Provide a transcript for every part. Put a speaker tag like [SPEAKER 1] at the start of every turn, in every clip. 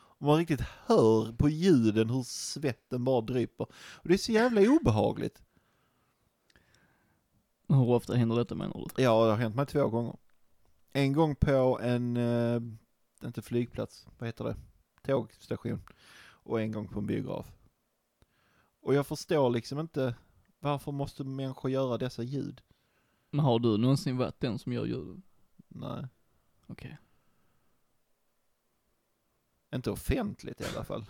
[SPEAKER 1] Och man riktigt hör på ljuden hur svetten bara dryper. Och det är så jävla obehagligt.
[SPEAKER 2] Hur ofta händer detta menar du?
[SPEAKER 1] Ja, det har hänt mig två gånger. En gång på en, eh, inte flygplats, vad heter det, tågstation. Och en gång på en biograf. Och jag förstår liksom inte, varför måste människor göra dessa ljud?
[SPEAKER 2] Men har du någonsin varit den som gör ljuden?
[SPEAKER 1] Nej,
[SPEAKER 2] Okej.
[SPEAKER 1] inte offentligt i alla fall.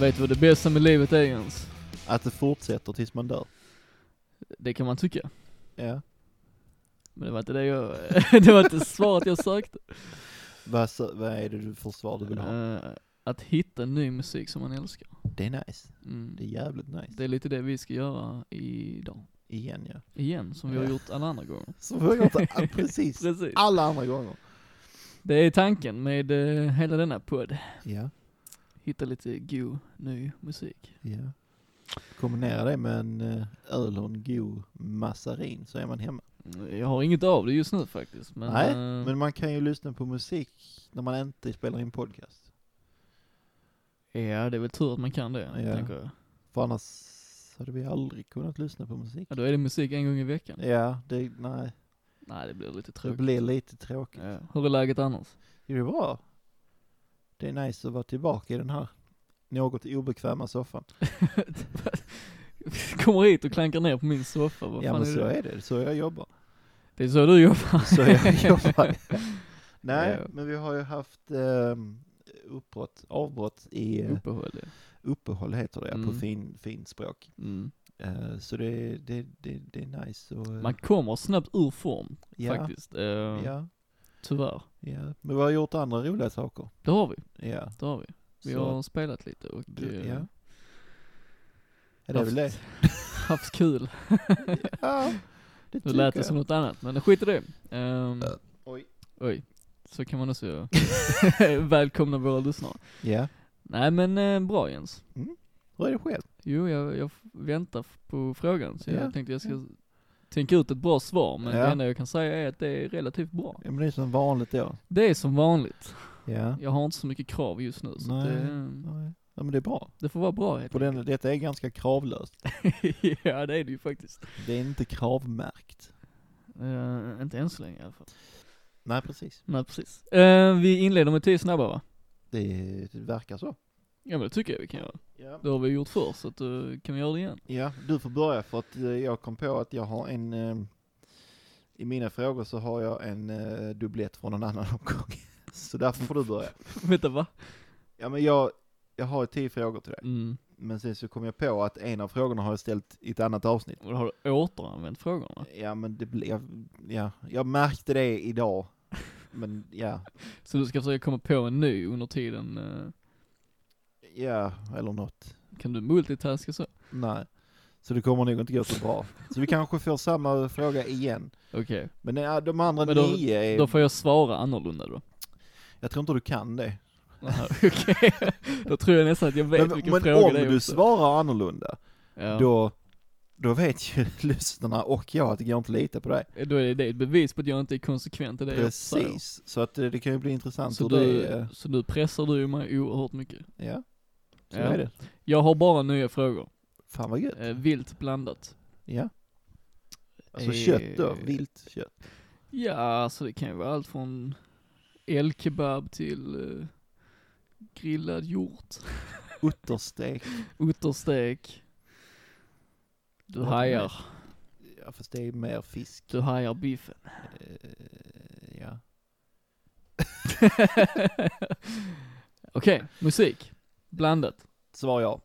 [SPEAKER 2] Vet du vad det bästa med livet är ens?
[SPEAKER 1] Att det fortsätter tills man dör.
[SPEAKER 2] Det kan man tycka.
[SPEAKER 1] Ja.
[SPEAKER 2] Men det var inte det jag, det var inte svaret jag sökte.
[SPEAKER 1] Vad, så, vad är det du för svar du vill ha?
[SPEAKER 2] Eh, att hitta ny musik som man älskar.
[SPEAKER 1] Det är nice.
[SPEAKER 2] Mm.
[SPEAKER 1] Det är jävligt nice.
[SPEAKER 2] Det är lite det vi ska göra idag.
[SPEAKER 1] Igen ja.
[SPEAKER 2] Igen, som vi har
[SPEAKER 1] Ja.
[SPEAKER 2] gjort alla andra gånger.
[SPEAKER 1] Så vi har gjort det ah, precis
[SPEAKER 2] Precis.
[SPEAKER 1] alla andra gånger.
[SPEAKER 2] Det är tanken med eh, hela denna podd.
[SPEAKER 1] Ja,
[SPEAKER 2] Hitta lite god, ny musik.
[SPEAKER 1] ja. Kombinera det med en eh, öl och en god massarin så är man hemma.
[SPEAKER 2] Mm, Jag har inget av det just nu faktiskt, men...
[SPEAKER 1] Nej,
[SPEAKER 2] eh,
[SPEAKER 1] Men man kan ju lyssna på musik när man inte spelar in podcast.
[SPEAKER 2] Ja, det är väl tur att man kan det,
[SPEAKER 1] Ja.
[SPEAKER 2] tänker jag.
[SPEAKER 1] För annars hade vi aldrig kunnat lyssna på musik.
[SPEAKER 2] Ja, då är det musik en gång i veckan.
[SPEAKER 1] Ja, det, nej,
[SPEAKER 2] Nej, det blir lite
[SPEAKER 1] det
[SPEAKER 2] tråkigt.
[SPEAKER 1] blir lite tråkigt.
[SPEAKER 2] Ja. Hur är läget annars?
[SPEAKER 1] Det är bra. Det är nice att vara tillbaka i den här något obekväma soffan.
[SPEAKER 2] Kommer hit och klankar ner på min soffa, vad
[SPEAKER 1] Ja
[SPEAKER 2] fan
[SPEAKER 1] men
[SPEAKER 2] är
[SPEAKER 1] så
[SPEAKER 2] det?
[SPEAKER 1] är det, så jag jobbar.
[SPEAKER 2] Det är så du jobbar.
[SPEAKER 1] Så jag jobbar. Nej,
[SPEAKER 2] Ja.
[SPEAKER 1] men vi har ju haft um, uppbrott, avbrott i eh,
[SPEAKER 2] Uppehåll, ja.
[SPEAKER 1] uppehåll heter det ja, på
[SPEAKER 2] Mm.
[SPEAKER 1] fin, fin språk.
[SPEAKER 2] Mm.
[SPEAKER 1] Eh, så det, det, det, det är nice och, eh,
[SPEAKER 2] Man kommer snabbt ur form,
[SPEAKER 1] ja,
[SPEAKER 2] faktiskt. Eh,
[SPEAKER 1] ja,
[SPEAKER 2] Tyvärr.
[SPEAKER 1] ja. Men vi har gjort andra roliga saker.
[SPEAKER 2] Det har vi,
[SPEAKER 1] Ja.
[SPEAKER 2] det har vi. Vi
[SPEAKER 1] Så-
[SPEAKER 2] har spelat lite och eh,
[SPEAKER 1] Ja. Ja, det är väl det.
[SPEAKER 2] haft kul.
[SPEAKER 1] Ja, det
[SPEAKER 2] Nu lät det
[SPEAKER 1] jag.
[SPEAKER 2] som något annat, men skit i det. Ehm,
[SPEAKER 1] Oj.
[SPEAKER 2] Oj, så kan man också göra. Välkomna våra lyssnare.
[SPEAKER 1] Ja,
[SPEAKER 2] Nej men eh, bra Jens.
[SPEAKER 1] hur är det själv?
[SPEAKER 2] Jo, jag, jag f- väntar f- på frågan, så
[SPEAKER 1] Ja,
[SPEAKER 2] jag tänkte jag ska tänka ut ett bra svar, men
[SPEAKER 1] Ja.
[SPEAKER 2] det enda jag kan säga är att det är relativt bra.
[SPEAKER 1] Ja men det är som vanligt då.
[SPEAKER 2] Det är som vanligt.
[SPEAKER 1] Ja.
[SPEAKER 2] Jag har inte så mycket krav just nu, så att
[SPEAKER 1] Nej.
[SPEAKER 2] det,
[SPEAKER 1] Ja men det är bra.
[SPEAKER 2] det får vara bra helt
[SPEAKER 1] För den, detta är ganska kravlöst.
[SPEAKER 2] enkelt. Ja, det är det ju faktiskt.
[SPEAKER 1] Det är inte kravmärkt.
[SPEAKER 2] Eh, inte än så länge i alla fall.
[SPEAKER 1] Nej precis.
[SPEAKER 2] Nej, precis. Eh, vi inleder med tio snabba va?
[SPEAKER 1] Det, det verkar så.
[SPEAKER 2] Ja men det tycker jag vi kan göra.
[SPEAKER 1] Ja.
[SPEAKER 2] Det har vi gjort förr, så att, eh, kan vi göra det igen?
[SPEAKER 1] ja, du får börja för att eh, jag kom på att jag har en eh, i mina frågor så har jag en eh, dubblett från en annan omgång. Så därför får du börja.
[SPEAKER 2] Vänta va?
[SPEAKER 1] Ja men jag, jag har tio frågor till dig.
[SPEAKER 2] Mm.
[SPEAKER 1] Men sen så kom jag på att en av frågorna har jag ställt i ett annat avsnitt.
[SPEAKER 2] Och då har du återanvänt frågorna.
[SPEAKER 1] Ja men det blev, ja, jag märkte det idag. Men ja,
[SPEAKER 2] Så du ska försöka komma på en ny under tiden, eh,
[SPEAKER 1] ja, eller något.
[SPEAKER 2] kan du multitaska så?
[SPEAKER 1] Nej. Så det kommer nog inte gå så bra. Så vi kanske får samma fråga igen.
[SPEAKER 2] Okej,
[SPEAKER 1] Men eh, de andra
[SPEAKER 2] Men då-
[SPEAKER 1] nio är...
[SPEAKER 2] då får jag svara annorlunda då.
[SPEAKER 1] Jag tror inte du kan det.
[SPEAKER 2] Aha, Okej, då tror jag nästan att jag vet
[SPEAKER 1] men
[SPEAKER 2] vilken
[SPEAKER 1] men
[SPEAKER 2] fråga
[SPEAKER 1] om
[SPEAKER 2] det är
[SPEAKER 1] du
[SPEAKER 2] också.
[SPEAKER 1] svarar annorlunda,
[SPEAKER 2] ja. då...
[SPEAKER 1] då, då vet ju lyssnarna och jag att det går inte att lita på dig.
[SPEAKER 2] Eh, är det ett bevis på att jag inte är konsekvent i det jag säger.
[SPEAKER 1] Precis. Så att eh, det kan ju bli intressant
[SPEAKER 2] Så,
[SPEAKER 1] hur
[SPEAKER 2] du,
[SPEAKER 1] det är.
[SPEAKER 2] så nu pressar du mig oerhört mycket.
[SPEAKER 1] Ja, så
[SPEAKER 2] Ja.
[SPEAKER 1] är det.
[SPEAKER 2] Jag har bara nya frågor.
[SPEAKER 1] Fan vad gött.
[SPEAKER 2] Eh, vilt blandat.
[SPEAKER 1] Ja. Alltså
[SPEAKER 2] Eh,
[SPEAKER 1] kött då, vilt kött.
[SPEAKER 2] Ja, alltså det kan ju vara allt från elkebab till eh, grillad hjort,
[SPEAKER 1] Utterstek.
[SPEAKER 2] utterstek, Du hajar,
[SPEAKER 1] Ja fast det är mer fisk.
[SPEAKER 2] du hajar biffen.
[SPEAKER 1] Eh, ja.
[SPEAKER 2] Okej, musik. Blandat.
[SPEAKER 1] Svar ja.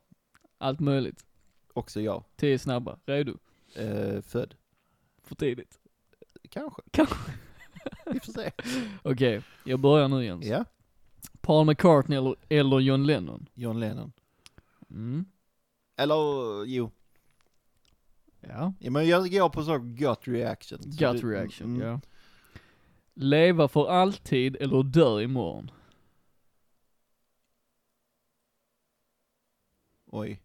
[SPEAKER 2] Allt möjligt.
[SPEAKER 1] Också ja.
[SPEAKER 2] Tio snabba. Redo.
[SPEAKER 1] Eh, född.
[SPEAKER 2] För tidigt.
[SPEAKER 1] Kanske.
[SPEAKER 2] Kanske.
[SPEAKER 1] Vi får se.
[SPEAKER 2] Okej, jag börjar nu Jens.
[SPEAKER 1] Ja.
[SPEAKER 2] Paul McCartney eller, eller John Lennon?
[SPEAKER 1] John Lennon.
[SPEAKER 2] Mm.
[SPEAKER 1] Eller jo.
[SPEAKER 2] Ja.
[SPEAKER 1] Ja, men jag går på så gut reaction. Så
[SPEAKER 2] Gut
[SPEAKER 1] det-
[SPEAKER 2] reaction,
[SPEAKER 1] mm,
[SPEAKER 2] ja. Leva för alltid eller dö imorgon?
[SPEAKER 1] Oj.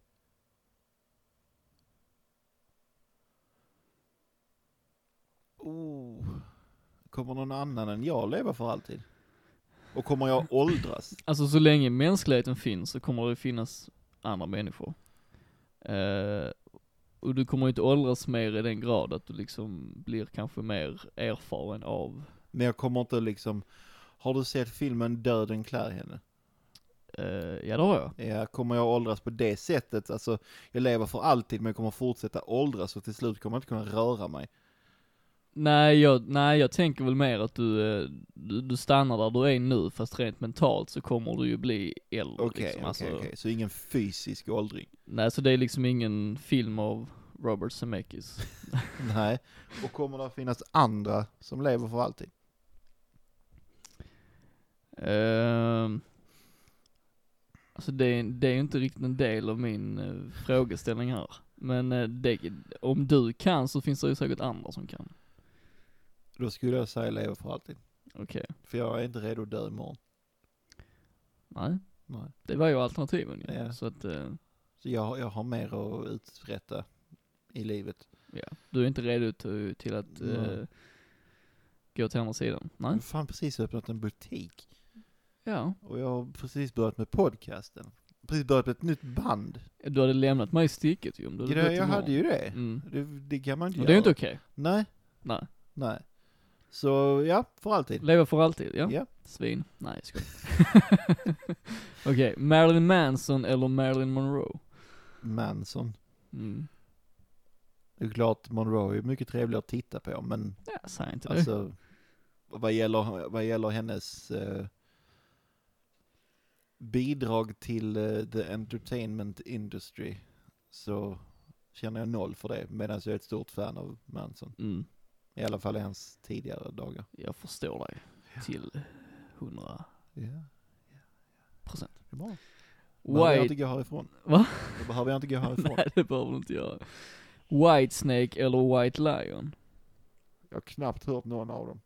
[SPEAKER 1] Oh. Kommer någon annan än jag leva för alltid? Och kommer jag åldras?
[SPEAKER 2] Alltså så länge mänskligheten finns så kommer det finnas andra människor. Eh, och du kommer inte åldras mer i den grad att du liksom blir kanske mer erfaren av,
[SPEAKER 1] Men jag kommer inte liksom... Har du sett filmen Döden klär henne?
[SPEAKER 2] eh, ja det har jag.
[SPEAKER 1] Ja, kommer jag åldras på det sättet? Alltså, jag lever för alltid men jag kommer fortsätta åldras och till slut kommer jag inte kunna röra mig.
[SPEAKER 2] Nej jag, nej jag tänker väl mer att du, eh, du, du stannar där du är nu fast rent mentalt så kommer du ju bli äldre
[SPEAKER 1] Okej,
[SPEAKER 2] liksom.
[SPEAKER 1] okej,
[SPEAKER 2] Alltså,
[SPEAKER 1] okej. Så ingen fysisk åldring?
[SPEAKER 2] Nej så det är liksom ingen film av Robert Zemeckis.
[SPEAKER 1] Nej. Och kommer det finnas andra som lever för alltid?
[SPEAKER 2] Ehm, alltså det är, det är ju inte riktigt en del av min eh, frågeställning här. Men eh, det, om du kan så finns det ju säkert andra som kan.
[SPEAKER 1] Då skulle jag säga leva för alltid.
[SPEAKER 2] Okej.
[SPEAKER 1] För jag är inte redo att dö imorgon.
[SPEAKER 2] Nej,
[SPEAKER 1] Nej.
[SPEAKER 2] det var ju alternativen ju.
[SPEAKER 1] Ja.
[SPEAKER 2] Så att, eh,
[SPEAKER 1] Så jag, jag har mer att uträtta i livet.
[SPEAKER 2] ja. Du är inte redo till, till att
[SPEAKER 1] Nej.
[SPEAKER 2] eh, gå till andra sidan? Nej?
[SPEAKER 1] Jag har fan precis öppnat en butik.
[SPEAKER 2] Ja.
[SPEAKER 1] Och jag har precis börjat med podcasten. Precis börjat med ett nytt band.
[SPEAKER 2] Du hade lämnat mig i sticket ju om du
[SPEAKER 1] Grej,
[SPEAKER 2] gått
[SPEAKER 1] jag
[SPEAKER 2] imorgon.
[SPEAKER 1] hade ju det.
[SPEAKER 2] Mm.
[SPEAKER 1] Det, det kan man inte
[SPEAKER 2] Och
[SPEAKER 1] göra.
[SPEAKER 2] det är ju inte okej.
[SPEAKER 1] Nej,
[SPEAKER 2] Nej.
[SPEAKER 1] nej. Så ja, för alltid.
[SPEAKER 2] Leva för alltid, ja.
[SPEAKER 1] Ja.
[SPEAKER 2] Svin. Nej, jag skojar. Okej, Marilyn Manson eller Marilyn Monroe?
[SPEAKER 1] Manson.
[SPEAKER 2] Mm.
[SPEAKER 1] Det är klart Monroe är mycket trevligare att titta på men
[SPEAKER 2] Ja, säg inte det.
[SPEAKER 1] alltså vad gäller, vad gäller hennes eh, bidrag till eh, the entertainment industry så känner jag noll för det medan jag är ett stort fan av Manson.
[SPEAKER 2] Mm.
[SPEAKER 1] I alla fall i hans tidigare dagar.
[SPEAKER 2] Jag förstår dig. Till 100
[SPEAKER 1] Ja,
[SPEAKER 2] procent.
[SPEAKER 1] det är bra. Behöver jag
[SPEAKER 2] White...
[SPEAKER 1] inte gå härifrån.
[SPEAKER 2] Va?
[SPEAKER 1] Då behöver jag inte gå härifrån.
[SPEAKER 2] Nej, det behöver du inte göra. White Snake eller White Lion?
[SPEAKER 1] Jag har knappt hört någon av dem.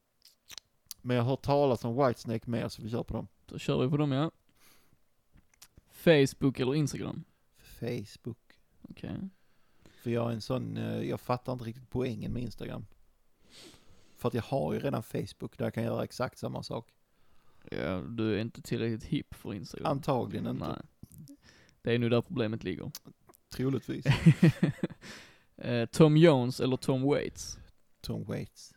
[SPEAKER 1] Men jag har hört talas om Whitesnake mer så vi kör på dem.
[SPEAKER 2] Då kör vi på dem, ja. Facebook eller Instagram?
[SPEAKER 1] Facebook.
[SPEAKER 2] Okej.
[SPEAKER 1] För jag är en sån, eh, jag fattar inte riktigt poängen med Instagram. För att jag har ju redan Facebook där jag kan göra exakt samma sak.
[SPEAKER 2] Ja, du är inte tillräckligt hipp för Instagram.
[SPEAKER 1] Antagligen inte.
[SPEAKER 2] Nej. Det är nu där problemet ligger.
[SPEAKER 1] Troligtvis.
[SPEAKER 2] Eh, Tom Jones eller Tom Waits?
[SPEAKER 1] Tom Waits.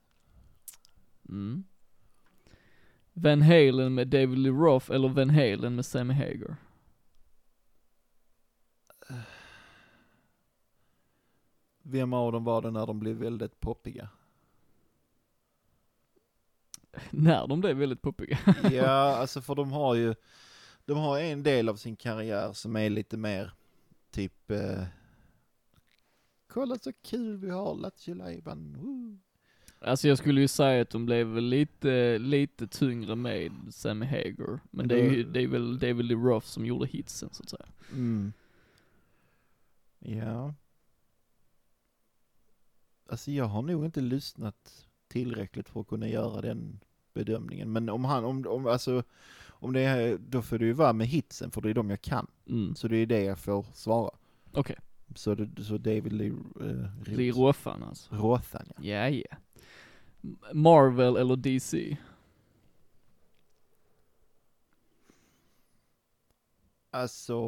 [SPEAKER 2] Mm. Van Halen med David Lee Roth eller Van Halen med Sammy Hagar?
[SPEAKER 1] Vem av dem var det när de blev väldigt poppiga?
[SPEAKER 2] När de blev väldigt poppiga.
[SPEAKER 1] Ja, alltså för de har ju, de har en del av sin karriär som är lite mer typ, eh, kolla så kul vi har, Lattjo Lajban, woo."
[SPEAKER 2] Alltså jag skulle ju säga att de blev väl lite, lite tyngre med Sammy Hagar. Men det är ju, det är väl David Lee Roth som gjorde hitsen så att säga.
[SPEAKER 1] Mm. Ja. Alltså jag har nog inte lyssnat tillräckligt för att kunna göra den bedömningen. Men om han, om, om alltså, om det är, då får det ju vara med hitsen för det är de jag kan.
[SPEAKER 2] Mm.
[SPEAKER 1] Så det är det jag får svara.
[SPEAKER 2] Okej,
[SPEAKER 1] Så, det, så David Lee, eh,
[SPEAKER 2] Lee
[SPEAKER 1] uh,
[SPEAKER 2] Rothan alltså.
[SPEAKER 1] Rothan ja.
[SPEAKER 2] Ja, ja. Marvel eller DC?
[SPEAKER 1] Alltså.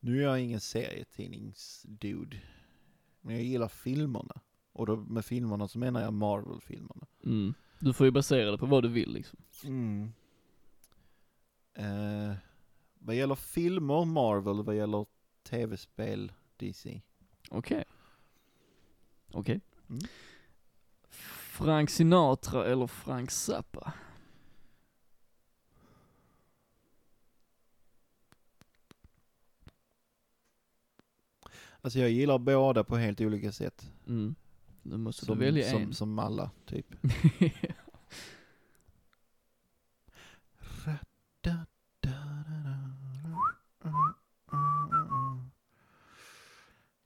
[SPEAKER 1] Nu är jag ingen serietidningsdude. Men jag gillar filmerna. Och då med filmerna så menar jag Marvel-filmerna.
[SPEAKER 2] Mm. Du får ju basera det på vad du vill liksom.
[SPEAKER 1] Mm. Eh, vad gäller filmer, Marvel, vad gäller tv-spel, DC.
[SPEAKER 2] Okej. Okej.
[SPEAKER 1] Mm.
[SPEAKER 2] Frank Sinatra eller Frank Zappa?
[SPEAKER 1] Alltså jag gillar båda på helt olika sätt.
[SPEAKER 2] Mm. Nu måste
[SPEAKER 1] som,
[SPEAKER 2] du välja
[SPEAKER 1] som,
[SPEAKER 2] en.
[SPEAKER 1] som alla, typ.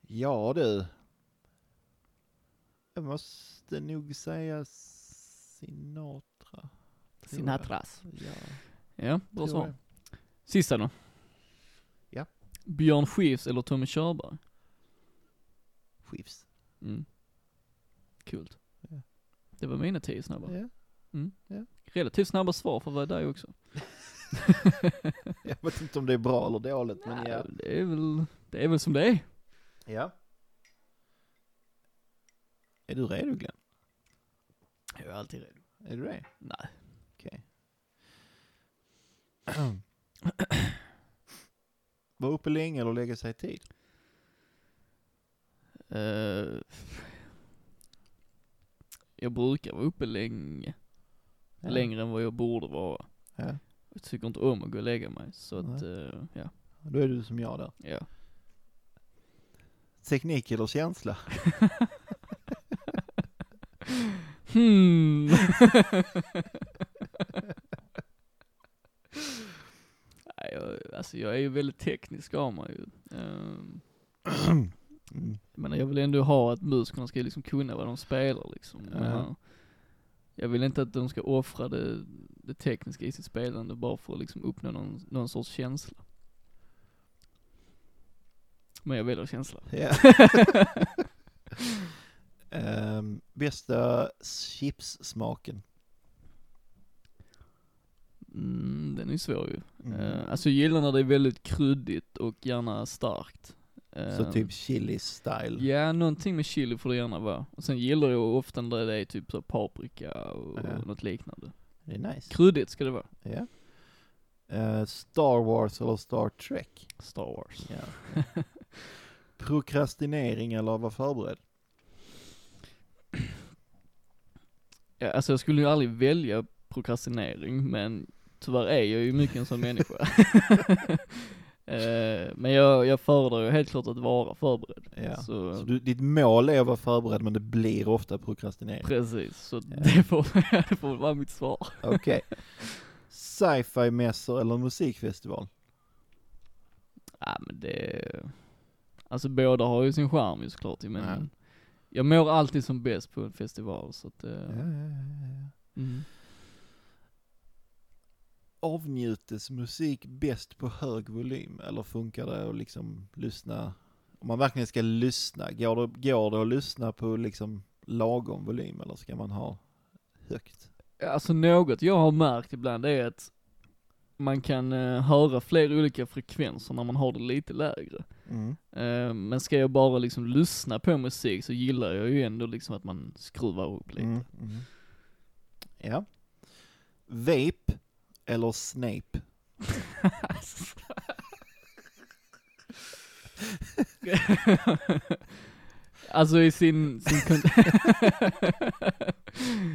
[SPEAKER 1] Ja du. Jag måste nog säga Sinatra. tror
[SPEAKER 2] Sinatras.
[SPEAKER 1] jag. Ja,
[SPEAKER 2] Ja, bra
[SPEAKER 1] tror
[SPEAKER 2] svar.
[SPEAKER 1] jag.
[SPEAKER 2] Sista då.
[SPEAKER 1] Ja.
[SPEAKER 2] Björn Skifs eller Tommy Körberg?
[SPEAKER 1] Skifs.
[SPEAKER 2] Mm. Kul.
[SPEAKER 1] Ja.
[SPEAKER 2] Det var mina tio snabba.
[SPEAKER 1] Ja.
[SPEAKER 2] Relativt snabba svar för att vara dig också.
[SPEAKER 1] Jag vet inte om det är bra eller dåligt, men
[SPEAKER 2] Nej,
[SPEAKER 1] ja.
[SPEAKER 2] Det är väl, det är väl som det är.
[SPEAKER 1] Ja. Är du redo Glenn?
[SPEAKER 2] Jag är alltid redo.
[SPEAKER 1] Är du det?
[SPEAKER 2] Nej.
[SPEAKER 1] Okej. Vara uppe länge eller lägga sig i tid?
[SPEAKER 2] Eh, jag brukar vara uppe länge.
[SPEAKER 1] Ja.
[SPEAKER 2] Längre än vad jag borde vara.
[SPEAKER 1] Ja.
[SPEAKER 2] Jag tycker inte om att gå och lägga mig. Så att,
[SPEAKER 1] Nej.
[SPEAKER 2] eh, ja.
[SPEAKER 1] Då är du som jag där.
[SPEAKER 2] ja.
[SPEAKER 1] Teknik eller känsla?
[SPEAKER 2] Hmm. Nej, jag, alltså jag är ju väldigt teknisk av mig ju. Ehm,
[SPEAKER 1] Mm.
[SPEAKER 2] jag menar jag vill ändå ha att musikerna ska liksom kunna vad de spelar liksom. Jag
[SPEAKER 1] Ja.
[SPEAKER 2] menar, Jag vill inte att de ska offra det, det tekniska i sitt spelande bara för att liksom uppnå någon, någon sorts känsla. Men jag väljer känsla.
[SPEAKER 1] Ja. Ehm, bästa chipssmaken?
[SPEAKER 2] Mm, den är ju svår ju.
[SPEAKER 1] Mm.
[SPEAKER 2] Eh, alltså jag gillar när det är väldigt kryddigt och gärna starkt.
[SPEAKER 1] Så
[SPEAKER 2] Eh,
[SPEAKER 1] typ chili style?
[SPEAKER 2] Ja, någonting med chili får det gärna vara. Och sen gillar jag ofta när det är typ så paprika och
[SPEAKER 1] Ja.
[SPEAKER 2] något liknande.
[SPEAKER 1] Det är nice.
[SPEAKER 2] Kryddigt ska det vara.
[SPEAKER 1] Ja. Eh, Star Wars eller Star Trek?
[SPEAKER 2] Star Wars.
[SPEAKER 1] Ja. Prokrastinering eller vara förberedd?
[SPEAKER 2] Ja, alltså jag skulle ju aldrig välja prokrastinering, men tyvärr är jag ju mycket en sån människa. Eh, men jag, jag föredrar ju helt klart att vara förberedd.
[SPEAKER 1] Ja.
[SPEAKER 2] Så,
[SPEAKER 1] Så du, ditt mål är att vara förberedd men det blir ofta prokrastinering.
[SPEAKER 2] precis, så
[SPEAKER 1] Ja.
[SPEAKER 2] det, får, det får vara mitt svar.
[SPEAKER 1] Okej. Sci-fi mässor eller musikfestival?
[SPEAKER 2] Ja men det, alltså båda har ju sin charm ju såklart men
[SPEAKER 1] Ja.
[SPEAKER 2] jag mår alltid som bäst på en festival så att, eh, mm.
[SPEAKER 1] Avnjutes musik bäst på hög volym eller funkar det att liksom lyssna? Om man verkligen ska lyssna, går det, går det att lyssna på liksom lagom volym eller ska man ha högt?
[SPEAKER 2] Alltså något jag har märkt ibland är att man kan eh, höra fler olika frekvenser när man har det lite lägre.
[SPEAKER 1] Mm,
[SPEAKER 2] Eh, men ska jag bara liksom lyssna på musik så gillar jag ju ändå liksom att man skruvar upp lite.
[SPEAKER 1] Mm, mm. Ja. Vape eller Snape?
[SPEAKER 2] alltså i sin, sin kon-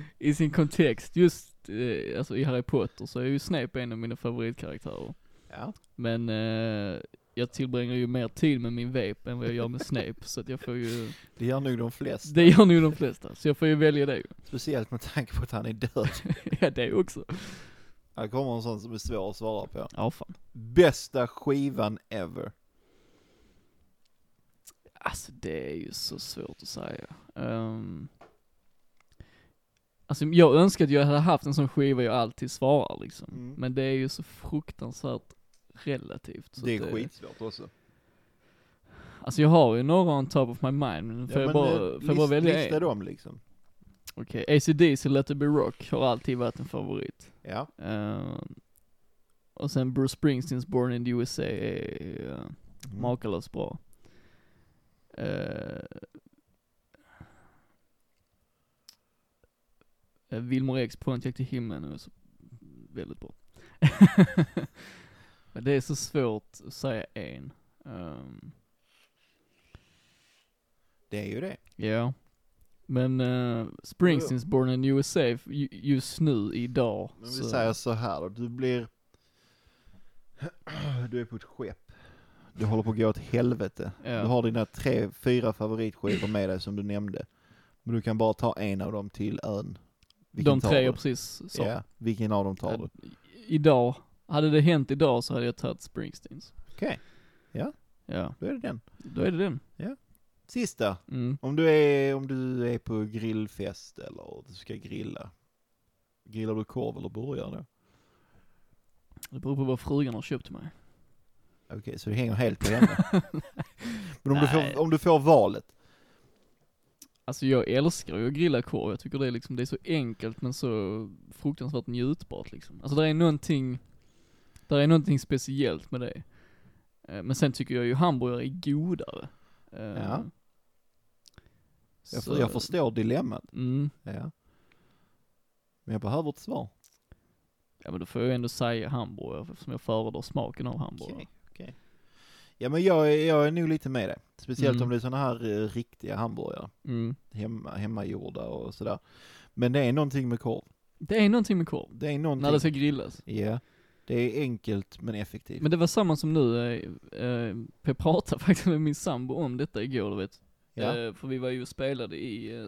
[SPEAKER 2] i sin kontext, just eh, alltså i Harry Potter så är ju Snape en av mina favoritkaraktärer.
[SPEAKER 1] Ja.
[SPEAKER 2] Men eh, jag tillbringar ju mer tid med min vape än vad jag gör med Snape, så att jag får ju,
[SPEAKER 1] Det gör nog de flesta.
[SPEAKER 2] det gör nog de flesta, så jag får ju välja det ju.
[SPEAKER 1] Speciellt med tanke på att han är död.
[SPEAKER 2] ja det också.
[SPEAKER 1] Här kommer en sån som är svår att svara på.
[SPEAKER 2] Ja fan.
[SPEAKER 1] Bästa skivan ever.
[SPEAKER 2] Alltså det är ju så svårt att säga. Um, alltså jag önskar att jag hade haft en sån skiva jag alltid svarar liksom.
[SPEAKER 1] Mm.
[SPEAKER 2] Men det är ju så fruktansvärt relativt. Så
[SPEAKER 1] det
[SPEAKER 2] att
[SPEAKER 1] är skitsvårt också.
[SPEAKER 2] Alltså jag har ju några on top of my mind, men får jag bara, får jag bara välja
[SPEAKER 1] eh, Lista
[SPEAKER 2] en?
[SPEAKER 1] dem liksom.
[SPEAKER 2] Okej, AC/DC Let It Be Rock har alltid varit en favorit.
[SPEAKER 1] Ja.
[SPEAKER 2] Ehm, och sen Bruce Springsteens Born in the USA är eh,
[SPEAKER 1] Mm.
[SPEAKER 2] makalöst bra. Eh, eh, Wilmer X Pontiac till himlen är så väldigt bra. Men det är så svårt att säga en. Ehm,
[SPEAKER 1] Det är ju det.
[SPEAKER 2] Ja. Men eh, Springsteens Born in USA f- ju- just nu, idag.
[SPEAKER 1] Men vi säger så här då, du blir... Du är på ett skepp. Du håller på att gå åt helvete.
[SPEAKER 2] Ja.
[SPEAKER 1] Du har dina tre, fyra favoritskivor med dig som du nämnde. Men du kan bara ta en av dem till ön.
[SPEAKER 2] de
[SPEAKER 1] tar
[SPEAKER 2] tre
[SPEAKER 1] du?
[SPEAKER 2] jag precis sa.
[SPEAKER 1] Ja, vilken av dem tar du?
[SPEAKER 2] I- Idag, hade det hänt idag så hade jag tagit Springsteens.
[SPEAKER 1] Okej. Ja.
[SPEAKER 2] Ja,
[SPEAKER 1] Då är det den.
[SPEAKER 2] då är det den.
[SPEAKER 1] Sista.
[SPEAKER 2] Mm.
[SPEAKER 1] Om du är, om du är på grillfest eller du ska grilla. Grillar du korv eller burgare då?
[SPEAKER 2] Det beror på vad frugan har köpt till mig.
[SPEAKER 1] Okej, så det hänger helt på henne. Men om du,
[SPEAKER 2] Nej.
[SPEAKER 1] får, om du får valet.
[SPEAKER 2] Alltså jag älskar ju att grilla korv, jag tycker det är liksom, det är så enkelt men så fruktansvärt njutbart liksom. Alltså där är någonting, där är någonting speciellt med det. Eh, Men sen tycker jag ju hamburgare är godare. Eh,
[SPEAKER 1] Ja. Jag,
[SPEAKER 2] så-
[SPEAKER 1] jag förstår dilemmat.
[SPEAKER 2] Mm,
[SPEAKER 1] Ja. Men jag behöver ett svar.
[SPEAKER 2] ja men då får jag ändå säga hamburgare eftersom jag föredrar smaken av hamburgare.
[SPEAKER 1] Okej, okej. Ja men jag, är- jag är nog lite med dig. Speciellt
[SPEAKER 2] Mm.
[SPEAKER 1] om det är sådana här eh, riktiga hamburgare.
[SPEAKER 2] Mm.
[SPEAKER 1] Hemma, hemmagjorda och sådär. Men det är någonting med korv.
[SPEAKER 2] Det är någonting med korv,
[SPEAKER 1] Det är någonting.
[SPEAKER 2] när det ska grillas.
[SPEAKER 1] Ja. Det är enkelt men effektivt.
[SPEAKER 2] Men det var samma som nu, eh, eh, jag pratade faktiskt med min sambo om detta igår du vet.
[SPEAKER 1] ja.
[SPEAKER 2] Eh, för vi var ju och spelade i, eh,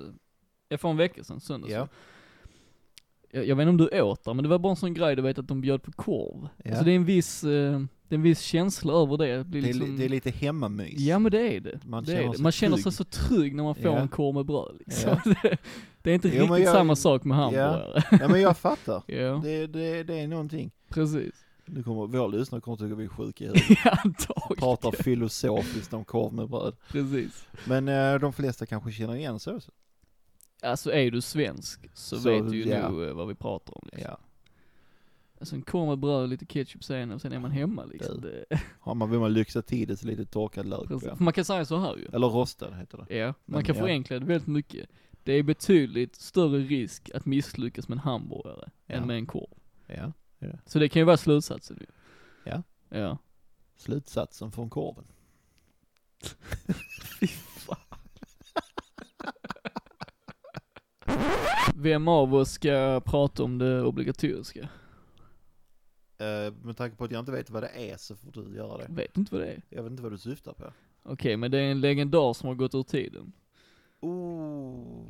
[SPEAKER 2] ja, för en vecka sedan, söndags.
[SPEAKER 1] Ja.
[SPEAKER 2] Jag, jag vet inte om du åt där, men det var bara en sån grej du vet att de bjöd på korv.
[SPEAKER 1] Ja.
[SPEAKER 2] Alltså det är en viss, eh, det är en viss känsla över det. Det, blir
[SPEAKER 1] det, är,
[SPEAKER 2] liksom,
[SPEAKER 1] li- det är lite hemmamys.
[SPEAKER 2] Ja men det är det.
[SPEAKER 1] Man
[SPEAKER 2] det
[SPEAKER 1] känner
[SPEAKER 2] är det.
[SPEAKER 1] sig
[SPEAKER 2] man känner
[SPEAKER 1] trygg.
[SPEAKER 2] sig så trygg när man får
[SPEAKER 1] Ja.
[SPEAKER 2] en korv med bröd liksom.
[SPEAKER 1] Ja.
[SPEAKER 2] det, det är inte
[SPEAKER 1] Jo, men
[SPEAKER 2] riktigt
[SPEAKER 1] jag-
[SPEAKER 2] samma sak med hamburgare.
[SPEAKER 1] Nej men jag fattar.
[SPEAKER 2] Ja,
[SPEAKER 1] Det, det, det är någonting.
[SPEAKER 2] precis.
[SPEAKER 1] Nu kommer vår lyssnare kommer tycka vi är sjuka i huvudet.
[SPEAKER 2] Ja, antagligen.
[SPEAKER 1] Pratar filosofiskt om korv med bröd.
[SPEAKER 2] Precis.
[SPEAKER 1] Men eh, de flesta kanske känner igen sig också.
[SPEAKER 2] Alltså är du svensk så,
[SPEAKER 1] Så,
[SPEAKER 2] vet du ju
[SPEAKER 1] ja.
[SPEAKER 2] nog eh, vad vi pratar om liksom.
[SPEAKER 1] Ja.
[SPEAKER 2] Alltså en korv med bröd, lite ketchup sen och sen är man hemma liksom. Det,
[SPEAKER 1] Har man, vill man lyxa till det så lite torkad lök på.
[SPEAKER 2] Precis.
[SPEAKER 1] ja.
[SPEAKER 2] För man kan säga så här ju.
[SPEAKER 1] Eller rostad heter det.
[SPEAKER 2] Ja, man
[SPEAKER 1] Men,
[SPEAKER 2] kan
[SPEAKER 1] ja.
[SPEAKER 2] förenkla det väldigt mycket. Det är betydligt större risk att misslyckas med en hamburgare
[SPEAKER 1] Ja.
[SPEAKER 2] än med en korv.
[SPEAKER 1] Ja.
[SPEAKER 2] Så det kan ju vara slutsatsen ju.
[SPEAKER 1] Ja.
[SPEAKER 2] Ja.
[SPEAKER 1] Slutsatsen från korven.
[SPEAKER 2] Fy fan. Vem av oss ska prata om det obligatoriska?
[SPEAKER 1] Uh, med tanke på att jag inte vet vad det är så får du göra det.
[SPEAKER 2] Jag vet inte vad det är.
[SPEAKER 1] Jag vet inte vad du syftar på.
[SPEAKER 2] Okej, men det är en legendar som har gått ur tiden.
[SPEAKER 1] Oh.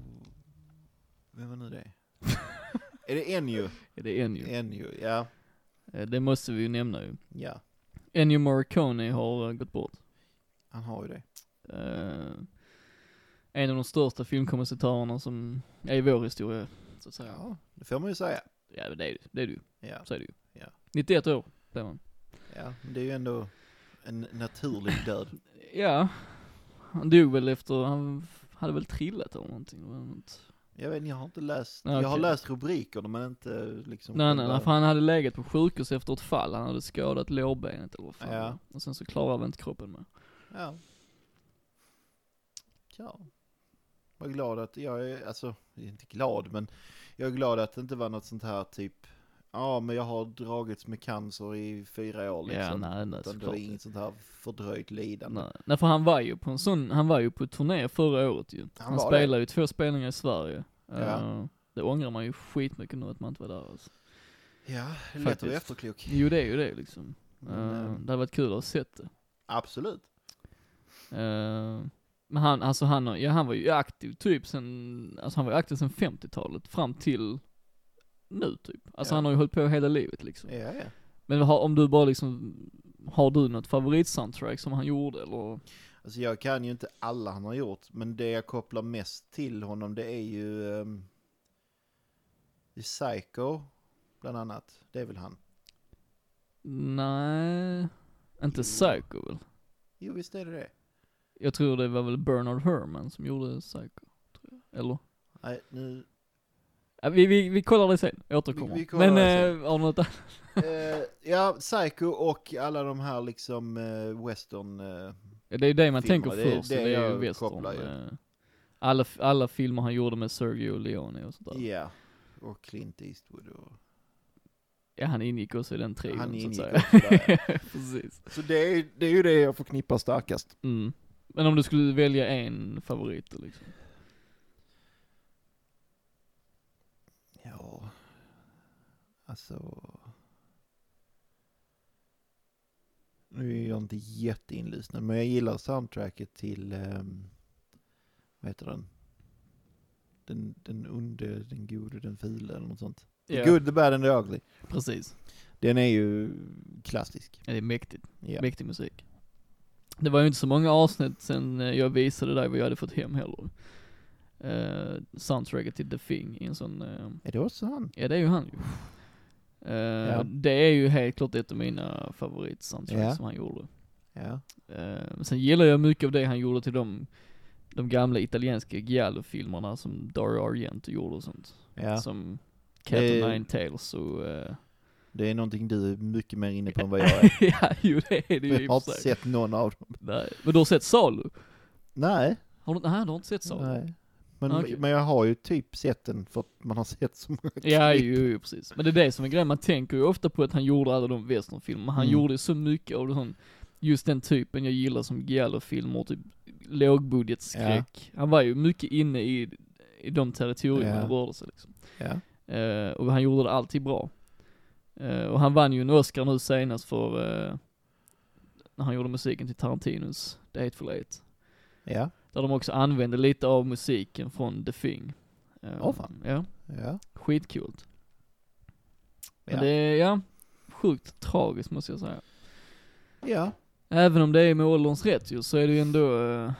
[SPEAKER 1] Vem var nu det? är det Ennio?
[SPEAKER 2] Är det Ennio?
[SPEAKER 1] Ennio, ja.
[SPEAKER 2] Eh, Det måste vi ju nämna ju.
[SPEAKER 1] Ja,
[SPEAKER 2] Ennio Morricone har eh, gått bort.
[SPEAKER 1] han har ju det.
[SPEAKER 2] Eh, en av de största filmkommentatörerna som är i vår historia, så att säga.
[SPEAKER 1] Ja, det får man ju säga.
[SPEAKER 2] Ja, det är du, det är du,
[SPEAKER 1] Ja,
[SPEAKER 2] så är det ju.
[SPEAKER 1] Ja.
[SPEAKER 2] 91 år blev han.
[SPEAKER 1] ja. men Det är ju ändå en naturlig död.
[SPEAKER 2] Ja, han dog väl efter, han f- hade väl trillat eller någonting. det var något.
[SPEAKER 1] Jag vet inte, jag har inte läst,
[SPEAKER 2] Ja,
[SPEAKER 1] jag har
[SPEAKER 2] okej.
[SPEAKER 1] läst rubrikerna men inte liksom.
[SPEAKER 2] Nej nej, nej,
[SPEAKER 1] själva-
[SPEAKER 2] för han hade legat på sjukhus efter ett fall, han hade skadat lårbenet eller vad fan det
[SPEAKER 1] Ja.
[SPEAKER 2] var. Och sen så klarade väl inte kroppen med.
[SPEAKER 1] Ja. Ja. Var glad att, jag är, alltså, jag är inte glad men jag är glad att det inte var något sånt här typ, ja men jag har dragits med cancer i fyra år liksom.
[SPEAKER 2] Ja, nej, nej
[SPEAKER 1] Utan det var
[SPEAKER 2] såklart.
[SPEAKER 1] inget sånt här fördröjt lidande.
[SPEAKER 2] Nej. nej, för han var ju på en sån, han var ju på turné förra året ju. Han,
[SPEAKER 1] var det.
[SPEAKER 2] spelade ju två spelningar i Sverige.
[SPEAKER 1] Ja.
[SPEAKER 2] Eh, det ångrar man ju skitmycket nu att man inte var där alltså.
[SPEAKER 1] Ja, det är lätt att vara
[SPEAKER 2] Faktiskt.
[SPEAKER 1] efterklok.
[SPEAKER 2] Jo det är ju det liksom.
[SPEAKER 1] Men,
[SPEAKER 2] Eh,
[SPEAKER 1] eh,
[SPEAKER 2] det hade varit kul att ha sett det.
[SPEAKER 1] Absolut.
[SPEAKER 2] Eh, men han, alltså han, har- ja, han var ju aktiv typ sen, alltså han var ju aktiv sen 50-talet fram till nu typ. Alltså
[SPEAKER 1] Ja.
[SPEAKER 2] han har ju hållit på hela livet liksom.
[SPEAKER 1] Ja, ja.
[SPEAKER 2] Men har, om du bara liksom, har du något favoritsoundtrack som han gjorde eller?
[SPEAKER 1] Alltså jag kan ju inte alla han har gjort, men det jag kopplar mest till honom det är ju ehm, i Psycho, bland annat. Det är väl han?
[SPEAKER 2] Nej, inte
[SPEAKER 1] Jo.
[SPEAKER 2] Psycho väl?
[SPEAKER 1] Jo, visst är det det.
[SPEAKER 2] Jag tror det var väl Bernard Herrmann som gjorde Psycho, tror jag. Eller?
[SPEAKER 1] Nej, nu...
[SPEAKER 2] Ja, vi, vi, vi kollar det sen, jag återkommer.
[SPEAKER 1] Vi- vi kollar
[SPEAKER 2] men,
[SPEAKER 1] det
[SPEAKER 2] eh, har du något annat?
[SPEAKER 1] Eh, ja, Psycho och alla de här liksom eh, western... eh,
[SPEAKER 2] Ja, det är ju det man
[SPEAKER 1] Filmer,
[SPEAKER 2] tänker
[SPEAKER 1] det är
[SPEAKER 2] först,
[SPEAKER 1] det
[SPEAKER 2] det, är ju
[SPEAKER 1] jag
[SPEAKER 2] western.
[SPEAKER 1] kopplar ju.
[SPEAKER 2] eh, Alla, f- alla filmer han gjorde med Sergio Leone och sånt
[SPEAKER 1] Ja,
[SPEAKER 2] där.
[SPEAKER 1] och Clint Eastwood och...
[SPEAKER 2] Ja, han ingick också i den trion
[SPEAKER 1] Han
[SPEAKER 2] så att
[SPEAKER 1] ingick
[SPEAKER 2] säga.
[SPEAKER 1] också där.
[SPEAKER 2] Precis.
[SPEAKER 1] Så det är, det är ju det jag förknippar starkast.
[SPEAKER 2] Mm. Men om du skulle välja en favorit då, liksom?
[SPEAKER 1] Ja, alltså. Nu är jag inte jätteinlyssnad, men jag gillar soundtracket till, ehm, vad heter den? Den, den onde, den gode, den file eller något sånt.
[SPEAKER 2] Ja,
[SPEAKER 1] The good, the bad and the ugly.
[SPEAKER 2] precis.
[SPEAKER 1] Den är ju klassisk.
[SPEAKER 2] Ja, det är mäktigt.
[SPEAKER 1] Ja.
[SPEAKER 2] Mäktig musik. Det var ju inte så många avsnitt sen eh, jag visade dig vad jag hade fått hem heller. Eh, soundtracket till The Thing i en sån, eh,
[SPEAKER 1] Är det också han?
[SPEAKER 2] ja det är ju han ju. Eh,
[SPEAKER 1] Ja.
[SPEAKER 2] Det är ju helt klart ett av mina favoritsoundtracks
[SPEAKER 1] Ja.
[SPEAKER 2] som han gjorde.
[SPEAKER 1] Ja.
[SPEAKER 2] Eh, men sen gillar jag mycket av det han gjorde till de, de gamla italienska Giallo-filmerna som Dario Argento gjorde och sånt.
[SPEAKER 1] ja.
[SPEAKER 2] Som Cat and
[SPEAKER 1] Eh.
[SPEAKER 2] Nine Tails och... eh,
[SPEAKER 1] Det är någonting du är mycket mer inne på än vad jag är.
[SPEAKER 2] ja, jo det är det ju i
[SPEAKER 1] Jag har
[SPEAKER 2] och
[SPEAKER 1] inte
[SPEAKER 2] för sig.
[SPEAKER 1] sett någon av dem.
[SPEAKER 2] Nej. Men du har sett Salo?
[SPEAKER 1] Nej.
[SPEAKER 2] Har du, nej, du har inte sett Salo?
[SPEAKER 1] Nej. Men,
[SPEAKER 2] Okej.
[SPEAKER 1] men jag har ju typ sett den för att man har sett så många
[SPEAKER 2] Ja,
[SPEAKER 1] klipp.
[SPEAKER 2] jo, jo, precis. Men det är det som är grejen, man tänker ju ofta på att han gjorde alla de westernfilmerna. Han
[SPEAKER 1] Mm.
[SPEAKER 2] gjorde ju så mycket av den, just den typen jag gillar som giallo-filmer, typ lågbudgetskräck. Han var ju mycket inne i, i de territorier han
[SPEAKER 1] Ja.
[SPEAKER 2] rörde sig liksom.
[SPEAKER 1] Ja.
[SPEAKER 2] Eh, och han gjorde det alltid bra. Eh, och han vann ju en Oscar nu senast för, eh, när han gjorde musiken till Tarantinos The Hateful Eight.
[SPEAKER 1] Ja.
[SPEAKER 2] Där de också använde lite av musiken från The Thing. Eh,
[SPEAKER 1] Åh, fan.
[SPEAKER 2] Ja,
[SPEAKER 1] Ja.
[SPEAKER 2] skitcoolt. Men
[SPEAKER 1] Ja.
[SPEAKER 2] det är, ja, sjukt tragiskt måste jag säga.
[SPEAKER 1] ja.
[SPEAKER 2] Även om det är med ålderns rätt ju, så är det ju ändå, eh,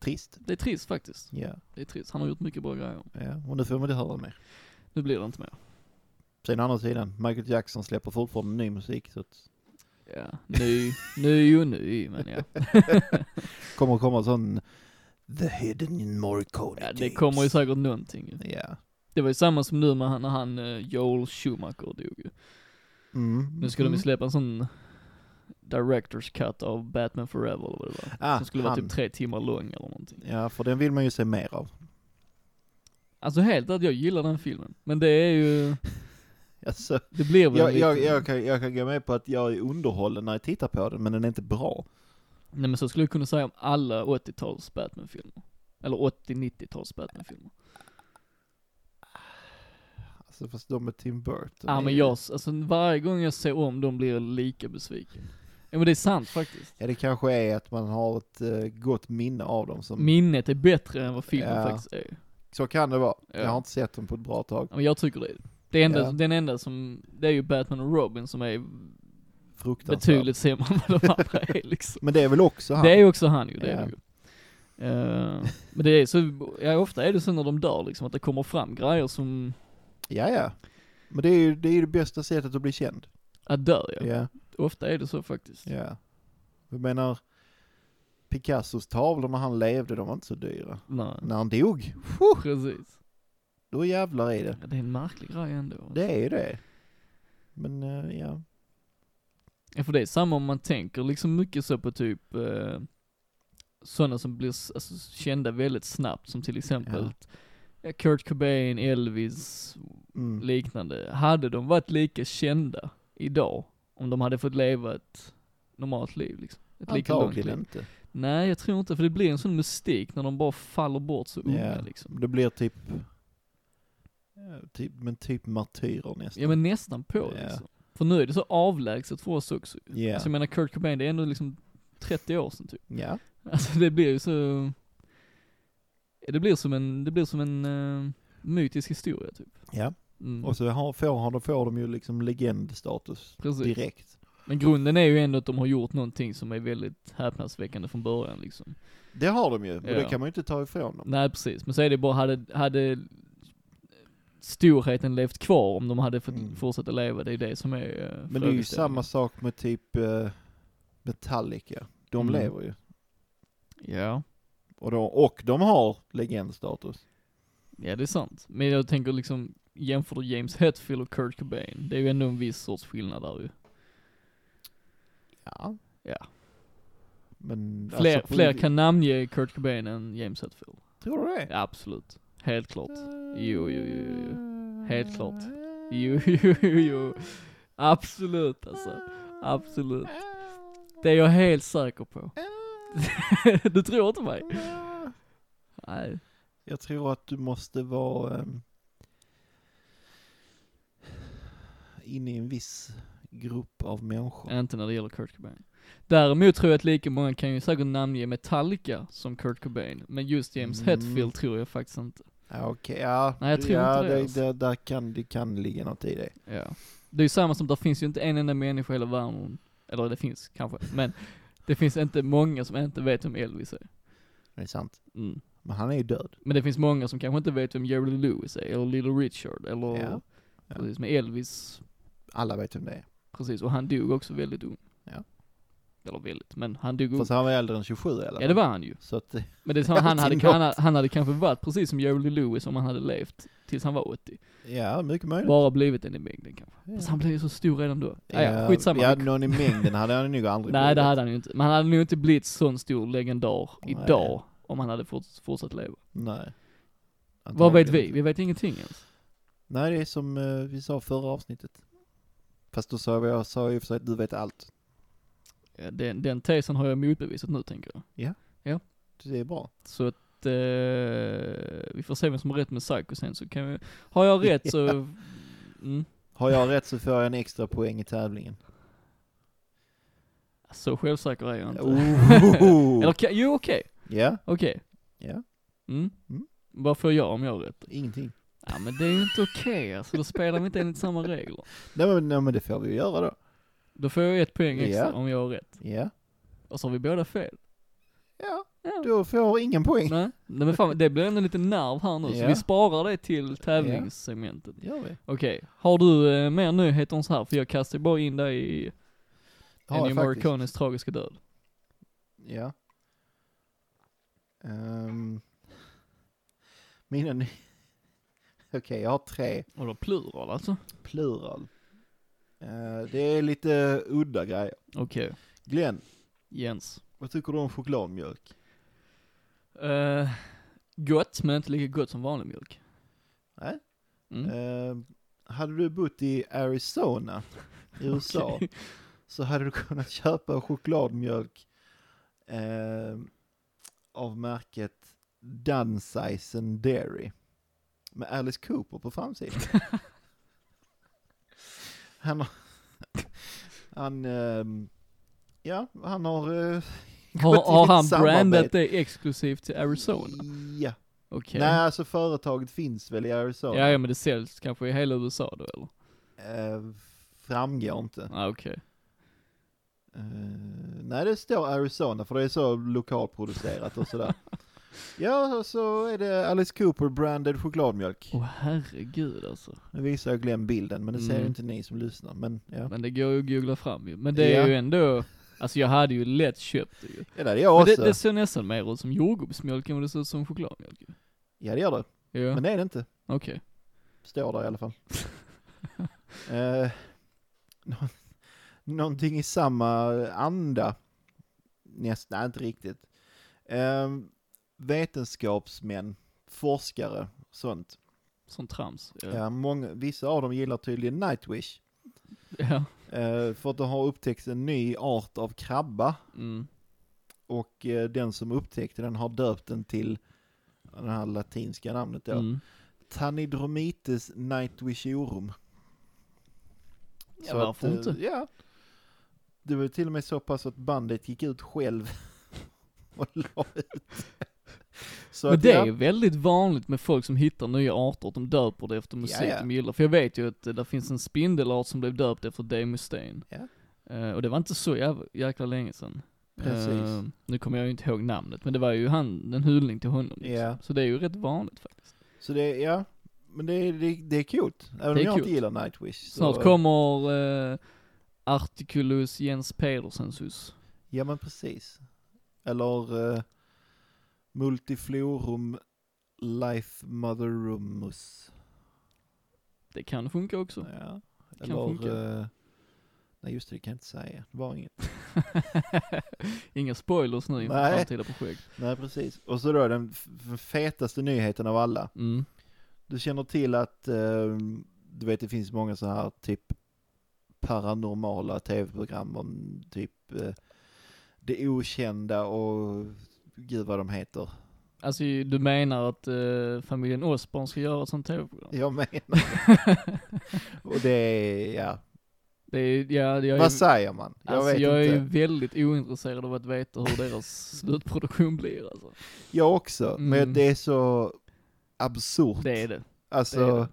[SPEAKER 1] Trist.
[SPEAKER 2] det är trist faktiskt.
[SPEAKER 1] Ja.
[SPEAKER 2] Det är trist. Han har gjort mycket bra grejer.
[SPEAKER 1] ja. Och nu får man inte höra mer.
[SPEAKER 2] Nu blir det inte mer.
[SPEAKER 1] Sen å andra sidan, Michael Jackson släpper fortfarande ny musik så att
[SPEAKER 2] Ja, ny, ny och ny, men ja.
[SPEAKER 1] kommer komma sån The Hidden Morricone
[SPEAKER 2] ja det kommer ju
[SPEAKER 1] tapes.
[SPEAKER 2] säkert någonting ju.
[SPEAKER 1] Ja.
[SPEAKER 2] Det var ju samma som nu med han, när han, eh, Joel Schumacher dog ju.
[SPEAKER 1] Mm.
[SPEAKER 2] Nu skulle de
[SPEAKER 1] Mm.
[SPEAKER 2] ju släppa en sån Directors cut av Batman Forever eller vad det var.
[SPEAKER 1] Ah,
[SPEAKER 2] som skulle vara
[SPEAKER 1] han.
[SPEAKER 2] typ tre timmar lång eller någonting.
[SPEAKER 1] Ja, för den vill man ju se mer av.
[SPEAKER 2] Alltså helt att jag gillar den filmen. Men det är ju,
[SPEAKER 1] Alltså,
[SPEAKER 2] det blir väl
[SPEAKER 1] jag,
[SPEAKER 2] lite...
[SPEAKER 1] jag, jag, kan, jag kan gå med på att jag är underhållen när jag tittar på den, men den är inte bra.
[SPEAKER 2] Nej men så skulle jag kunna säga om alla 80-tals Batman-filmer. Eller 80-90-tals Batman-filmer.
[SPEAKER 1] Alltså fast de med Tim Burton.
[SPEAKER 2] Ja
[SPEAKER 1] är
[SPEAKER 2] men
[SPEAKER 1] ju-
[SPEAKER 2] jag, alltså varje gång jag ser om dem blir jag lika besviken. Ja men det är sant faktiskt.
[SPEAKER 1] Ja det kanske är att man har ett eh, gott minne av dem som...
[SPEAKER 2] Minnet är bättre än vad filmen
[SPEAKER 1] Ja.
[SPEAKER 2] faktiskt är.
[SPEAKER 1] så kan det vara.
[SPEAKER 2] Ja.
[SPEAKER 1] Jag har inte sett dem på ett bra tag.
[SPEAKER 2] Ja, men jag tycker det. det enda,
[SPEAKER 1] Ja.
[SPEAKER 2] Den enda som, det är ju Batman och Robin som är
[SPEAKER 1] Fruktansvärt.
[SPEAKER 2] betydligt sämre än vad de andra är liksom.
[SPEAKER 1] Men det är väl också han?
[SPEAKER 2] Det är ju också han ju, det är
[SPEAKER 1] Ja.
[SPEAKER 2] det ju. Eh, men det är så, ja, ofta är det så när de dör liksom, att det kommer fram grejer som,
[SPEAKER 1] Ja ja. Men det är ju det, är ju det bästa sättet att bli känd.
[SPEAKER 2] att dö ja.
[SPEAKER 1] Ja.
[SPEAKER 2] Ofta är det så faktiskt.
[SPEAKER 1] Ja. Jag menar, Picassos tavlor när han levde, de var inte så dyra.
[SPEAKER 2] Nej.
[SPEAKER 1] När han dog,
[SPEAKER 2] Precis.
[SPEAKER 1] då jävlar är det.
[SPEAKER 2] Ja, det är en märklig grej ändå.
[SPEAKER 1] Det är ju det. Men eh, ja.
[SPEAKER 2] Ja, för det är samma om man tänker liksom mycket så på typ eh, sådana som blir s- alltså, kända väldigt snabbt som till exempel ja. Kurt Cobain, Elvis,
[SPEAKER 1] Mm.
[SPEAKER 2] liknande. Hade de varit lika kända idag om de hade fått leva ett normalt liv liksom? Ett lika långt
[SPEAKER 1] Antagligen
[SPEAKER 2] liv.
[SPEAKER 1] inte.
[SPEAKER 2] Nej, jag tror inte, för det blir en sån mystik när de bara faller bort så unga
[SPEAKER 1] Ja.
[SPEAKER 2] liksom.
[SPEAKER 1] Det blir typ, ja, typ, men typ martyrer nästan.
[SPEAKER 2] Ja men nästan på
[SPEAKER 1] Ja.
[SPEAKER 2] liksom. För nu är det så avlägset för oss också.
[SPEAKER 1] Ja.
[SPEAKER 2] Alltså jag menar Kurt Cobain, det är ändå liksom 30 år sedan typ.
[SPEAKER 1] Ja.
[SPEAKER 2] Alltså det blir ju så... Det blir som en, det blir som en eh, mytisk historia typ.
[SPEAKER 1] ja.
[SPEAKER 2] Mm,
[SPEAKER 1] Och så har, får, har de, får de ju liksom legendstatus
[SPEAKER 2] precis.
[SPEAKER 1] direkt.
[SPEAKER 2] Men grunden är ju ändå att de har gjort någonting som är väldigt häpnadsväckande från början liksom.
[SPEAKER 1] Det har de ju, och det
[SPEAKER 2] Ja.
[SPEAKER 1] kan man ju inte ta ifrån dem.
[SPEAKER 2] Nej precis, men så är det bara, hade, hade storheten levt kvar om de hade fått
[SPEAKER 1] Mm.
[SPEAKER 2] fortsätta leva, det är det som är
[SPEAKER 1] Men
[SPEAKER 2] eh,
[SPEAKER 1] det är ju
[SPEAKER 2] frågeställningen.
[SPEAKER 1] samma sak med typ eh, Metallica. De
[SPEAKER 2] Mm.
[SPEAKER 1] lever ju.
[SPEAKER 2] Ja.
[SPEAKER 1] Och, då, och de har legendstatus.
[SPEAKER 2] Ja det är sant. Men jag tänker liksom, jämför du James Hetfield och Kurt Cobain, det är ju ändå en viss sorts skillnad där ju.
[SPEAKER 1] Ja.
[SPEAKER 2] Ja.
[SPEAKER 1] Men
[SPEAKER 2] Fler,
[SPEAKER 1] alltså,
[SPEAKER 2] fler kan namnge Kurt Cobain än James Hetfield.
[SPEAKER 1] Tror du det? Eh,
[SPEAKER 2] Ja, absolut. Helt klart. Jo, jo, jo, jo, Helt klart. Jo,
[SPEAKER 1] Jo.
[SPEAKER 2] jo, jo, jo. alltså.
[SPEAKER 1] Eh,
[SPEAKER 2] Absolut alltså. Absolut. Det är jag helt säker på. du tror inte mig?
[SPEAKER 1] Nja,
[SPEAKER 2] Nej.
[SPEAKER 1] Jag tror att du måste vara um, inne i en viss grupp av människor.
[SPEAKER 2] Inte när det gäller Kurt Cobain. Däremot tror jag att lika många kan ju säkert namnge Metallica som Kurt Cobain, men just James
[SPEAKER 1] Mm.
[SPEAKER 2] Hetfield tror jag faktiskt inte.
[SPEAKER 1] Ja, Okej, ja.
[SPEAKER 2] Nej, jag tror
[SPEAKER 1] ja,
[SPEAKER 2] inte det,
[SPEAKER 1] det,
[SPEAKER 2] alltså.
[SPEAKER 1] det, där kan, det kan ligga något i det.
[SPEAKER 2] Ja. Det är ju samma som, där finns ju inte en enda människa i hela världen, eller det finns kanske, men det finns inte många som inte vet vem Elvis är.
[SPEAKER 1] Det är sant.
[SPEAKER 2] Mm.
[SPEAKER 1] Men han är ju död.
[SPEAKER 2] Men det finns många som kanske inte vet vem Jerry Lewis är, eller Little Richard, eller
[SPEAKER 1] Ja. Ja.
[SPEAKER 2] precis med Elvis,
[SPEAKER 1] Alla vet vem det är.
[SPEAKER 2] precis, och han dog också väldigt ung.
[SPEAKER 1] Ja.
[SPEAKER 2] Eller väldigt, men han dog ung.
[SPEAKER 1] Fast han var äldre än 27 eller?
[SPEAKER 2] Mm. Ja det var han ju.
[SPEAKER 1] Så att,
[SPEAKER 2] Men det är som, han, hade,
[SPEAKER 1] Alltid
[SPEAKER 2] han, han hade kanske varit precis som Jerry Lewis om han hade levt tills han var 80.
[SPEAKER 1] ja, mycket möjligt.
[SPEAKER 2] Bara blivit en i mängden kanske.
[SPEAKER 1] Ja.
[SPEAKER 2] Fast han blev ju så stor redan då. Ja, ja,
[SPEAKER 1] Ja,
[SPEAKER 2] skitsamma.
[SPEAKER 1] Ja, någon i mängden hade han nog aldrig
[SPEAKER 2] Nej det
[SPEAKER 1] blivit.
[SPEAKER 2] hade han ju inte. Men han hade nog inte blivit sån stor legendar
[SPEAKER 1] Nej.
[SPEAKER 2] idag om han hade forts- fortsatt leva.
[SPEAKER 1] Nej.
[SPEAKER 2] Vad vet
[SPEAKER 1] Antagligen
[SPEAKER 2] vi?
[SPEAKER 1] inte.
[SPEAKER 2] Vi vet ingenting ens.
[SPEAKER 1] Nej, det är som eh, vi sa förra avsnittet. Fast då sa vi- jag sa ju för sig att du vet allt.
[SPEAKER 2] Ja, Den, den tesen har jag motbevisat nu tänker jag.
[SPEAKER 1] Det är bra.
[SPEAKER 2] Så att eh, vi får se vem som har rätt med Psycho sen så kan vi, har jag rätt så, mm,
[SPEAKER 1] Har jag rätt så får jag en extra poäng i tävlingen.
[SPEAKER 2] så självsäker är jag inte.
[SPEAKER 1] Oh.
[SPEAKER 2] Eller kan, jo okej,
[SPEAKER 1] Ja,
[SPEAKER 2] okej.
[SPEAKER 1] ja,
[SPEAKER 2] Mm.
[SPEAKER 1] Mm.
[SPEAKER 2] Vad får jag om jag har rätt?
[SPEAKER 1] ingenting.
[SPEAKER 2] Ja men det är ju inte okej alltså, då spelar vi inte enligt samma regler.
[SPEAKER 1] Nej men, nej men det får vi ju göra då.
[SPEAKER 2] Då får jag ett poäng extra
[SPEAKER 1] Ja.
[SPEAKER 2] om jag har rätt.
[SPEAKER 1] Ja,
[SPEAKER 2] Och så har vi båda fel.
[SPEAKER 1] ja,
[SPEAKER 2] Ja.
[SPEAKER 1] då får jag ingen poäng.
[SPEAKER 2] Nej, nej men fan, det blir ändå lite nerv här nu, så
[SPEAKER 1] Ja.
[SPEAKER 2] vi sparar det till tävlingssegmentet.
[SPEAKER 1] Gör vi.
[SPEAKER 2] Okej, har du eh, mer nyheter än så här? För jag kastar bara in dig i
[SPEAKER 1] Har
[SPEAKER 2] Ennio
[SPEAKER 1] jag faktiskt.
[SPEAKER 2] Morricones tragiska död.
[SPEAKER 1] Ja. Ehm. mina ny... Okej, jag har tre.
[SPEAKER 2] Och då plural alltså?
[SPEAKER 1] Plural. Eh, det är lite udda grejer.
[SPEAKER 2] Okej,
[SPEAKER 1] Glenn,
[SPEAKER 2] Jens.
[SPEAKER 1] vad tycker du om chokladmjölk?
[SPEAKER 2] Eh, gott, men inte lika gott som vanlig mjölk.
[SPEAKER 1] Nej.
[SPEAKER 2] Mm.
[SPEAKER 1] Eh, hade du bott i Arizona i USA
[SPEAKER 2] Okej.
[SPEAKER 1] så hade du kunnat köpa chokladmjölk eh, av märket Dunsison Dairy med Alice Cooper på framsidan. han har, han, ehm, ja, han har, eh,
[SPEAKER 2] Har,
[SPEAKER 1] gått i
[SPEAKER 2] har
[SPEAKER 1] ett
[SPEAKER 2] han
[SPEAKER 1] samarbete.
[SPEAKER 2] brandat det exklusivt till Arizona?
[SPEAKER 1] Ja,
[SPEAKER 2] Okej.
[SPEAKER 1] nej alltså företaget finns väl i Arizona.
[SPEAKER 2] Ja, ja, men det säljs kanske i hela USA då eller?
[SPEAKER 1] Eh, framgår inte.
[SPEAKER 2] Ah, okej.
[SPEAKER 1] Eh, nej, det står Arizona för det är så lokalproducerat och sådär. ja, och så är det Alice Cooper-branded chokladmjölk.
[SPEAKER 2] Åh herregud alltså.
[SPEAKER 1] Nu visar jag Glenn bilden, men det ser
[SPEAKER 2] Mm.
[SPEAKER 1] ju inte ni som lyssnar. Men ja,
[SPEAKER 2] Men det går ju att googla fram ju. Men det är
[SPEAKER 1] Ja.
[SPEAKER 2] ju ändå, alltså jag hade ju lätt köpt det ju.
[SPEAKER 1] ja det är jag
[SPEAKER 2] Men
[SPEAKER 1] också.
[SPEAKER 2] det, det ser nästan mer ut som jordgubbsmjölk än vad det ser ut som chokladmjölk ju.
[SPEAKER 1] Ja, det gör det.
[SPEAKER 2] Ja,
[SPEAKER 1] Men det är det inte.
[SPEAKER 2] okej.
[SPEAKER 1] Står där i alla fall. eh, nå- någonting i samma anda. Nästan, inte riktigt. Eh, vetenskapsmän, forskare, sånt.
[SPEAKER 2] Som trams. Ja. Ja.
[SPEAKER 1] Ja, Eh, många, vissa av dem gillar tydligen Nightwish. Eh, för att de har upptäckt en ny art av krabba
[SPEAKER 2] Mm.
[SPEAKER 1] och eh, den som upptäckte den har döpt den till det här latinska namnet då.
[SPEAKER 2] Mm.
[SPEAKER 1] Tanidromites nightwishiorum.
[SPEAKER 2] Ja, varför
[SPEAKER 1] eh,
[SPEAKER 2] inte?
[SPEAKER 1] Ja. Det var ju till och med så pass att bandet gick ut själv och la ut. Så
[SPEAKER 2] Men
[SPEAKER 1] att
[SPEAKER 2] det
[SPEAKER 1] ja,
[SPEAKER 2] är väldigt vanligt med folk som hittar nya arter, att de döper det efter musik
[SPEAKER 1] Jaja.
[SPEAKER 2] de gillar. För jag vet ju att eh, där finns en spindelart som blev döpt efter Dave Mustaine.
[SPEAKER 1] Ja.
[SPEAKER 2] Eh, och det var inte så jäv- jäkla länge sedan.
[SPEAKER 1] Precis.
[SPEAKER 2] Eh, nu kommer jag ju inte ihåg namnet, men det var ju han, en hyllning till honom. Liksom.
[SPEAKER 1] Ja.
[SPEAKER 2] Så det är ju rätt vanligt faktiskt.
[SPEAKER 1] Så det, är- ja. Men det, är- det, är- det är coolt. Även
[SPEAKER 2] Det
[SPEAKER 1] om
[SPEAKER 2] är
[SPEAKER 1] jag
[SPEAKER 2] coolt.
[SPEAKER 1] inte gillar Nightwish. så-
[SPEAKER 2] Snart kommer eh, Articulus Jens Pedersens hus.
[SPEAKER 1] Ja men precis. Eller eh, Multiflorum Life Motherummus.
[SPEAKER 2] Det kan funka också.
[SPEAKER 1] Ja.
[SPEAKER 2] kan
[SPEAKER 1] Eller,
[SPEAKER 2] funka.
[SPEAKER 1] eh, nej just det, det kan jag inte säga. Det var inget.
[SPEAKER 2] Inga spoilers nu inför
[SPEAKER 1] Nej.
[SPEAKER 2] framtida projekt.
[SPEAKER 1] Nej precis. Och så då den f- f- fetaste nyheten av alla.
[SPEAKER 2] Mm.
[SPEAKER 1] Du känner till att, eh, du vet det finns många så här typ paranormala tv-program om typ eh, det okända och gud vad de heter.
[SPEAKER 2] Alltså du menar att eh, familjen Osborn ska göra ett sånt tv-program?
[SPEAKER 1] Jag menar. och det är, ja.
[SPEAKER 2] Det är, ja, jag är,
[SPEAKER 1] Vad säger man? Jag
[SPEAKER 2] alltså,
[SPEAKER 1] vet
[SPEAKER 2] jag
[SPEAKER 1] inte.
[SPEAKER 2] är väldigt ointresserad av att veta hur deras slutproduktion blir alltså.
[SPEAKER 1] Jag också, men
[SPEAKER 2] Mm.
[SPEAKER 1] det är så absurt.
[SPEAKER 2] Det är det.
[SPEAKER 1] alltså,
[SPEAKER 2] det är det.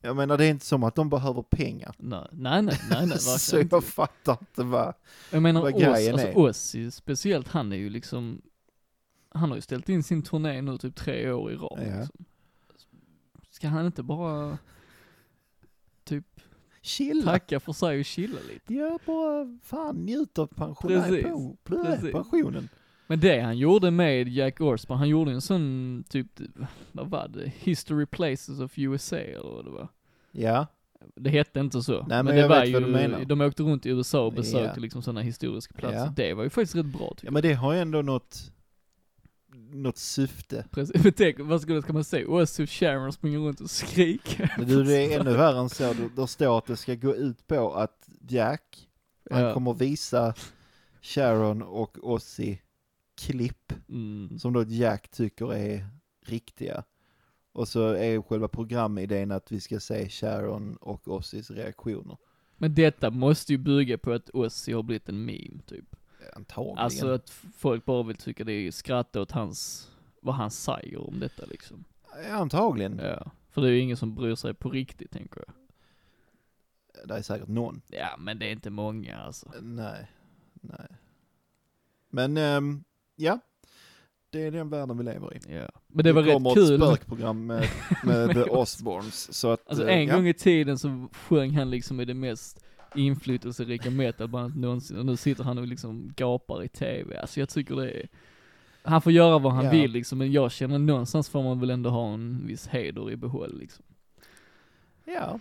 [SPEAKER 1] jag menar det är inte som att de behöver pengar.
[SPEAKER 2] Nej, nej, nej, nej, nej
[SPEAKER 1] så
[SPEAKER 2] verkligen inte.
[SPEAKER 1] jag fattar inte vad.
[SPEAKER 2] Jag menar
[SPEAKER 1] vad
[SPEAKER 2] oss,
[SPEAKER 1] grejen
[SPEAKER 2] alltså
[SPEAKER 1] är.
[SPEAKER 2] oss i- speciellt, han är ju liksom, han har ju ställt in sin turné nu typ tre år i rad.
[SPEAKER 1] Ja.
[SPEAKER 2] Liksom. Ska han inte bara typ
[SPEAKER 1] Chilla.
[SPEAKER 2] tacka för sig och chilla lite?
[SPEAKER 1] Ja, bara fan njut av pensionen.
[SPEAKER 2] Precis,
[SPEAKER 1] Nej, på-
[SPEAKER 2] precis.
[SPEAKER 1] pensionen.
[SPEAKER 2] Men det han gjorde med Jack Orsman, han gjorde ju en sån typ, vad var det, History Places of USA eller vad det var.
[SPEAKER 1] Ja,
[SPEAKER 2] Det hette inte så.
[SPEAKER 1] men
[SPEAKER 2] det
[SPEAKER 1] jag
[SPEAKER 2] var
[SPEAKER 1] vet
[SPEAKER 2] ju,
[SPEAKER 1] vad du menar.
[SPEAKER 2] de åkte runt i USA och
[SPEAKER 1] Ja.
[SPEAKER 2] besökte liksom sådana historiska platser.
[SPEAKER 1] Ja.
[SPEAKER 2] Det var ju faktiskt rätt bra typ. tycker
[SPEAKER 1] ja men det har ju ändå något, något syfte.
[SPEAKER 2] Precis, men tänk, vad skulle ska man säga? Ossip Sharon springer runt och skriker.
[SPEAKER 1] Men du, det är ännu värre än så. Då- Där står att det ska gå ut på att Jack, han
[SPEAKER 2] Ja.
[SPEAKER 1] kommer visa Sharon och Ozzy klipp
[SPEAKER 2] Mm.
[SPEAKER 1] som då Jack tycker är riktiga. Och så är själva programidén att vi ska se Sharon och Ozzys reaktioner.
[SPEAKER 2] Men detta måste ju bygga på att Ossi har blivit en meme, typ.
[SPEAKER 1] Antagligen.
[SPEAKER 2] Alltså att f- folk bara vill tycka det är skratta åt hans, vad han säger om detta liksom.
[SPEAKER 1] Antagligen.
[SPEAKER 2] Ja. För det är ju ingen som bryr sig på riktigt, tänker jag.
[SPEAKER 1] Det är säkert någon.
[SPEAKER 2] Ja, men det är inte många alltså.
[SPEAKER 1] Nej, nej. Men ehm, ja, det är den världen vi lever i.
[SPEAKER 2] Ja. Men det var
[SPEAKER 1] kommer
[SPEAKER 2] rätt
[SPEAKER 1] ett
[SPEAKER 2] kul.
[SPEAKER 1] spökprogram med, med The Osbournes. Så att,
[SPEAKER 2] Alltså
[SPEAKER 1] eh,
[SPEAKER 2] en
[SPEAKER 1] ja.
[SPEAKER 2] gång i tiden så sjöng han liksom i det mest inflytelserika metalbandet någonsin och nu sitter han och liksom gapar i tv. Alltså jag tycker det är, han får göra vad han
[SPEAKER 1] Ja.
[SPEAKER 2] vill liksom, men jag känner någonstans får man väl ändå ha en viss heder i behåll liksom.
[SPEAKER 1] Ja.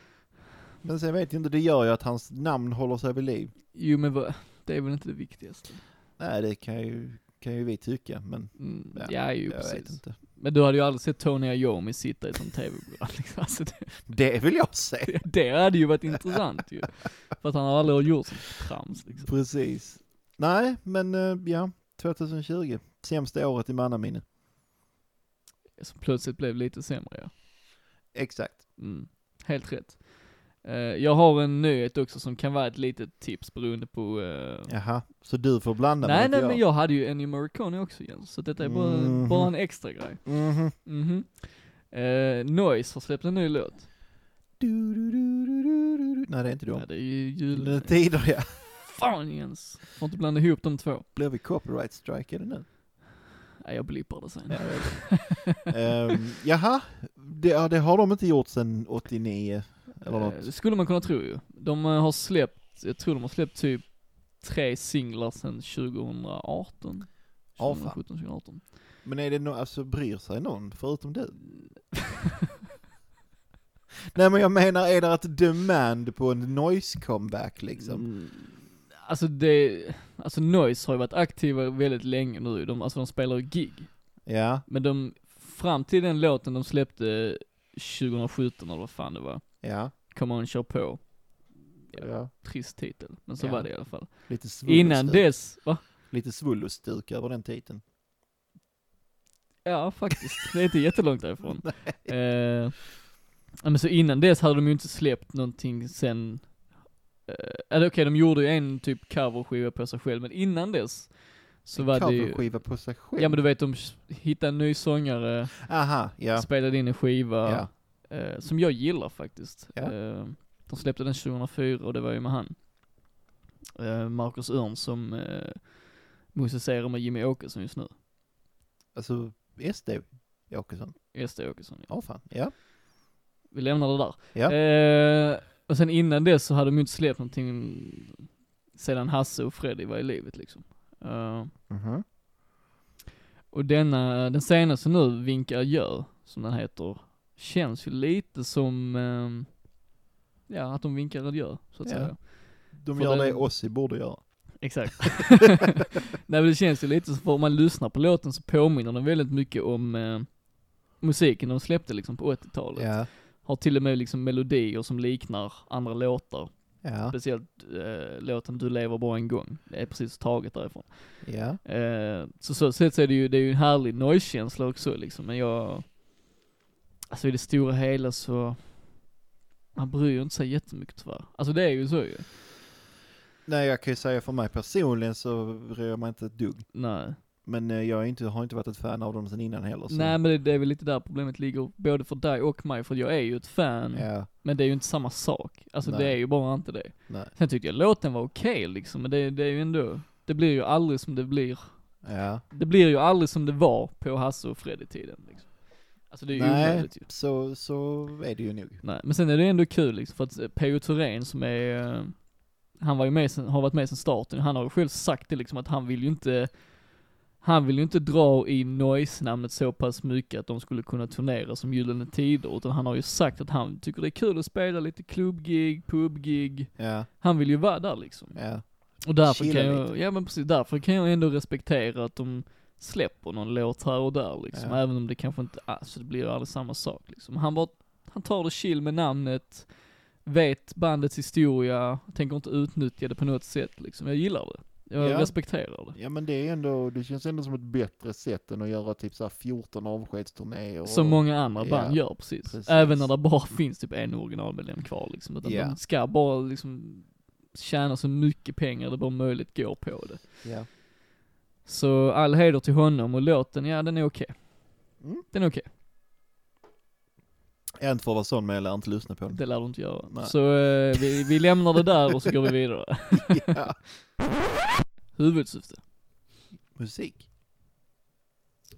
[SPEAKER 1] Men sen vet jag inte, det gör ju att hans namn håller sig vid liv.
[SPEAKER 2] Jo men vad, det är väl inte det viktigaste.
[SPEAKER 1] Nej, det kan ju, kan ju vi tycka, men
[SPEAKER 2] Mm,
[SPEAKER 1] Ja,
[SPEAKER 2] ja, ju
[SPEAKER 1] jag vet
[SPEAKER 2] precis.
[SPEAKER 1] inte.
[SPEAKER 2] Men du hade ju aldrig sett Tony Iommi sitta i ett sånt tv-program liksom. alltså, det,
[SPEAKER 1] Det vill jag se.
[SPEAKER 2] det, det hade ju varit intressant ju. För att han aldrig har gjort sånt trams liksom.
[SPEAKER 1] Precis. Nej, men eh, ja, 2020. Sämsta året i mannaminne.
[SPEAKER 2] Som plötsligt blev lite sämre ja.
[SPEAKER 1] Exakt.
[SPEAKER 2] Mm, helt rätt. Eh, jag har en nyhet också som kan vara ett litet tips beroende på... eh,
[SPEAKER 1] Jaha, så du får blanda
[SPEAKER 2] nej, nej,
[SPEAKER 1] inte
[SPEAKER 2] men jag hade ju Ennio Morricone också Jens, så detta är bara,
[SPEAKER 1] Mhm.
[SPEAKER 2] bara en extra grej.
[SPEAKER 1] Mhm.
[SPEAKER 2] Mhm. Eh, Noise har släppt en ny låt.
[SPEAKER 1] Du, du, du, du, du, du, du. Nej, det är inte du.
[SPEAKER 2] Ja, det är ju
[SPEAKER 1] Gyllene
[SPEAKER 2] jul...
[SPEAKER 1] tider ja.
[SPEAKER 2] Fan Jens! Får inte blanda ihop de två.
[SPEAKER 1] Blev vi copyright strikade nu?
[SPEAKER 2] Nej, jag blippar det sen.
[SPEAKER 1] um, jaha, det, ja, det har de inte gjort sedan 89 eller
[SPEAKER 2] Eh,
[SPEAKER 1] något.
[SPEAKER 2] det skulle man kunna tro ju. De eh, har släppt, jag tror de har släppt typ tre singlar sedan 2018.
[SPEAKER 1] Ja, fan.
[SPEAKER 2] 2017, 2018.
[SPEAKER 1] Men är det no, alltså bryr sig någon förutom du? Nej men jag menar, är det ett demand på en noise comeback liksom?
[SPEAKER 2] Mm, Alltså det, alltså Noise har ju varit aktiva väldigt länge nu, de, alltså de spelar ju gig.
[SPEAKER 1] Ja,
[SPEAKER 2] Men de, fram till den låten de släppte 2017 eller vad fan det var,
[SPEAKER 1] ja,
[SPEAKER 2] Come on kör på,
[SPEAKER 1] ja.
[SPEAKER 2] trist titel, men så
[SPEAKER 1] Ja.
[SPEAKER 2] var det i alla fall.
[SPEAKER 1] Lite svullustuk.
[SPEAKER 2] Innan dess, va?
[SPEAKER 1] Lite svullustuk över den titeln.
[SPEAKER 2] Ja faktiskt, det är inte jättelångt därifrån. Eh, ja, men så innan dess hade de ju inte släppt någonting sen, eh, eller okej de gjorde ju en typ coverskiva på sig själv, men innan dess så var det ju
[SPEAKER 1] Coverskiva på sig själv.
[SPEAKER 2] Ja men du vet de s- hittade en ny sångare,
[SPEAKER 1] Aha, ja.
[SPEAKER 2] spelade in en skiva,
[SPEAKER 1] Ja.
[SPEAKER 2] eh, som jag gillar faktiskt.
[SPEAKER 1] Ja.
[SPEAKER 2] Eh, de släppte den 2004 och det var ju med han. Eh, Marcus Örn som eh, musicerar med Jimmy Åkesson just nu.
[SPEAKER 1] Alltså, SD Åkesson.
[SPEAKER 2] SD Åkesson ja.
[SPEAKER 1] Ja, fan. Ja.
[SPEAKER 2] Vi lämnar det där.
[SPEAKER 1] Ja.
[SPEAKER 2] Eh, och sen innan det så hade de ju inte släppt någonting sedan Hasse och Freddy var i livet liksom. Eh,
[SPEAKER 1] Mhm.
[SPEAKER 2] Och denna, den senaste nu, Vinka gör, som den heter, känns ju lite som, ehm, ja att de vinkar adjö, så att
[SPEAKER 1] Ja.
[SPEAKER 2] säga.
[SPEAKER 1] De
[SPEAKER 2] För
[SPEAKER 1] gör
[SPEAKER 2] den-
[SPEAKER 1] det Ossi borde göra.
[SPEAKER 2] Exakt. Nej men det känns ju lite så, för om man lyssnar på låten så påminner den väldigt mycket om eh, musiken de släppte liksom på 80-talet.
[SPEAKER 1] Ja,
[SPEAKER 2] Har till och med liksom melodier som liknar andra låtar.
[SPEAKER 1] Ja.
[SPEAKER 2] Speciellt eh, låten Du lever bara en gång. Det är precis taget därifrån.
[SPEAKER 1] Ja.
[SPEAKER 2] Eh, så så sätt så är det ju, det är ju en härlig noise-känsla också liksom, men jag... Alltså i det stora hela så... Man bryr ju inte sig jättemycket tyvärr. Alltså det är ju så ju.
[SPEAKER 1] Nej, jag kan ju säga för mig personligen så bryr jag mig inte ett dugg.
[SPEAKER 2] Nej.
[SPEAKER 1] Men eh, jag är inte, har inte varit ett fan av dem sedan innan heller. Så.
[SPEAKER 2] Nej men det, det är väl lite där problemet ligger, både för dig och mig, för jag är ju ett fan,
[SPEAKER 1] Ja,
[SPEAKER 2] men det är ju inte samma sak. Alltså
[SPEAKER 1] Nej.
[SPEAKER 2] det är ju bara inte det.
[SPEAKER 1] nej.
[SPEAKER 2] Sen tyckte jag låten var okej liksom, men det, det är ju ändå, det blir ju aldrig som det blir,
[SPEAKER 1] Ja.
[SPEAKER 2] det blir ju aldrig som det var på Hasse och Freddy-tiden liksom. Alltså det är ju
[SPEAKER 1] Nej,
[SPEAKER 2] omöjligt ju.
[SPEAKER 1] så, så är det ju nog.
[SPEAKER 2] Nej, men sen är det ändå kul liksom, för att eh, P.O. Thorén som är, eh, han var ju med sen, har varit med sen starten, han har ju själv sagt det liksom att han vill ju inte, han vill ju inte dra i noise-namnet så pass mycket att de skulle kunna turnera som Gyllene Tider, utan han har ju sagt att han tycker det är kul att spela lite klubbgig, pubgig,
[SPEAKER 1] Ja,
[SPEAKER 2] han vill ju vara där liksom.
[SPEAKER 1] ja.
[SPEAKER 2] Och därför
[SPEAKER 1] Chilla
[SPEAKER 2] kan jag, ja men precis, därför kan jag ändå respektera att de släpper någon låt här och där liksom,
[SPEAKER 1] Ja.
[SPEAKER 2] även om det kanske inte, alltså det blir ju aldrig samma sak liksom. Han bara, han tar det chill med namnet, vet bandets historia, tänker inte utnyttja det på något sätt liksom. Jag gillar det. Jag
[SPEAKER 1] Ja.
[SPEAKER 2] respekterar det.
[SPEAKER 1] Ja men det är ändå, det känns ändå som ett bättre sätt än att göra typ såhär 14 avskedsturnéer.
[SPEAKER 2] Som många andra
[SPEAKER 1] Ja.
[SPEAKER 2] band gör precis.
[SPEAKER 1] Precis.
[SPEAKER 2] Även när det bara finns typ en originalmedlem kvar liksom. Utan
[SPEAKER 1] Ja.
[SPEAKER 2] de ska bara liksom tjäna så mycket pengar det bara möjligt går på det.
[SPEAKER 1] Ja.
[SPEAKER 2] Så all heder till honom och låten, ja den är okej.
[SPEAKER 1] Mm.
[SPEAKER 2] Den är okej,
[SPEAKER 1] Inte för att vara sån men jag lär inte lyssna på den.
[SPEAKER 2] det lär du inte göra.
[SPEAKER 1] Nej.
[SPEAKER 2] Så eh, vi, vi lämnar det där och så går vi vidare.
[SPEAKER 1] Ja.
[SPEAKER 2] Huvudsyfte,
[SPEAKER 1] Musik.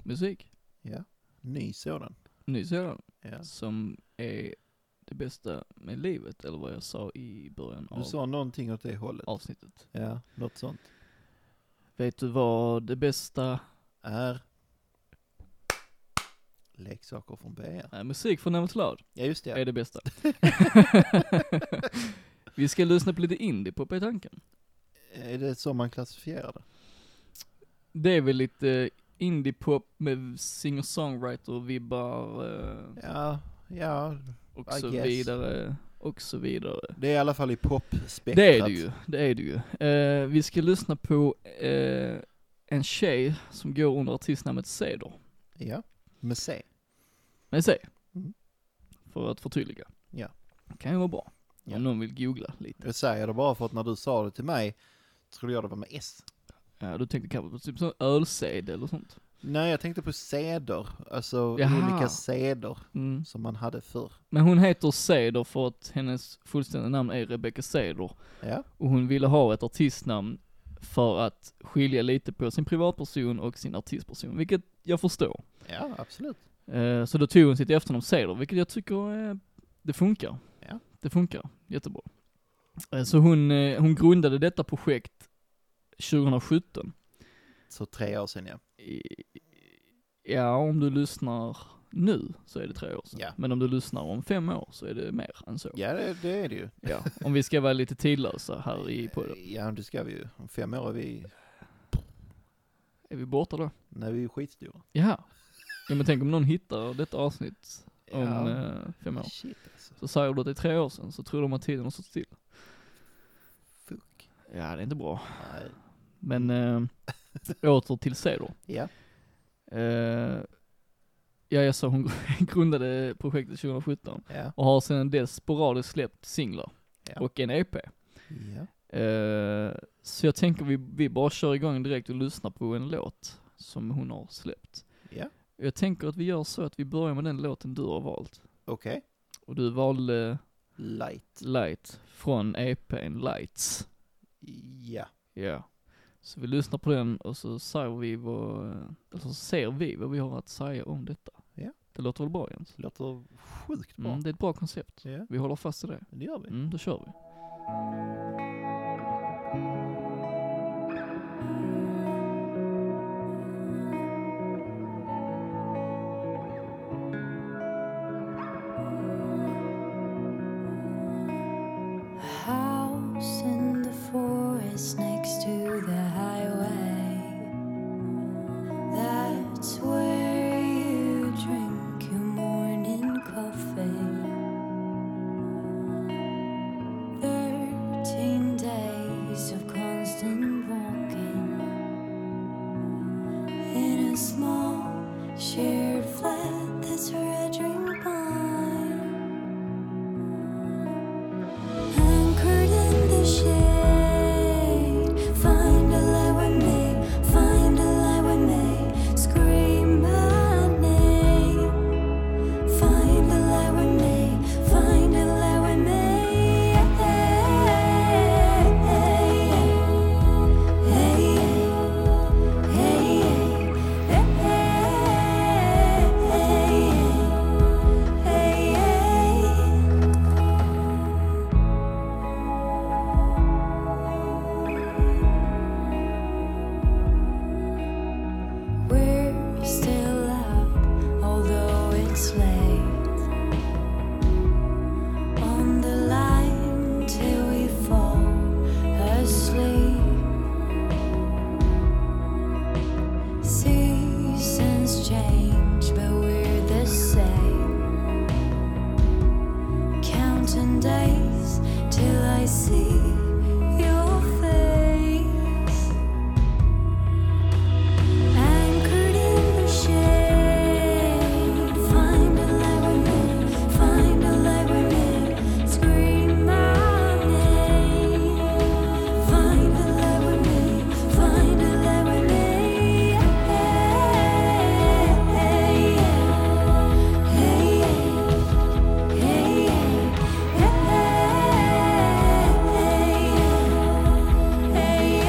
[SPEAKER 2] musik,
[SPEAKER 1] Ja. Ny sådan.
[SPEAKER 2] ny sådan,
[SPEAKER 1] Ja.
[SPEAKER 2] som är det bästa med livet, eller vad jag sa i början
[SPEAKER 1] Du
[SPEAKER 2] av
[SPEAKER 1] sa någonting åt det hållet.
[SPEAKER 2] avsnittet.
[SPEAKER 1] Ja, något sånt.
[SPEAKER 2] Vet du vad det bästa,
[SPEAKER 1] Är leksaker från BR.
[SPEAKER 2] nej, eh, musik från Nemet Loud
[SPEAKER 1] Ja just det.
[SPEAKER 2] är det bästa. vi ska lyssna på lite indiepop i tanken.
[SPEAKER 1] Eh, Är det så man klassifierar det?
[SPEAKER 2] Det är väl lite eh, indiepop med singer-songwriter-vibbar eh,
[SPEAKER 1] Ja, ja.
[SPEAKER 2] och
[SPEAKER 1] I
[SPEAKER 2] så
[SPEAKER 1] guess.
[SPEAKER 2] vidare, och så vidare.
[SPEAKER 1] Det är i alla fall i popspektrat.
[SPEAKER 2] Det är det ju, det är det ju. Eh, vi ska lyssna på eh, en tjej som går under artistnamnet Ceder.
[SPEAKER 1] Ja. Med C.
[SPEAKER 2] Med C.
[SPEAKER 1] Mm.
[SPEAKER 2] För att förtydliga.
[SPEAKER 1] Ja.
[SPEAKER 2] Kan ju vara bra.
[SPEAKER 1] Ja.
[SPEAKER 2] Om någon vill googla lite.
[SPEAKER 1] Jag säger det bara för att när du sa det till mig trodde jag det var med S.
[SPEAKER 2] Ja, du tänkte kanske på typ sån ölsedel eller sånt.
[SPEAKER 1] Nej, jag tänkte på seder. Alltså
[SPEAKER 2] Jaha.
[SPEAKER 1] olika seder
[SPEAKER 2] Mm.
[SPEAKER 1] som man hade förr.
[SPEAKER 2] Men hon heter Ceder för att hennes fullständiga namn är Rebecca Ceder.
[SPEAKER 1] Ja,
[SPEAKER 2] Och hon ville ha ett artistnamn för att skilja lite på sin privatperson och sin artistperson, vilket jag förstår.
[SPEAKER 1] ja absolut.
[SPEAKER 2] Eh, Så då tog hon sitt efternamn Ceder, vilket jag tycker eh, det funkar.
[SPEAKER 1] Ja.
[SPEAKER 2] Det funkar jättebra. Eh, Så hon, eh, hon grundade detta projekt 2017.
[SPEAKER 1] Så tre år sedan ja.
[SPEAKER 2] I- Ja, om du lyssnar nu så är det tre år sedan.
[SPEAKER 1] Ja.
[SPEAKER 2] Men om du lyssnar om fem år så är det mer än så.
[SPEAKER 1] Ja, det, det är det ju. Eh,
[SPEAKER 2] Ja, Om vi ska vara lite tidlösa här i podden.
[SPEAKER 1] Ja, det ska vi ju. Om fem år är vi,
[SPEAKER 2] Är vi borta då?
[SPEAKER 1] när vi är skitstora.
[SPEAKER 2] Ja. ja men tänk om någon hittar detta avsnitt om
[SPEAKER 1] ja.
[SPEAKER 2] eh, fem år.
[SPEAKER 1] Shit alltså.
[SPEAKER 2] Så säger du att det är tre år sedan, så tror de att tiden har stått still.
[SPEAKER 1] Fuck. Mm.
[SPEAKER 2] Ja, det är inte bra.
[SPEAKER 1] Nej.
[SPEAKER 2] Men eh, åter till C då.
[SPEAKER 1] Ja.
[SPEAKER 2] Eh, ja, jag sa hon grundade projektet 2017
[SPEAKER 1] Ja.
[SPEAKER 2] och har sedan dess sporadiskt släppt singlar
[SPEAKER 1] Ja.
[SPEAKER 2] och en EP.
[SPEAKER 1] Ja.
[SPEAKER 2] Eh, så jag tänker vi, vi bara kör igång direkt och lyssnar på en låt som hon har släppt.
[SPEAKER 1] Ja.
[SPEAKER 2] Jag tänker att vi gör så att vi börjar med den låten du har valt.
[SPEAKER 1] Okej.
[SPEAKER 2] Och du valde
[SPEAKER 1] Light.
[SPEAKER 2] Light från EPn Lights.
[SPEAKER 1] Ja.
[SPEAKER 2] Ja. Så vi lyssnar på den och så säger vi vad, eller så ser vi vad vi har att säga om detta.
[SPEAKER 1] Ja.
[SPEAKER 2] Det låter väl bra Jens?
[SPEAKER 1] Låter sjukt bra.
[SPEAKER 2] Mm, det är ett bra koncept.
[SPEAKER 1] Ja,
[SPEAKER 2] Vi håller fast i det.
[SPEAKER 1] det gör vi.
[SPEAKER 2] Mm, då kör vi.
[SPEAKER 3] A house in the forest next to the highway. That's where you drink your morning coffee. Third a small shared flat that's red-ringed pine. Anchored in the shade, find a light with me, find a light with me, scream my name. Find a light with me, find a light with me. We're still up, although it's late. On the line till we fall asleep. Seasons change, but we're the same. Counting days till I see your face. Anchored in the shade, find a light within, find a light within, scream my name. Find a light within, find a light within, hey,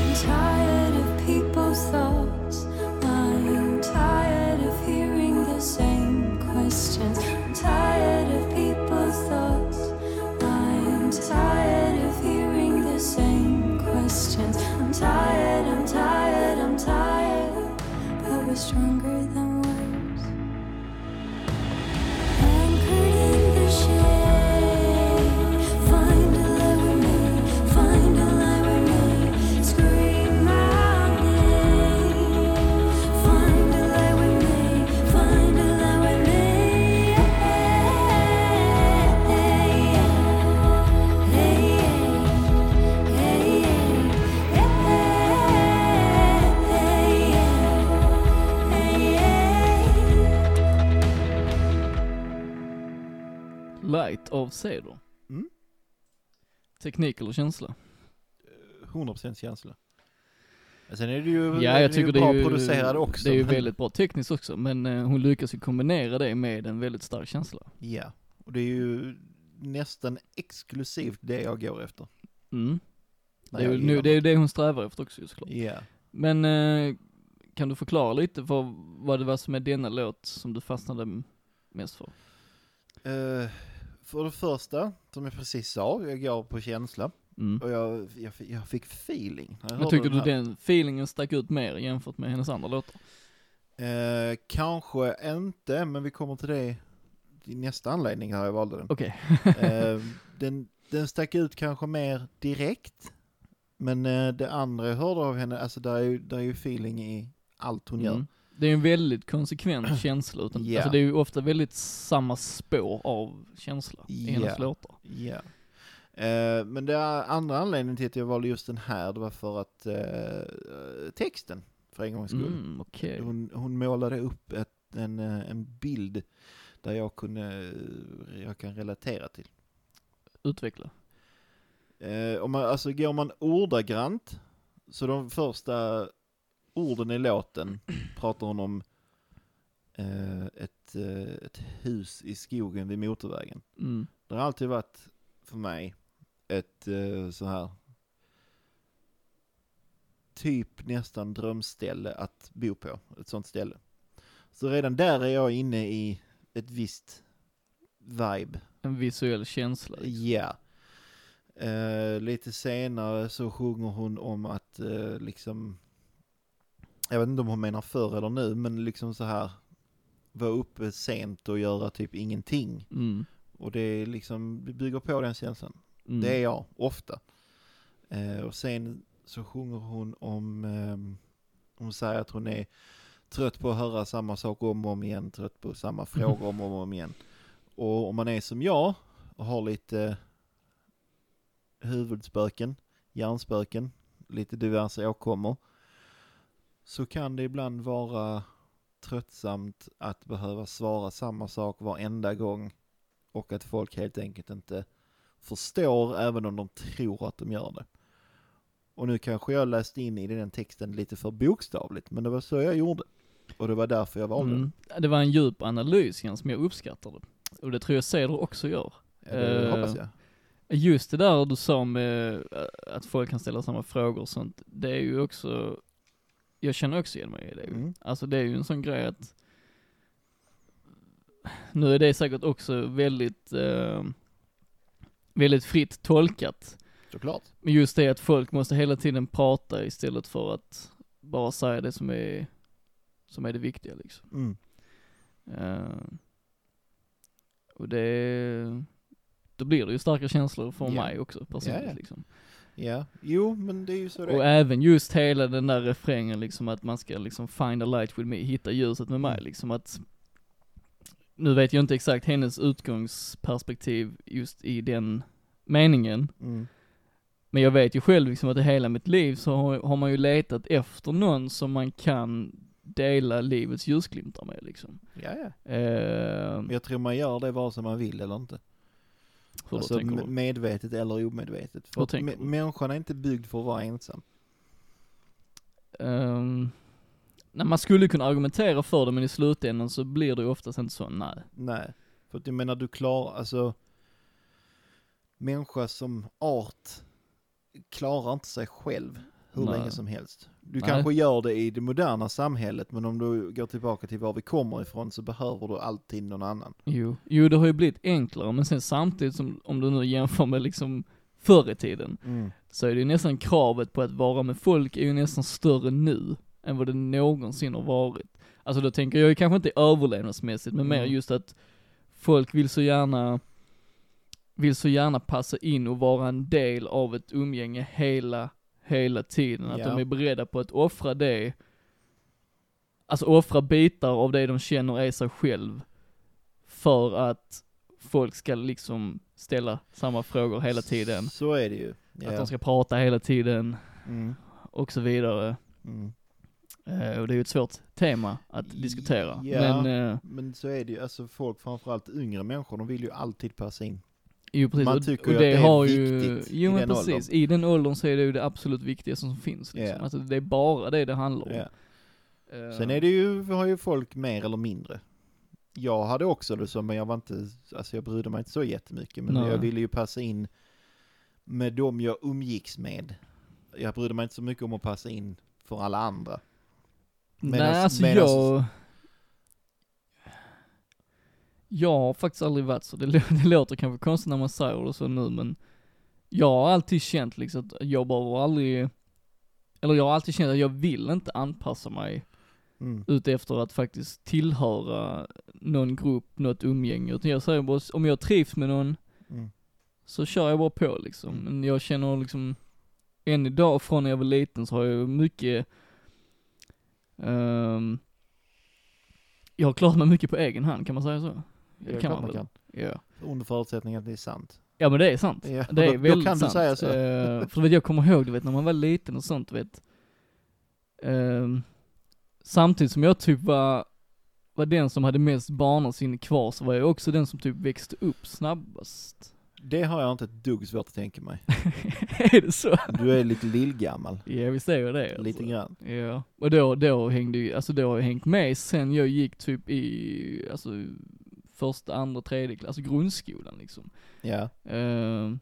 [SPEAKER 3] I'm tired of people's thoughts. I'm tired of hearing the same questions. I'm tired of people's thoughts. I'm tired of hearing the same questions. I'm tired, I'm tired, I'm tired. But we're stronger than words. Anchored in the shade, find a light with me, find a light with me, scream my name. Find a light with me, find a light with me.
[SPEAKER 2] Light av ceder.
[SPEAKER 1] Mm.
[SPEAKER 2] Teknik eller känsla?
[SPEAKER 1] 100% känsla. Sen är det ju,
[SPEAKER 2] Ja, jag
[SPEAKER 1] det
[SPEAKER 2] tycker
[SPEAKER 1] är ju
[SPEAKER 2] det är
[SPEAKER 1] bra
[SPEAKER 2] ju,
[SPEAKER 1] producerad också.
[SPEAKER 2] det är ju
[SPEAKER 1] men-
[SPEAKER 2] väldigt bra tekniskt också, men eh, hon lyckas ju kombinera det med en väldigt stark känsla.
[SPEAKER 1] Ja, och det är ju nästan exklusivt det jag går efter.
[SPEAKER 2] Mm.
[SPEAKER 1] när
[SPEAKER 2] det, är
[SPEAKER 1] jag
[SPEAKER 2] ju,
[SPEAKER 1] gillar Mm.
[SPEAKER 2] nu, det är ju det hon strävar efter också ju såklart.
[SPEAKER 1] Ja.
[SPEAKER 2] Men eh, kan du förklara lite för vad det var som är denna låt som du fastnade m- mest för?
[SPEAKER 1] Eh, för det första, som jag precis sa, jag går på känsla.
[SPEAKER 2] Mm.
[SPEAKER 1] Och jag, jag, fi- jag fick feeling. när Jag
[SPEAKER 2] Men
[SPEAKER 1] hörde
[SPEAKER 2] tyckte du
[SPEAKER 1] här.
[SPEAKER 2] den feelingen stack ut mer jämfört med hennes andra låtar?
[SPEAKER 1] Eh, kanske inte, men vi kommer till det i nästa anledning här jag valde den.
[SPEAKER 2] Okej.
[SPEAKER 1] Eh, den, den stack ut kanske mer direkt. Men eh, det andra jag hörde av henne, alltså där är ju, där är ju feeling i allt hon gör.
[SPEAKER 2] Mm. Det är ju en väldigt konsekvent känsla, utan,
[SPEAKER 1] Ja.
[SPEAKER 2] alltså det är ju ofta väldigt samma spår av känsla i hennes
[SPEAKER 1] Ja.
[SPEAKER 2] låtar.
[SPEAKER 1] Ja. Eh, men det andra anledningen till att jag valde just den här, det var för att eh, texten, för en gångs skull.
[SPEAKER 2] Mm, okej.
[SPEAKER 1] Hon, hon målade upp ett, en, eh, en bild där jag, kunde, jag kan relatera till.
[SPEAKER 2] Utveckla.
[SPEAKER 1] Eh, om man, alltså går man ordagrant, så de första orden i låten pratar hon om eh, ett, eh, ett hus i skogen vid motorvägen.
[SPEAKER 2] Mm.
[SPEAKER 1] Det har alltid varit för mig ett eh, så här typ nästan drömställe att bo på, ett sånt ställe. Så redan där är jag inne i ett visst vibe.
[SPEAKER 2] En visuell känsla. liksom.
[SPEAKER 1] Ja. Eh, lite senare så sjunger hon om att eh, liksom, jag vet inte om hon menar förr eller nu, men liksom så här vara uppe sent och göra typ ingenting.
[SPEAKER 2] Mm.
[SPEAKER 1] Och det är liksom, det bygger på den känslan.
[SPEAKER 2] Mm.
[SPEAKER 1] Det är jag, ofta. Eh, och sen så sjunger hon om, ehm, hon säger att hon är trött på att höra samma sak om och om igen, trött på samma frågor om och om igen. Och om man är som jag och har lite eh, huvudspöken, hjärnspöken, lite diverse åkommor, så kan det ibland vara tröttsamt att behöva svara samma sak varenda gång och att folk helt enkelt inte förstår även om de tror att de gör det. Och nu kanske jag läste in i den texten lite för bokstavligt, men det var så jag gjorde. Och det var därför jag valde den.
[SPEAKER 2] Mm. Det var en djup analys igen som jag uppskattade. Och det tror jag Ceder också gör.
[SPEAKER 1] Ja, det
[SPEAKER 2] Eh,
[SPEAKER 1] hoppas jag.
[SPEAKER 2] Just det där du sa med eh, att folk kan ställa samma frågor och sånt, det är ju också, jag känner också igen mig i det.
[SPEAKER 1] Mm.
[SPEAKER 2] Alltså det är ju en sån grej att, nu är det säkert också väldigt, eh, väldigt fritt tolkat.
[SPEAKER 1] Såklart.
[SPEAKER 2] Men just det att folk måste hela tiden prata istället för att bara säga det som är, som är det viktiga liksom.
[SPEAKER 1] Mm.
[SPEAKER 2] Eh, och det, då blir det ju starka känslor för
[SPEAKER 1] Ja.
[SPEAKER 2] mig också personligt
[SPEAKER 1] Ja, ja.
[SPEAKER 2] liksom.
[SPEAKER 1] Ja, jo men det är ju så det
[SPEAKER 2] Och
[SPEAKER 1] är.
[SPEAKER 2] även just hela den där refrängen liksom att man ska liksom find a light with me, hitta ljuset med
[SPEAKER 1] Mm.
[SPEAKER 2] mig liksom att nu vet jag inte exakt hennes utgångsperspektiv just i den meningen,
[SPEAKER 1] Mm.
[SPEAKER 2] men jag vet ju själv liksom att i hela mitt liv så har, har man ju letat efter någon som man kan dela livets ljusglimtar med liksom.
[SPEAKER 1] Ja, ja.
[SPEAKER 2] Eh,
[SPEAKER 1] Men jag tror man gör det vare sig man vill eller inte.
[SPEAKER 2] hur
[SPEAKER 1] alltså
[SPEAKER 2] tänker du?
[SPEAKER 1] me- medvetet eller omedvetet. För
[SPEAKER 2] Hur
[SPEAKER 1] att
[SPEAKER 2] tänker
[SPEAKER 1] mä-
[SPEAKER 2] du?
[SPEAKER 1] människan är inte byggd för att vara ensam.
[SPEAKER 2] Um, nej, man skulle kunna argumentera för det men i slutändan så blir det ju oftast inte så, nej.
[SPEAKER 1] Nej. För att jag menar du klarar, alltså människa som art klarar inte sig själv hur
[SPEAKER 2] Nej.
[SPEAKER 1] länge som helst. Du
[SPEAKER 2] Nej.
[SPEAKER 1] kanske gör det i det moderna samhället men om du går tillbaka till var vi kommer ifrån så behöver du alltid någon annan.
[SPEAKER 2] Jo. jo, det har ju blivit enklare men sen samtidigt som, om du nu jämför med liksom förr i tiden, så är det ju nästan kravet på att vara med folk är ju nästan större nu än vad det någonsin har varit. Alltså då tänker jag ju kanske inte överlevnadsmässigt men mer
[SPEAKER 1] Mm.
[SPEAKER 2] just att folk vill så gärna vill så gärna passa in och vara en del av ett umgänge hela, hela tiden. Att
[SPEAKER 1] Ja.
[SPEAKER 2] de är beredda på att offra det, alltså offra bitar av det de känner är sig själv, för att folk ska liksom ställa samma frågor hela tiden.
[SPEAKER 1] Så är det ju. Ja.
[SPEAKER 2] Att de ska prata hela tiden
[SPEAKER 1] mm.
[SPEAKER 2] och så vidare.
[SPEAKER 1] Mm.
[SPEAKER 2] Eh, och det är ju ett svårt tema att diskutera.
[SPEAKER 1] Ja.
[SPEAKER 2] Men, eh,
[SPEAKER 1] Men så är det ju, alltså folk framförallt yngre människor de vill ju alltid passa in.
[SPEAKER 2] jo precis.
[SPEAKER 1] Man
[SPEAKER 2] och-
[SPEAKER 1] tycker
[SPEAKER 2] och
[SPEAKER 1] ju att det är viktigt i
[SPEAKER 2] Jo men
[SPEAKER 1] den
[SPEAKER 2] precis, i den åldern så är det ju det absolut viktigaste som finns. Liksom.
[SPEAKER 1] Ja.
[SPEAKER 2] Alltså det är bara det det handlar om.
[SPEAKER 1] Ja.
[SPEAKER 2] Eh,
[SPEAKER 1] Sen är det ju, vi har ju folk mer eller mindre. Jag hade också det så, men jag var inte, alltså jag brydde mig inte så jättemycket. Men
[SPEAKER 2] Nej.
[SPEAKER 1] jag ville ju passa in med dem jag umgicks med. Jag brydde mig inte så mycket om att passa in för alla andra.
[SPEAKER 2] Nej
[SPEAKER 1] medans-
[SPEAKER 2] alltså
[SPEAKER 1] medans-
[SPEAKER 2] jag... Jag har faktiskt aldrig varit så, det, lå- det låter kanske konstigt när man säger det så nu men jag har alltid känt liksom att jag behöver aldrig, eller jag har alltid känt att jag vill inte anpassa mig
[SPEAKER 1] Mm.
[SPEAKER 2] ute efter att faktiskt tillhöra någon grupp, något umgänge. Utan jag säger bara, om jag trivs med någon
[SPEAKER 1] Mm.
[SPEAKER 2] så kör jag bara på liksom.
[SPEAKER 1] Mm.
[SPEAKER 2] Men jag känner liksom, än idag från när jag var liten så har jag mycket, ehm, jag har klarat mig mycket på egen hand, kan man säga så?
[SPEAKER 1] Det är klart man kan.
[SPEAKER 2] Ja.
[SPEAKER 1] Under förutsättning att det är sant.
[SPEAKER 2] ja men det är sant.
[SPEAKER 1] Ja,
[SPEAKER 2] Det är
[SPEAKER 1] då,
[SPEAKER 2] väldigt
[SPEAKER 1] då kan
[SPEAKER 2] sant.
[SPEAKER 1] du säga så.
[SPEAKER 2] Eh, för du vet, jag kommer ihåg, du vet, när man var liten och sånt, du vet. Ehm, samtidigt som jag typ var, var den som hade mest barnasinne kvar, så var jag också den som typ växte upp snabbast.
[SPEAKER 1] Det har jag inte ett dugg svårt att tänka mig.
[SPEAKER 2] är det så?
[SPEAKER 1] Du är lite lillgammal.
[SPEAKER 2] Ja, visst är jag det. Alltså.
[SPEAKER 1] Lite grann.
[SPEAKER 2] Ja, och då, då hängde ju, alltså då har jag hängt med sen jag gick typ i, alltså första, andra, tredje klass, alltså grundskolan liksom.
[SPEAKER 1] Ja.
[SPEAKER 2] Eh,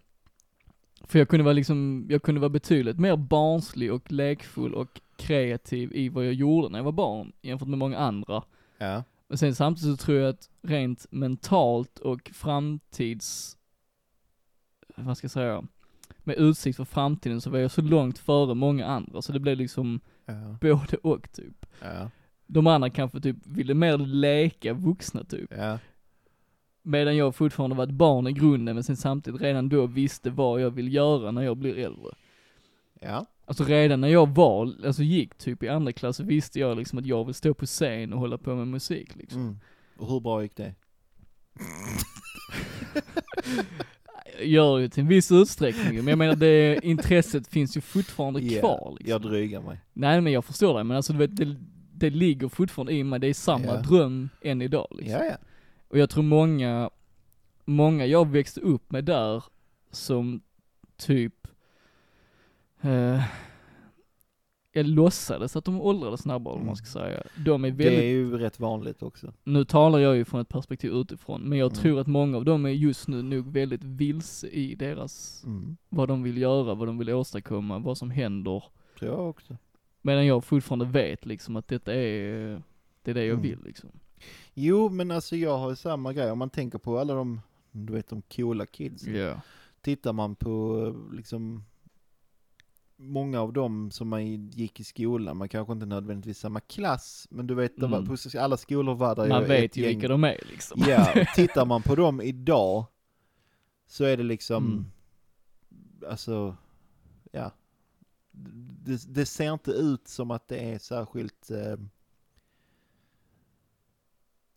[SPEAKER 2] för jag kunde vara liksom, jag kunde vara betydligt mer barnslig och lekfull och kreativ i vad jag gjorde när jag var barn jämfört med många andra.
[SPEAKER 1] Ja.
[SPEAKER 2] Men sen samtidigt så tror jag att rent mentalt och framtids, vad ska jag säga, med utsikt för framtiden så var jag så långt före många andra så det blev liksom
[SPEAKER 1] Ja.
[SPEAKER 2] både och typ.
[SPEAKER 1] Ja.
[SPEAKER 2] De andra kanske typ ville mer leka vuxna typ.
[SPEAKER 1] Ja.
[SPEAKER 2] Medan jag fortfarande var ett barn i grunden men sen samtidigt redan då visste vad jag vill göra när jag blir äldre.
[SPEAKER 1] Ja.
[SPEAKER 2] Alltså redan när jag var, alltså gick typ i andra klass så visste jag liksom att jag vill stå på scen och hålla på med musik liksom.
[SPEAKER 1] Mm. Och hur bra gick det?
[SPEAKER 2] gör ju till en viss utsträckning men jag menar det intresset finns ju fortfarande
[SPEAKER 1] Ja,
[SPEAKER 2] kvar liksom.
[SPEAKER 1] Jag drygar mig.
[SPEAKER 2] Nej men jag förstår dig, men alltså du vet, det, det ligger fortfarande i mig, det är samma
[SPEAKER 1] Ja.
[SPEAKER 2] dröm än idag liksom.
[SPEAKER 1] Ja, ja.
[SPEAKER 2] Och jag tror många, många jag växte upp med där som typ, eh, jag låtsades att de åldrades snabbare om man ska säga. De är väldigt,
[SPEAKER 1] Mm. Det är ju rätt vanligt också.
[SPEAKER 2] nu talar jag ju från ett perspektiv utifrån, men jag
[SPEAKER 1] Mm.
[SPEAKER 2] tror att många av dem är just nu nog väldigt vilse i deras,
[SPEAKER 1] Mm.
[SPEAKER 2] vad de vill göra, vad de vill åstadkomma, vad som händer.
[SPEAKER 1] Tror jag också.
[SPEAKER 2] Medan jag fortfarande vet liksom att detta är, det är det jag
[SPEAKER 1] Mm.
[SPEAKER 2] vill liksom.
[SPEAKER 1] Jo, men alltså jag har ju samma grej. Om man tänker på alla de, du vet de coola kids.
[SPEAKER 2] Ja.
[SPEAKER 1] Tittar man på eh, liksom många av dem som man gick i skolan, man kanske inte nödvändigtvis samma klass, men du vet, det var,
[SPEAKER 2] Mm.
[SPEAKER 1] på alla skolor var där
[SPEAKER 2] Man vet
[SPEAKER 1] ett
[SPEAKER 2] ju
[SPEAKER 1] gäng-
[SPEAKER 2] vilka de är liksom.
[SPEAKER 1] Ja, tittar man på dem idag så är det liksom,
[SPEAKER 2] Mm.
[SPEAKER 1] alltså, ja. Det, det ser inte ut som att det är särskilt, eh,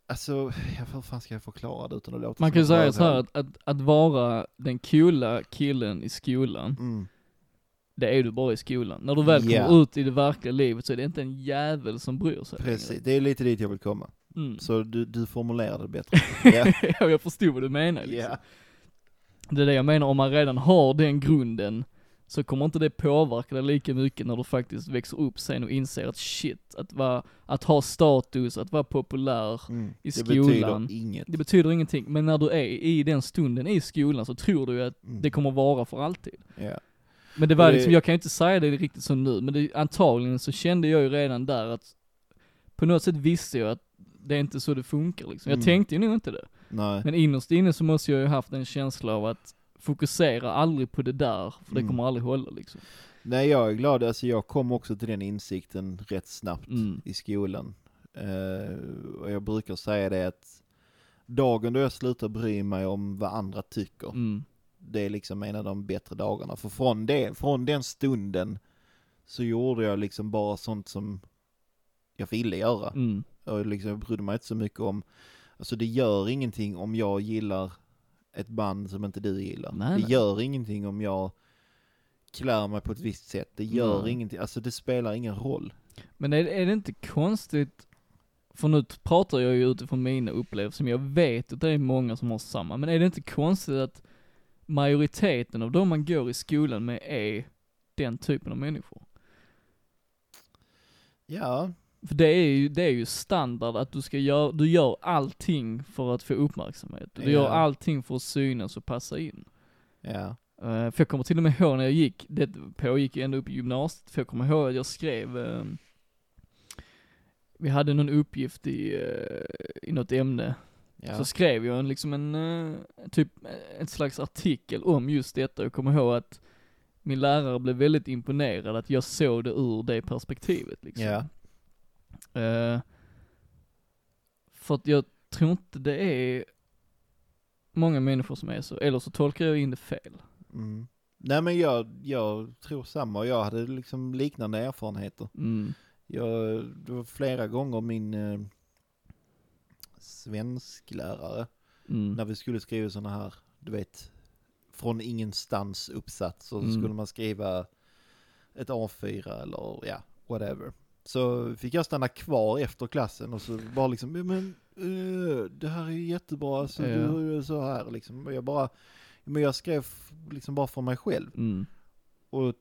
[SPEAKER 1] alltså, ja, hur fan ska jag förklara det utan att låta
[SPEAKER 2] Man
[SPEAKER 1] som
[SPEAKER 2] kan ju
[SPEAKER 1] ett
[SPEAKER 2] säga så här
[SPEAKER 1] rövhål?
[SPEAKER 2] att, att, att vara den coola killen i skolan,
[SPEAKER 1] Mm.
[SPEAKER 2] det är du bara i skolan. När du väl
[SPEAKER 1] Ja.
[SPEAKER 2] kommer ut i det verkliga livet så är det inte en jävel som bryr sig. längre.
[SPEAKER 1] Precis, det är lite dit jag vill komma.
[SPEAKER 2] Mm.
[SPEAKER 1] Så du, du formulerade det bättre. Ja,
[SPEAKER 2] Ja, jag förstod vad du menar liksom.
[SPEAKER 1] ja.
[SPEAKER 2] Det är det jag menar, om man redan har den grunden så kommer inte det påverka dig lika mycket när du faktiskt växer upp sen och inser att shit, att, vara, att ha status, att vara populär,
[SPEAKER 1] Mm.
[SPEAKER 2] I
[SPEAKER 1] det
[SPEAKER 2] skolan.
[SPEAKER 1] betyder inget.
[SPEAKER 2] det betyder ingenting. Men när du är i den stunden i skolan så tror du ju att
[SPEAKER 1] Mm.
[SPEAKER 2] det kommer vara för alltid.
[SPEAKER 1] Ja.
[SPEAKER 2] Men det var
[SPEAKER 1] Och det-
[SPEAKER 2] liksom, jag kan ju inte säga det riktigt som nu, men det, antagligen så kände jag ju redan där att på något sätt visste jag att det är inte så det funkar liksom. Jag
[SPEAKER 1] Mm.
[SPEAKER 2] tänkte ju nog inte det.
[SPEAKER 1] Nej.
[SPEAKER 2] Men innerst inne så måste jag ju haft en känsla av att fokusera aldrig på det där, för det
[SPEAKER 1] Mm.
[SPEAKER 2] kommer aldrig hålla liksom.
[SPEAKER 1] Nej, jag är glad. Alltså, jag kom också till den insikten rätt snabbt
[SPEAKER 2] Mm.
[SPEAKER 1] i skolan. Eh, och jag brukar säga det att dagen då jag slutar bry mig om vad andra tycker,
[SPEAKER 2] Mm.
[SPEAKER 1] det är liksom en av de bättre dagarna. För från, det, från den stunden så gjorde jag liksom bara sånt som jag ville göra.
[SPEAKER 2] Mm.
[SPEAKER 1] Och liksom, jag brydde mig inte så mycket om, alltså det gör ingenting om jag gillar ett band som inte du gillar.
[SPEAKER 2] Nej,
[SPEAKER 1] det
[SPEAKER 2] nej.
[SPEAKER 1] gör ingenting om jag klär mig på ett visst sätt. Det gör
[SPEAKER 2] Nej.
[SPEAKER 1] ingenting, alltså det spelar ingen roll.
[SPEAKER 2] Men är, är det inte konstigt, för nu pratar jag ju utifrån mina upplevelser, men jag vet att det är många som har samma, men är det inte konstigt att majoriteten av de man går i skolan med är den typen av människor?
[SPEAKER 1] Ja,
[SPEAKER 2] För det är ju, det är ju standard att du ska göra, du gör allting för att få uppmärksamhet. Du gör
[SPEAKER 1] Ja.
[SPEAKER 2] allting för att synas och passa in.
[SPEAKER 1] ja,
[SPEAKER 2] Eh, för jag kommer till och med ihåg när jag gick, det pågick ju ända upp i gymnasiet, för jag kommer ihåg att jag skrev, eh, vi hade någon uppgift i, eh, i något ämne,
[SPEAKER 1] ja.
[SPEAKER 2] så skrev jag en, liksom en, eh, typ eh, en slags artikel om just detta. Jag kommer ihåg att min lärare blev väldigt imponerad att jag såg det ur det perspektivet liksom.
[SPEAKER 1] ja.
[SPEAKER 2] Eh, för att jag tror inte det är många människor som är så, eller så tolkar jag in det fel.
[SPEAKER 1] Mm. Nej men jag, jag tror samma, jag hade liksom liknande erfarenheter.
[SPEAKER 2] Mm.
[SPEAKER 1] Jag, det var flera gånger min eh, svensklärare
[SPEAKER 2] Mm.
[SPEAKER 1] när vi skulle skriva sådana här, du vet, från ingenstans uppsatser så
[SPEAKER 2] Mm.
[SPEAKER 1] skulle man skriva ett A4 eller ja, whatever. Så fick jag stanna kvar efter klassen och så bara liksom, "Ja, men eh, det här är ju jättebra, så
[SPEAKER 2] Ja.
[SPEAKER 1] du är så här liksom. Och jag bara, men jag skrev f- liksom bara för mig själv.
[SPEAKER 2] Mm.
[SPEAKER 1] Och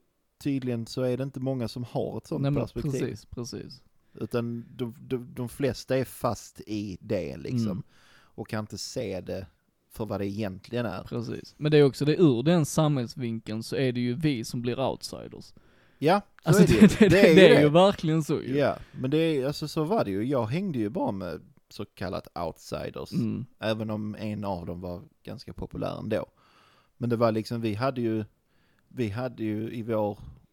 [SPEAKER 1] tydligen så är det inte många som har ett sånt
[SPEAKER 2] Nej, men
[SPEAKER 1] perspektiv.
[SPEAKER 2] precis, precis.
[SPEAKER 1] Utan de, de, de flesta är fast i det liksom.
[SPEAKER 2] Mm.
[SPEAKER 1] Och kan inte se det för vad det egentligen är.
[SPEAKER 2] Precis. Men det är också det, ur den samhällsvinkeln så är det ju vi som blir outsiders.
[SPEAKER 1] Ja, så
[SPEAKER 2] alltså
[SPEAKER 1] är det, ju.
[SPEAKER 2] det, det, är ju
[SPEAKER 1] det.
[SPEAKER 2] verkligen så ju.
[SPEAKER 1] Ja, men det är, alltså så var det ju. Jag hängde ju bara med så kallat outsiders.
[SPEAKER 2] Mm.
[SPEAKER 1] Även om en av dem var ganska populär ändå. Men det var liksom, vi hade ju, vi hade ju i vår,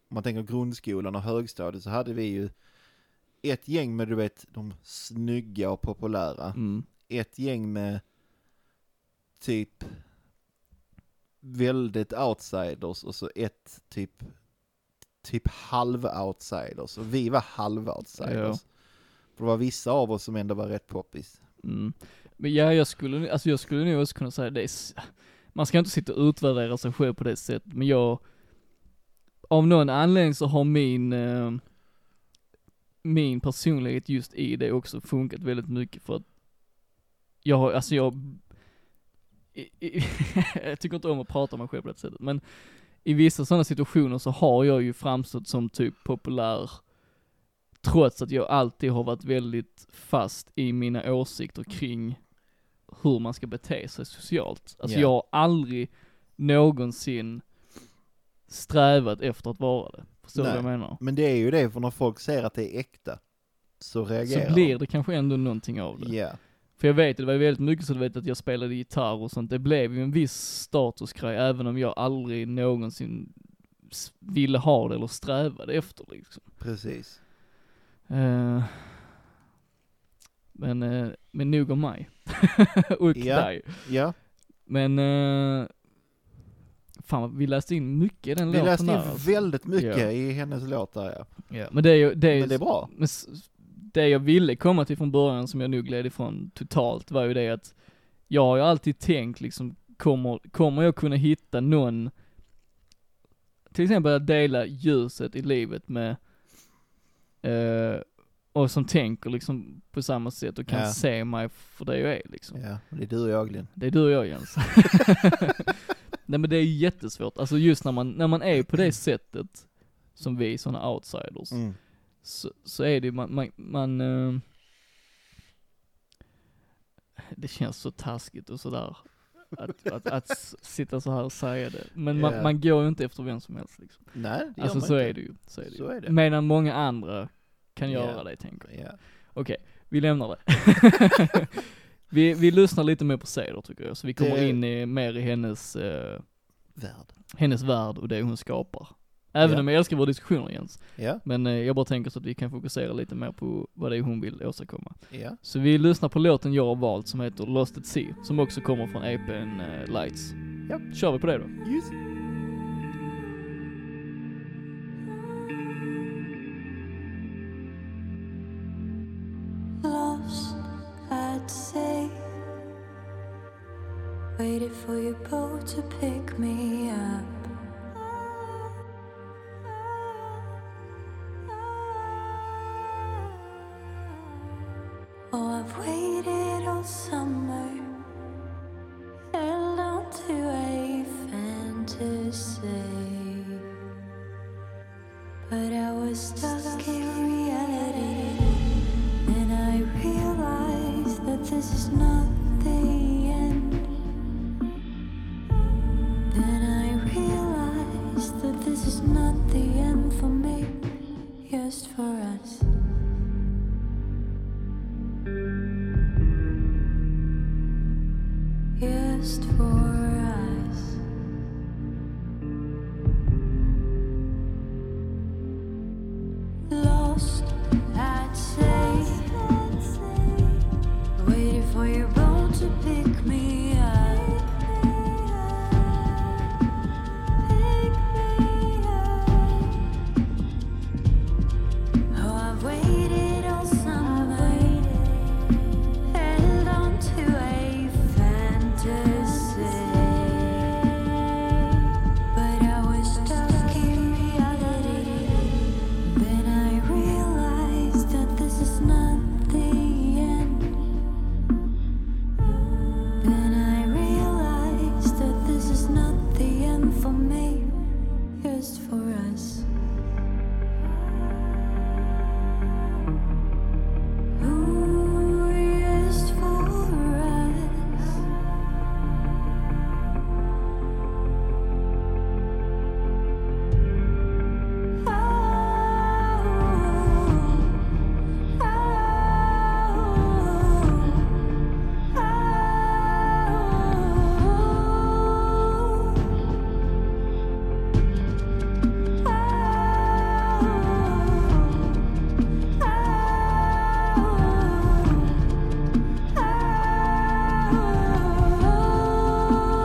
[SPEAKER 1] om man tänker grundskolan och högstadiet så hade vi ju ett gäng med du vet de snygga och populära.
[SPEAKER 2] Mm.
[SPEAKER 1] ett gäng med typ väldigt outsiders och så ett typ typ halv-outsiders och vi var halv-outsiders. För det var vissa av oss som ändå var rätt poppis.
[SPEAKER 2] Mm. Men ja, jag skulle, alltså jag skulle nog också kunna säga det är, s- man ska inte sitta och utvärdera sig själv på det sättet, men jag, av någon anledning så har min, eh, min personlighet just i det också funkat väldigt mycket för att jag har, alltså jag, i, i, jag tycker inte om att prata om mig själv på det sättet, men i vissa sådana situationer så har jag ju framstått som typ populär, trots att jag alltid har varit väldigt fast i mina åsikter kring hur man ska bete sig socialt. Alltså
[SPEAKER 1] Ja.
[SPEAKER 2] jag har aldrig någonsin strävat efter att vara det. Förstår du vad
[SPEAKER 1] Nej.
[SPEAKER 2] jag menar?
[SPEAKER 1] Men det är ju det, för när folk ser att det är äkta så reagerar
[SPEAKER 2] Så blir det kanske ändå någonting av det.
[SPEAKER 1] de. Ja,
[SPEAKER 2] För jag vet, det var ju väldigt mycket så du vet att jag spelade gitarr och sånt, det blev ju en viss statusgrej även om jag aldrig någonsin s- ville ha det eller strävade efter liksom.
[SPEAKER 1] precis.
[SPEAKER 2] Eh, men, eh, men nog om mig. och
[SPEAKER 1] Ja.
[SPEAKER 2] dig.
[SPEAKER 1] Ja,
[SPEAKER 2] Men, eh, fan vad- vi läste in mycket i den
[SPEAKER 1] vi
[SPEAKER 2] låten
[SPEAKER 1] läste
[SPEAKER 2] där,
[SPEAKER 1] in
[SPEAKER 2] alltså.
[SPEAKER 1] väldigt mycket
[SPEAKER 2] Ja.
[SPEAKER 1] i hennes låt där ja.
[SPEAKER 2] Ja, Men det är ju, det är, ju-
[SPEAKER 1] Men det är bra.
[SPEAKER 2] men s- det jag ville komma till från början som jag nu gled ifrån totalt var ju det att jag har ju alltid tänkt liksom, kommer, kommer jag kunna hitta någon, till exempel att dela ljuset i livet med, eh, och som tänker liksom på samma sätt och kan
[SPEAKER 1] Ja.
[SPEAKER 2] se mig för det jag är liksom.
[SPEAKER 1] Ja, det är du och jag Glenn.
[SPEAKER 2] Det är du och jag Jens. Nej men det är ju jättesvårt, alltså just när man, när man är på det sättet, som vi sådana outsiders,
[SPEAKER 1] Mm.
[SPEAKER 2] så, så är det ju, man, man, man eh, det känns så taskigt och sådär. Att, att, att s- sitta så här och säga det. Men man,
[SPEAKER 1] Ja.
[SPEAKER 2] man går ju inte efter vem som helst liksom.
[SPEAKER 1] Nej, det gör
[SPEAKER 2] Alltså
[SPEAKER 1] man
[SPEAKER 2] så
[SPEAKER 1] inte.
[SPEAKER 2] är det ju. Så är det
[SPEAKER 1] Så
[SPEAKER 2] ju.
[SPEAKER 1] är det.
[SPEAKER 2] Medan många andra kan
[SPEAKER 1] Ja.
[SPEAKER 2] göra det tänker jag.
[SPEAKER 1] Ja.
[SPEAKER 2] Okej, vi lämnar det. vi, vi lyssnar lite mer på Ceder tycker jag, så vi kommer
[SPEAKER 1] Det-
[SPEAKER 2] in i, mer i hennes, eh,
[SPEAKER 1] Värld.
[SPEAKER 2] hennes värld och det hon skapar. Även
[SPEAKER 1] Ja.
[SPEAKER 2] om jag älskar våra diskussioner Jens.
[SPEAKER 1] Ja,
[SPEAKER 2] Men eh, jag bara tänker så att vi kan fokusera lite mer på vad det är hon vill åstadkomma.
[SPEAKER 1] ja.
[SPEAKER 2] Så vi lyssnar på låten jag har valt som heter Lost at Sea, som också kommer från EPn eh, Lights.
[SPEAKER 1] Ja.
[SPEAKER 2] Kör vi på det då?
[SPEAKER 1] Just.
[SPEAKER 3] Lost, I'd say. Waited for your boat to pick me up. Oh, I've waited all summer. Held on to a fantasy. But I was stuck in reality. And I realize that this is not the end. And I realize that this is not the end for me, just for us. Just for us. Lost, I'd say. Waiting for your boat to pick me up. Pick me up. Oh, I've waited all summer. Held on to a fantasy. But I was stuck in reality. Then I realized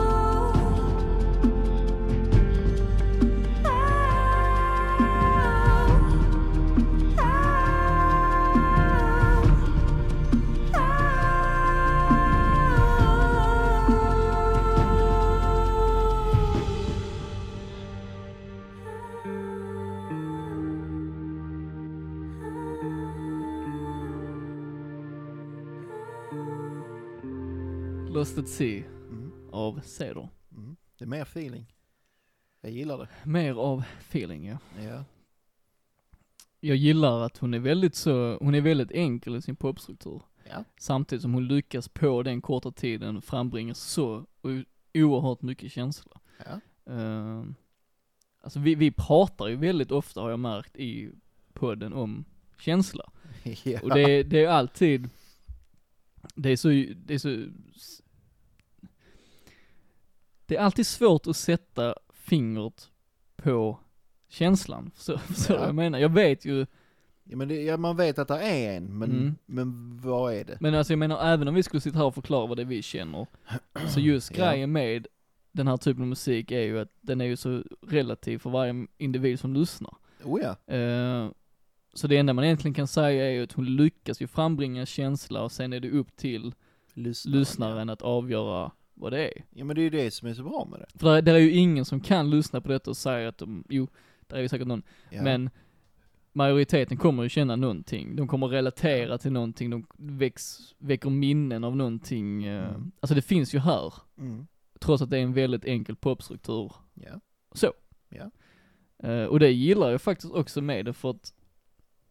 [SPEAKER 3] Ah, ah,
[SPEAKER 2] Lost at Sea
[SPEAKER 1] Mm.
[SPEAKER 2] av Cedar.
[SPEAKER 1] Mm. Det är mer feeling. Jag gillar det.
[SPEAKER 2] Mer av feeling ja.
[SPEAKER 1] Ja.
[SPEAKER 2] Jag gillar att hon är väldigt så, hon är väldigt enkel i sin popstruktur.
[SPEAKER 1] Ja.
[SPEAKER 2] Samtidigt som hon lyckas på den korta tiden frambringa så o- oerhört mycket känsla.
[SPEAKER 1] Ja.
[SPEAKER 2] Eh, alltså vi, vi pratar ju väldigt ofta har jag märkt i podden om känsla.
[SPEAKER 1] ja.
[SPEAKER 2] Och det, det är alltid, det är så, det är så, det är alltid svårt att sätta fingret på känslan, så, så
[SPEAKER 1] Ja.
[SPEAKER 2] jag menar. Jag vet ju,
[SPEAKER 1] Ja, men det, ja, man vet att det är en, men,
[SPEAKER 2] Mm.
[SPEAKER 1] men vad är det?
[SPEAKER 2] men alltså jag menar även om vi skulle sitta här och förklara vad det är vi känner, så just
[SPEAKER 1] Ja.
[SPEAKER 2] grejen med den här typen av musik är ju att den är ju så relativ för varje individ som lyssnar.
[SPEAKER 1] Oh ja.
[SPEAKER 2] Eh, så det enda man egentligen kan säga är ju att hon lyckas ju frambringa en känsla och sen är det upp till
[SPEAKER 1] Lyssnaren.
[SPEAKER 2] lyssnaren att avgöra vad det är.
[SPEAKER 1] Ja, men det är ju det som är så bra med det.
[SPEAKER 2] För där, där är ju ingen som kan lyssna på detta och säga att de, jo, där är ju säkert någon,
[SPEAKER 1] Ja.
[SPEAKER 2] men majoriteten kommer ju känna någonting, de kommer relatera till någonting, de väcks, väcker minnen av någonting, eh,
[SPEAKER 1] Mm.
[SPEAKER 2] alltså det finns ju här,
[SPEAKER 1] Mm.
[SPEAKER 2] trots att det är en väldigt enkel popstruktur.
[SPEAKER 1] Ja.
[SPEAKER 2] Så.
[SPEAKER 1] Ja.
[SPEAKER 2] Eh, och det gillar jag faktiskt också med det för att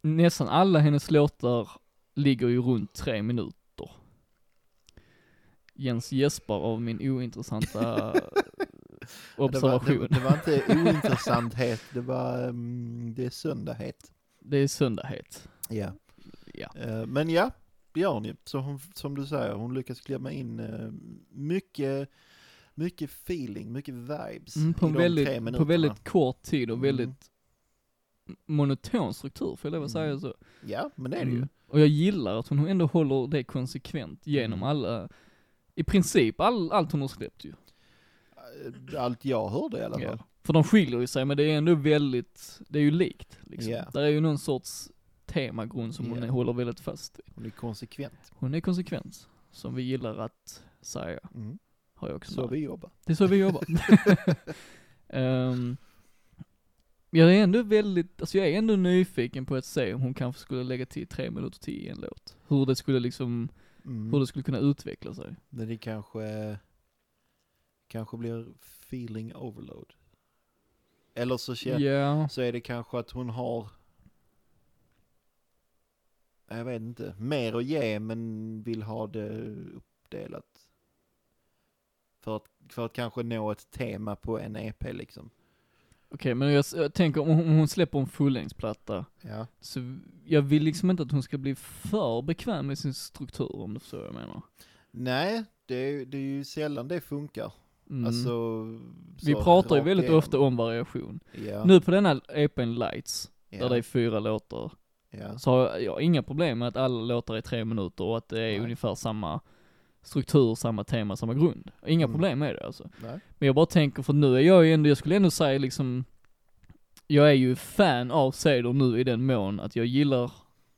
[SPEAKER 2] nästan alla hennes låtar ligger ju runt tre minuter. Jens gäspar av min ointressanta
[SPEAKER 1] Det var,
[SPEAKER 2] observation.
[SPEAKER 1] det, det var inte ointressanthet, det var, mm, det är söndaghet.
[SPEAKER 2] Det är söndaghet.
[SPEAKER 1] Ja.
[SPEAKER 2] Ja.
[SPEAKER 1] Eh, Men ja, det gör ni. Så hon, som du säger, hon lyckas klämma in eh, mycket, mycket feeling, mycket vibes
[SPEAKER 2] Mm, på,
[SPEAKER 1] i
[SPEAKER 2] en
[SPEAKER 1] de tre
[SPEAKER 2] väldigt, på
[SPEAKER 1] minuterna.
[SPEAKER 2] väldigt kort tid och
[SPEAKER 1] Mm.
[SPEAKER 2] väldigt monoton struktur, får jag lov att
[SPEAKER 1] Mm.
[SPEAKER 2] säga så.
[SPEAKER 1] Ja, men det är det ju.
[SPEAKER 2] Mm. Och jag gillar att hon ändå håller det konsekvent genom
[SPEAKER 1] Mm.
[SPEAKER 2] alla, i princip all, allt hon har släppt ju.
[SPEAKER 1] Eh, Allt jag hörde i alla
[SPEAKER 2] Mm. Ja.
[SPEAKER 1] fall.
[SPEAKER 2] För de skiljer ju sig, men det är ändå väldigt, det är ju likt liksom.
[SPEAKER 1] Ja.
[SPEAKER 2] Där är ju någon sorts temagrund som hon
[SPEAKER 1] Ja.
[SPEAKER 2] håller väldigt fast vid.
[SPEAKER 1] Hon är konsekvent.
[SPEAKER 2] Hon är konsekvent, som vi gillar att säga,
[SPEAKER 1] Mm.
[SPEAKER 2] har jag också
[SPEAKER 1] Så
[SPEAKER 2] märkt.
[SPEAKER 1] vi jobbar.
[SPEAKER 2] Det är så vi jobbar. um, jag är ändå väldigt, alltså jag är ändå nyfiken på att se om hon kanske skulle lägga till tre minuter till i en låt. Hur det skulle liksom,
[SPEAKER 1] Mm.
[SPEAKER 2] hur det skulle kunna utveckla sig.
[SPEAKER 1] Men det kanske, kanske blir feeling overload. Eller så,
[SPEAKER 2] Ja.
[SPEAKER 1] kä- så är det kanske att hon har, jag vet inte, mer att ge men vill ha det uppdelat. För att, för att kanske nå ett tema på en EP liksom.
[SPEAKER 2] Okej, men jag, s- jag tänker om hon, om hon släpper en fullängdsplatta,
[SPEAKER 1] Ja.
[SPEAKER 2] Så jag vill liksom inte att hon ska bli för bekväm med sin struktur om du förstår vad jag menar.
[SPEAKER 1] Nej, det är, det är ju sällan det funkar.
[SPEAKER 2] Mm.
[SPEAKER 1] Alltså,
[SPEAKER 2] Vi
[SPEAKER 1] så
[SPEAKER 2] pratar ju
[SPEAKER 1] rakt
[SPEAKER 2] väldigt
[SPEAKER 1] igenom.
[SPEAKER 2] ofta om variation.
[SPEAKER 1] ja,
[SPEAKER 2] Nu på denna EPn Lights,
[SPEAKER 1] ja,
[SPEAKER 2] där det är fyra låtar,
[SPEAKER 1] ja,
[SPEAKER 2] så har jag inga problem med att alla låtar är tre minuter och att det är
[SPEAKER 1] Nej.
[SPEAKER 2] ungefär samma struktur, samma tema, samma grund. Inga
[SPEAKER 1] Mm.
[SPEAKER 2] problem med det alltså.
[SPEAKER 1] nej,
[SPEAKER 2] Men jag bara tänker för nu är jag ju ändå, jag skulle ändå säga liksom, jag är ju fan av Cedar nu i den mån att jag gillar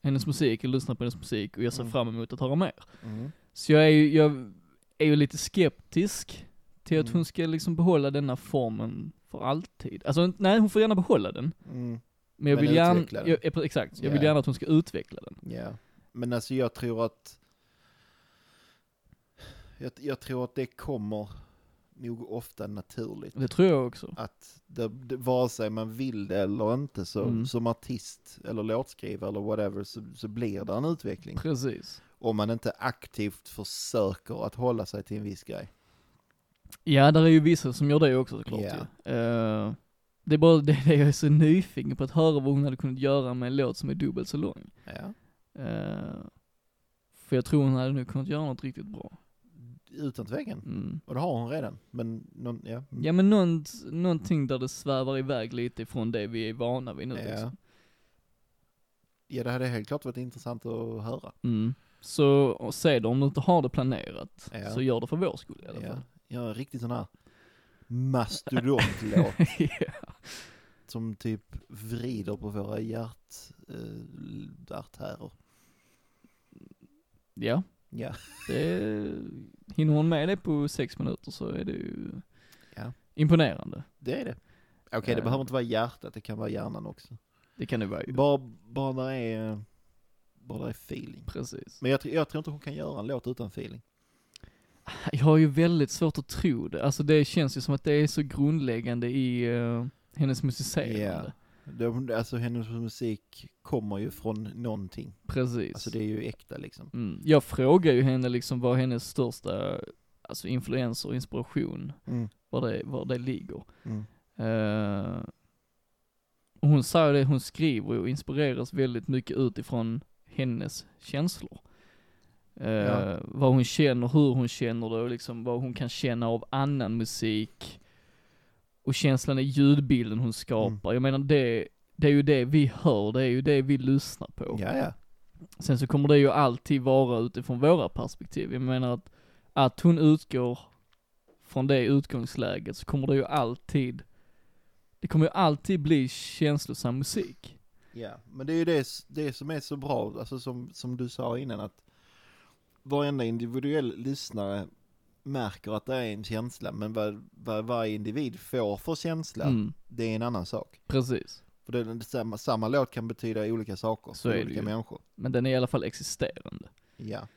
[SPEAKER 2] hennes musik, jag lyssnar på hennes musik och jag ser
[SPEAKER 1] Mm.
[SPEAKER 2] fram emot att höra mer.
[SPEAKER 1] mm,
[SPEAKER 2] Så jag är ju, jag är ju lite skeptisk till att
[SPEAKER 1] Mm.
[SPEAKER 2] hon ska liksom behålla denna formen för alltid. Alltså nej, hon får gärna behålla den.
[SPEAKER 1] mm,
[SPEAKER 2] Men jag
[SPEAKER 1] Men
[SPEAKER 2] vill gärna,
[SPEAKER 1] utveckla den.
[SPEAKER 2] jag, eh, exakt, jag vill
[SPEAKER 1] Ja.
[SPEAKER 2] gärna att hon ska utveckla den.
[SPEAKER 1] ja. Men alltså jag tror att, jag, jag tror att det kommer nog ofta naturligt.
[SPEAKER 2] Det tror jag också.
[SPEAKER 1] Att det, det, vare sig man vill det eller inte så,
[SPEAKER 2] Mm.
[SPEAKER 1] som artist eller låtskrivare eller whatever så, så blir det en utveckling.
[SPEAKER 2] Precis.
[SPEAKER 1] Om man inte aktivt försöker att hålla sig till en viss grej.
[SPEAKER 2] Ja, där är ju vissa som gör det också såklart
[SPEAKER 1] Ja.
[SPEAKER 2] ju. Eh, det är bara det, det jag är så nyfiken på att höra vad hon hade kunnat göra med en låt som är dubbelt så lång.
[SPEAKER 1] Ja.
[SPEAKER 2] Eh, för jag tror hon hade nu kunnat göra något riktigt bra.
[SPEAKER 1] Utan tvekan.
[SPEAKER 2] Mm.
[SPEAKER 1] Och det har hon redan. Men någon, ja. Mm.
[SPEAKER 2] Ja men någon, någonting där det svävar iväg lite från det vi är vana vid nu
[SPEAKER 1] ja.
[SPEAKER 2] liksom.
[SPEAKER 1] ja, det hade helt klart varit intressant att höra.
[SPEAKER 2] mm. Så, och se då om du inte har det planerat,
[SPEAKER 1] Ja.
[SPEAKER 2] så gör det för vår skull i alla
[SPEAKER 1] Ja,
[SPEAKER 2] fall.
[SPEAKER 1] ja riktigt sån här mastodontlåt
[SPEAKER 2] Ja.
[SPEAKER 1] som typ vrider på våra hjärtartärer.
[SPEAKER 2] ja,
[SPEAKER 1] Ja,
[SPEAKER 2] det, hinner hon med det på sex minuter så är det ju
[SPEAKER 1] Ja. Ehm.
[SPEAKER 2] imponerande.
[SPEAKER 1] det är det. Okej, det
[SPEAKER 2] Ja.
[SPEAKER 1] behöver inte vara hjärtat, det kan vara hjärnan också.
[SPEAKER 2] Det kan det vara ju.
[SPEAKER 1] Bara, bara när det är, eh, bara när det är feeling.
[SPEAKER 2] Precis.
[SPEAKER 1] Men jag, tr- jag tror inte hon kan göra en låt utan feeling.
[SPEAKER 2] Jag har ju väldigt svårt att tro det. Alltså det känns ju som att det är så grundläggande i eh, hennes
[SPEAKER 1] Ja.
[SPEAKER 2] musicerande.
[SPEAKER 1] De, alltså hennes musik kommer ju från någonting.
[SPEAKER 2] Precis.
[SPEAKER 1] Alltså det är ju äkta liksom.
[SPEAKER 2] mm. Jag frågar ju henne liksom vad hennes största, alltså influenser och inspiration,
[SPEAKER 1] Mm.
[SPEAKER 2] var det, var det ligger.
[SPEAKER 1] Mm.
[SPEAKER 2] Eh, och hon säger det, hon skriver och inspireras väldigt mycket utifrån hennes känslor. Eh,
[SPEAKER 1] Ja.
[SPEAKER 2] Vad hon känner, hur hon känner det och liksom vad hon kan känna av annan musik. Och känslan i ljudbilden hon skapar. Jag menar det, det är ju det vi hör, det är ju det vi lyssnar på.
[SPEAKER 1] Ja, ja.
[SPEAKER 2] Sen så kommer det ju alltid vara utifrån våra perspektiv. Jag menar att, att hon utgår från det utgångsläget så kommer det ju alltid, det kommer ju alltid bli känslosam musik.
[SPEAKER 1] Ja, men det är ju det, s- det som är så bra, alltså som, som du sa innan att varenda individuell lyssnare märker att det är en känsla, men vad, vad varje individ får för känsla,
[SPEAKER 2] Mm,
[SPEAKER 1] det är en annan sak.
[SPEAKER 2] precis.
[SPEAKER 1] För det, det, samma, samma låt kan betyda olika saker
[SPEAKER 2] Så är
[SPEAKER 1] för
[SPEAKER 2] det
[SPEAKER 1] olika
[SPEAKER 2] ju.
[SPEAKER 1] människor.
[SPEAKER 2] Men den är i alla fall existerande.
[SPEAKER 1] Ja.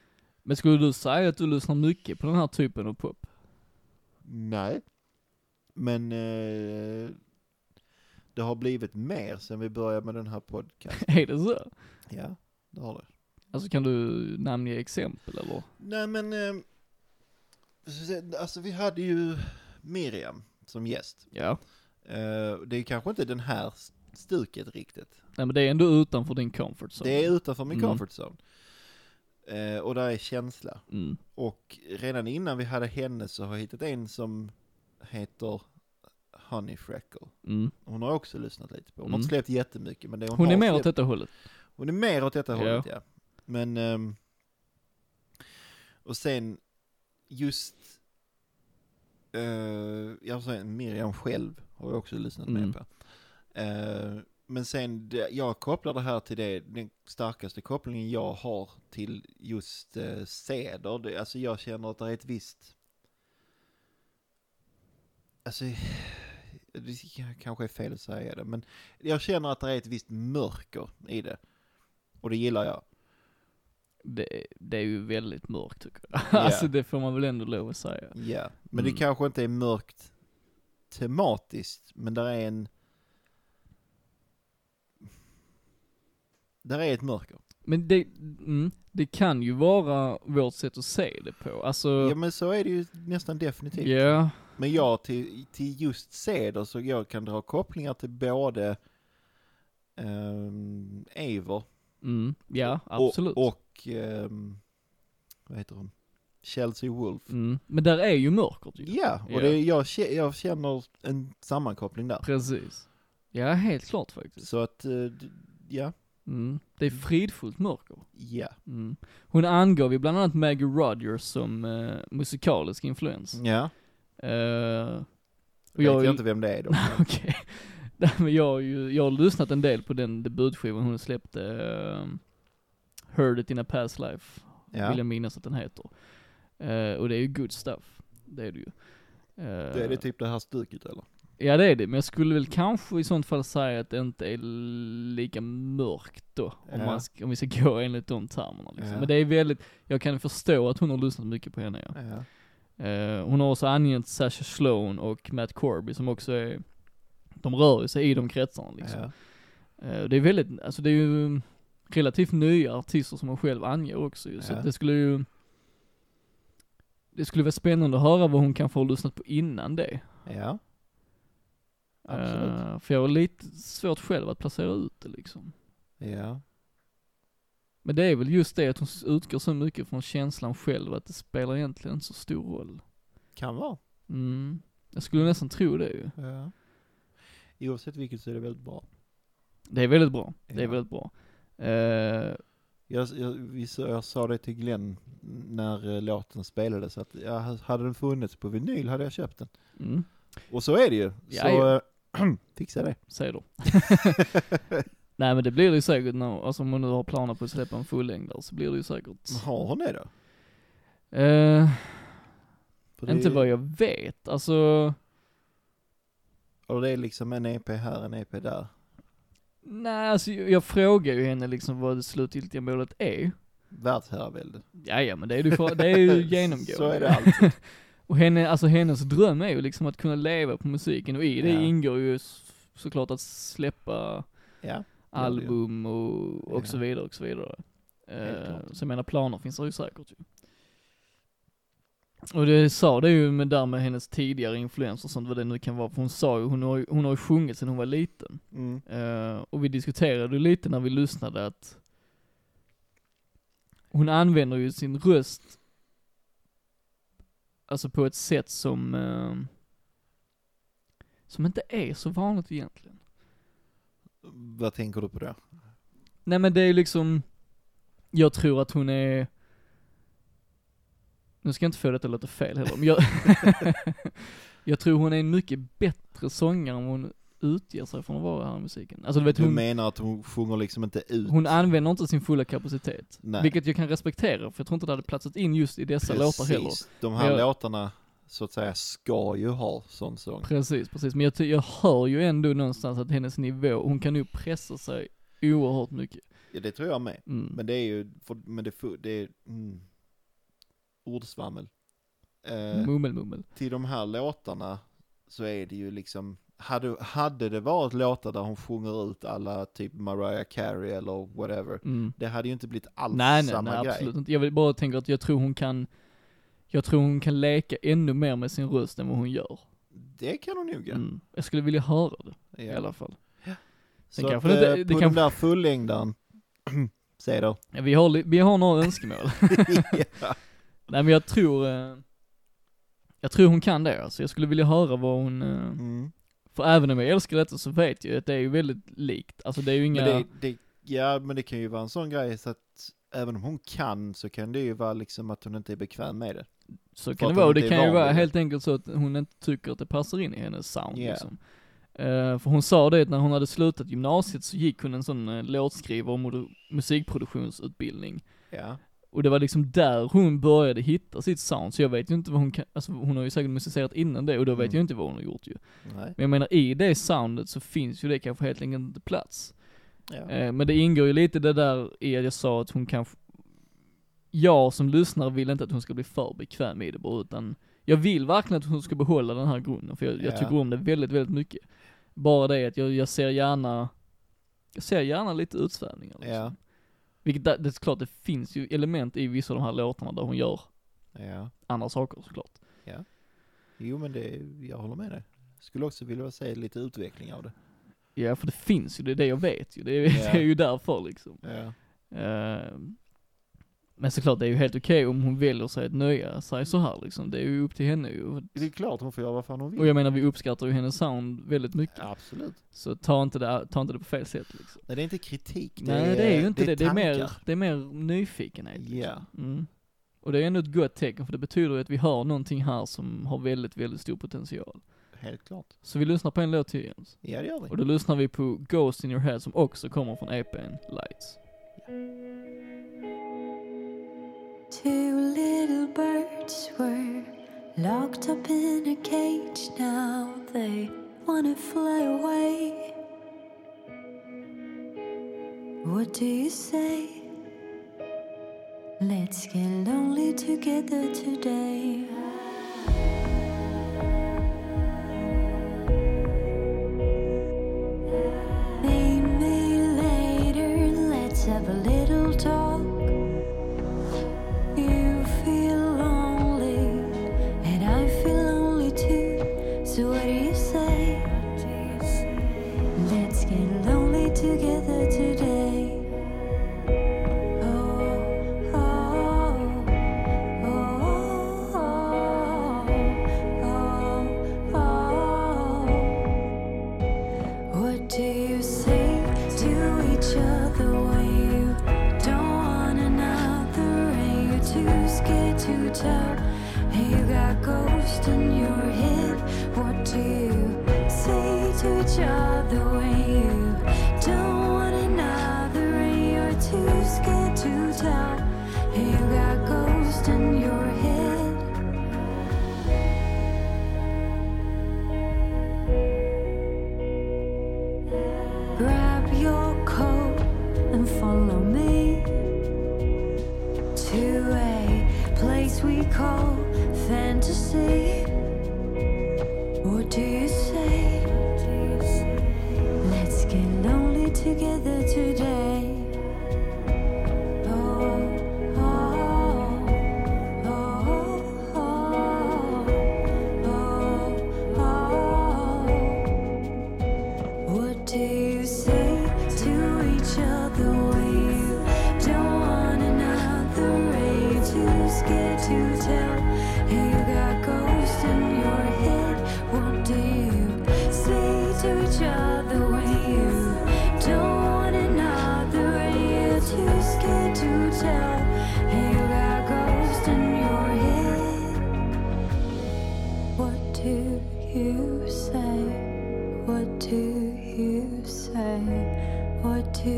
[SPEAKER 2] Men skulle du säga att du lyssnar mycket på den här typen av pop?
[SPEAKER 1] Nej. Men eh, det har blivit mer sen vi började med den här podcasten.
[SPEAKER 2] är det så?
[SPEAKER 1] ja, det har det.
[SPEAKER 2] Alltså kan du namnge exempel eller?
[SPEAKER 1] Nej men, eh, så att säga, alltså vi hade ju Miriam som gäst.
[SPEAKER 2] Ja.
[SPEAKER 1] Eh, det är kanske inte den här stuket riktigt.
[SPEAKER 2] Nej men det är ändå utanför din comfort zone.
[SPEAKER 1] Det är utanför min
[SPEAKER 2] Mm.
[SPEAKER 1] comfort zone. Eh, och där är känsla.
[SPEAKER 2] Mm.
[SPEAKER 1] Och redan innan vi hade henne så har jag hittat en som heter Honey Freckle.
[SPEAKER 2] Mm.
[SPEAKER 1] Hon har jag också lyssnat lite på. Hon har
[SPEAKER 2] Mm.
[SPEAKER 1] inte släppt jättemycket men det hon,
[SPEAKER 2] Hon
[SPEAKER 1] har
[SPEAKER 2] är mer åt
[SPEAKER 1] släppt,
[SPEAKER 2] detta hållet.
[SPEAKER 1] Hon är mer åt detta
[SPEAKER 2] Ja.
[SPEAKER 1] hållet ja. Men, ehm, och sen just, eh, jag säger Miriam själv har jag också lyssnat
[SPEAKER 2] Mm.
[SPEAKER 1] mer på. Eh, men sen, det, jag kopplar det här till det, den starkaste kopplingen jag har till just uh, seder. Det, alltså jag känner att det är ett visst, alltså, det kanske är fel att säga det, men jag känner att det är ett visst mörker i det. Och det gillar jag.
[SPEAKER 2] Det, det är ju väldigt mörkt tycker jag. Alltså det får man väl ändå lov att säga.
[SPEAKER 1] Ja, men
[SPEAKER 2] Mm.
[SPEAKER 1] det kanske inte är mörkt tematiskt, men där är en... Där är ett mörker.
[SPEAKER 2] Men det, mm, det kan ju vara vårt sätt att se det på.
[SPEAKER 1] Ja
[SPEAKER 2] Alltså,
[SPEAKER 1] men så är det ju nästan
[SPEAKER 2] ja,
[SPEAKER 1] definitivt. Men jag till, till just seder så jag kan dra kopplingar till både ehm, Eivor
[SPEAKER 2] mm, ja,
[SPEAKER 1] och,
[SPEAKER 2] absolut.
[SPEAKER 1] och ehm, vad heter hon? Chelsea Wolf.
[SPEAKER 2] Mm, men där är ju mörkret ju.
[SPEAKER 1] Ja, och
[SPEAKER 2] Ja.
[SPEAKER 1] Det, jag, kä- jag känner en sammankoppling där.
[SPEAKER 2] Precis. Ja, helt klart faktiskt.
[SPEAKER 1] Så att, eh, d- ja,
[SPEAKER 2] Mm, det är fridfullt mörker.
[SPEAKER 1] ja,
[SPEAKER 2] Mm. Hon angav ju bland annat Maggie Rogers som eh, musikalisk influens.
[SPEAKER 1] ja.
[SPEAKER 2] Eh, och
[SPEAKER 1] Mm. Vet jag
[SPEAKER 2] jag,
[SPEAKER 1] inte vem det är då.
[SPEAKER 2] Okej. Nej men jag har ju, jag har lyssnat en del på den debutskivan hon släppte, ehm, Heard It In A Past Life,
[SPEAKER 1] Ja.
[SPEAKER 2] vill jag minnas att den heter. Eh, och det är ju good stuff, det är det ju. Eh,
[SPEAKER 1] Det är det typ det här stuket eller?
[SPEAKER 2] Ja det är det, men jag skulle väl kanske i sånt fall säga att det inte är lika mörkt då, om,
[SPEAKER 1] Ja.
[SPEAKER 2] man ska, om vi ska gå enligt de termerna liksom.
[SPEAKER 1] Ja.
[SPEAKER 2] Men det är väldigt, jag kan förstå att hon har lyssnat mycket på henne ja.
[SPEAKER 1] Ja.
[SPEAKER 2] Eh, hon har också angett Sasha Sloan och Matt Corby som också är, de rör ju sig i de kretsarna liksom.
[SPEAKER 1] Ja.
[SPEAKER 2] Eh, det är väldigt, alltså det är ju relativt nya artister som hon själv anger också ju, så
[SPEAKER 1] Ja.
[SPEAKER 2] att det skulle ju det skulle vara spännande att höra vad hon kanske har lyssnat på innan det.
[SPEAKER 1] ja. Absolut.
[SPEAKER 2] Eh, för jag har lite svårt själv att placera ut det liksom.
[SPEAKER 1] Ja.
[SPEAKER 2] Men det är väl just det att hon utgår så mycket från känslan själv att det spelar egentligen inte så stor roll.
[SPEAKER 1] Kan vara.
[SPEAKER 2] Mm. Jag skulle nästan tro det ju.
[SPEAKER 1] Ja. Oavsett vilket så är det väldigt bra.
[SPEAKER 2] Det är väldigt bra. Det är
[SPEAKER 1] Ja.
[SPEAKER 2] väldigt bra. Eh,
[SPEAKER 1] Jag, jag, vi, sa- jag sa det till Glenn när eh, låten spelades att ja, hade den funnits på vinyl hade jag köpt den.
[SPEAKER 2] mm,
[SPEAKER 1] Och så är det ju.
[SPEAKER 2] Ja,
[SPEAKER 1] så
[SPEAKER 2] ja. Mm.
[SPEAKER 1] eh, fixa det.
[SPEAKER 2] säger du. Nej men det blir det ju säkert, när, alltså om man nu har planer på att släppa en fullängdare så blir det ju säkert.
[SPEAKER 1] Har hon det då?
[SPEAKER 2] Eh,
[SPEAKER 1] För det,
[SPEAKER 2] inte vad jag vet, alltså,
[SPEAKER 1] Och det är liksom en EP här, en EP där.
[SPEAKER 2] nej alltså jag, jag frågar ju henne liksom vad det slutgiltiga målet är.
[SPEAKER 1] världsherravälde.
[SPEAKER 2] Ja, ja men det är, du för, det är ju genomgående.
[SPEAKER 1] Så är det alltid.
[SPEAKER 2] Och henne, alltså hennes dröm är ju liksom att kunna leva på musiken och i det
[SPEAKER 1] Ja.
[SPEAKER 2] ingår ju s- såklart att släppa
[SPEAKER 1] Ja.
[SPEAKER 2] album och, och
[SPEAKER 1] Ja.
[SPEAKER 2] så vidare och så vidare.
[SPEAKER 1] Helt
[SPEAKER 2] Eh,
[SPEAKER 1] klart.
[SPEAKER 2] så jag menar planer finns det ju säkert ju. Och det sa det ju med där med hennes tidigare influenser och sånt vad det nu kan vara, för hon sa ju, hon har ju, hon har ju sjungit sedan hon var liten.
[SPEAKER 1] Mm.
[SPEAKER 2] Eh, och vi diskuterade ju lite när vi lyssnade att hon använder ju sin röst alltså på ett sätt som eh, som inte är så vanligt egentligen.
[SPEAKER 1] Vad tänker du på det?
[SPEAKER 2] Nej men det är ju liksom, jag tror att hon är, nu ska jag inte få detta att låta fel heller, men jag, jag tror hon är en mycket bättre sångare än vad hon utger sig från att vara här i musiken. Alltså du vet
[SPEAKER 1] Du
[SPEAKER 2] hon,
[SPEAKER 1] menar att hon sjunger liksom inte ut?
[SPEAKER 2] hon använder inte sin fulla kapacitet.
[SPEAKER 1] Nej.
[SPEAKER 2] Vilket jag kan respektera, för jag tror inte det hade platsat in just i dessa låtar heller.
[SPEAKER 1] De
[SPEAKER 2] Men
[SPEAKER 1] här
[SPEAKER 2] jag-
[SPEAKER 1] låtarna, så att säga, ska ju ha sån sång.
[SPEAKER 2] Precis, precis. Men jag, ty- jag hör ju ändå någonstans att hennes nivå, hon kan ju pressa sig oerhört mycket.
[SPEAKER 1] Ja, det tror jag med.
[SPEAKER 2] Mm.
[SPEAKER 1] Men det är ju, för, men det, fu- det är, mm, ordsvammel. Eh,
[SPEAKER 2] Mummel, mummel.
[SPEAKER 1] till de här låtarna så är det ju liksom, hade, hade det varit låtar där hon sjunger ut alla typ Mariah Carey eller whatever,
[SPEAKER 2] Mm.
[SPEAKER 1] det hade ju inte blivit alls
[SPEAKER 2] Nej, nej,
[SPEAKER 1] samma
[SPEAKER 2] nej,
[SPEAKER 1] grej.
[SPEAKER 2] absolut inte. Jag vill bara tänka att jag tror hon kan, jag tror hon kan leka ännu mer med sin röst än vad hon gör.
[SPEAKER 1] Det kan hon nog göra.
[SPEAKER 2] Mm. Jag skulle vilja höra det i
[SPEAKER 1] Ja.
[SPEAKER 2] alla fall.
[SPEAKER 1] Så
[SPEAKER 2] Sen
[SPEAKER 1] att,
[SPEAKER 2] kanske det inte-
[SPEAKER 1] eh,
[SPEAKER 2] det
[SPEAKER 1] på den
[SPEAKER 2] kanske-
[SPEAKER 1] där fullängdaren, säg då.
[SPEAKER 2] Ja, vi, har, li- vi har några önskemål.
[SPEAKER 1] ja.
[SPEAKER 2] nej men jag tror, eh, jag tror hon kan det alltså. Jag skulle vilja höra vad hon, eh,
[SPEAKER 1] Mm.
[SPEAKER 2] För även om jag älskar detta så vet jag ju att det är ju väldigt likt. Alltså det är ju inga...
[SPEAKER 1] Men det, det, ja, men det kan ju vara en sån grej så att även om hon kan så kan det ju vara liksom att hon inte är bekväm med det.
[SPEAKER 2] så
[SPEAKER 1] för
[SPEAKER 2] kan det
[SPEAKER 1] att
[SPEAKER 2] vara.
[SPEAKER 1] hon
[SPEAKER 2] Det
[SPEAKER 1] inte är
[SPEAKER 2] kan ju
[SPEAKER 1] van
[SPEAKER 2] vara
[SPEAKER 1] vid det.
[SPEAKER 2] helt enkelt så att hon inte tycker att det passar in i hennes sound
[SPEAKER 1] Ja.
[SPEAKER 2] liksom. Eh, för hon sa det att när hon hade slutat gymnasiet så gick hon en sån uh, låtskrivar och moder- musikproduktionsutbildning.
[SPEAKER 1] Ja,
[SPEAKER 2] Och det var liksom där hon började hitta sitt sound. Så jag vet ju inte vad hon kan, alltså hon har ju säkert musicerat innan det och då vet
[SPEAKER 1] Mm.
[SPEAKER 2] jag inte vad hon har gjort ju.
[SPEAKER 1] nej.
[SPEAKER 2] Men jag menar i det soundet så finns ju det kanske helt enkelt inte plats.
[SPEAKER 1] Ja.
[SPEAKER 2] Eh, Men det ingår ju lite det där i att jag sa att hon kanske, jag som lyssnare vill inte att hon ska bli för bekväm i det bara, utan jag vill verkligen att hon ska behålla den här grunden, för jag, jag
[SPEAKER 1] Ja.
[SPEAKER 2] tycker om det väldigt, väldigt mycket. Bara det att jag, jag ser gärna, jag ser gärna lite utsvävningar liksom.
[SPEAKER 1] Ja.
[SPEAKER 2] Vilket, där- det är klart det finns ju element i vissa av de här låtarna där hon gör
[SPEAKER 1] ja.
[SPEAKER 2] andra saker såklart.
[SPEAKER 1] Jo men det, jag håller med dig. Skulle också vilja se lite utveckling av det.
[SPEAKER 2] Ja, för det finns ju, det är det jag vet ju, det är,
[SPEAKER 1] Ja.
[SPEAKER 2] det är ju därför liksom.
[SPEAKER 1] Ja.
[SPEAKER 2] Eh, Men såklart, det är ju helt okej om hon väljer sig att nöja sig så här liksom. Det är ju upp till henne ju.
[SPEAKER 1] Det är klart hon får göra vad fan hon vill.
[SPEAKER 2] Och jag menar, vi uppskattar ju hennes sound väldigt mycket.
[SPEAKER 1] Absolut.
[SPEAKER 2] Så ta inte det, ta inte det på fel sätt liksom.
[SPEAKER 1] Nej det är inte kritik. Det
[SPEAKER 2] Nej, det är ju inte det. Det är, mer,
[SPEAKER 1] tankar.
[SPEAKER 2] det är mer nyfikenhet. liksom.
[SPEAKER 1] Ja.
[SPEAKER 2] Mm. Och det är ändå ett gott tecken, för det betyder ju att vi har någonting här som har väldigt, väldigt stor potential.
[SPEAKER 1] Helt klart.
[SPEAKER 2] Så vi lyssnar på en låt till Jens.
[SPEAKER 1] Ja det gör vi.
[SPEAKER 2] Och då lyssnar vi på Ghost in your head som också kommer från EPn Lights.
[SPEAKER 3] Two little birds were locked up in a cage. Now they wanna fly away. What do you say? Let's get lonely together today. Maybe later, let's have a little talk. You feel lonely, and I feel lonely too. So what do you say? Let's get lonely together today. Oh, oh, oh, oh, oh, oh. What do you say to each other when you? Don't want another, and you're too scared to tell. And you got ghosts in your head. What do you say to each other when you don't want another, and you're too scared to tell? And you got ghosts in your head. Grab your coat and follow me. things we call fantasy? Or do you say, let's get lonely together today? Oh, oh, oh, oh, oh, oh. What do you say to each other when you don't want another? Are you too scared to tell? Hey, you got ghosts in your head. What do you say to each other when you don't want another? Are you too scared to tell? Hey, you got ghosts in your head. What do you say? What do you say? What do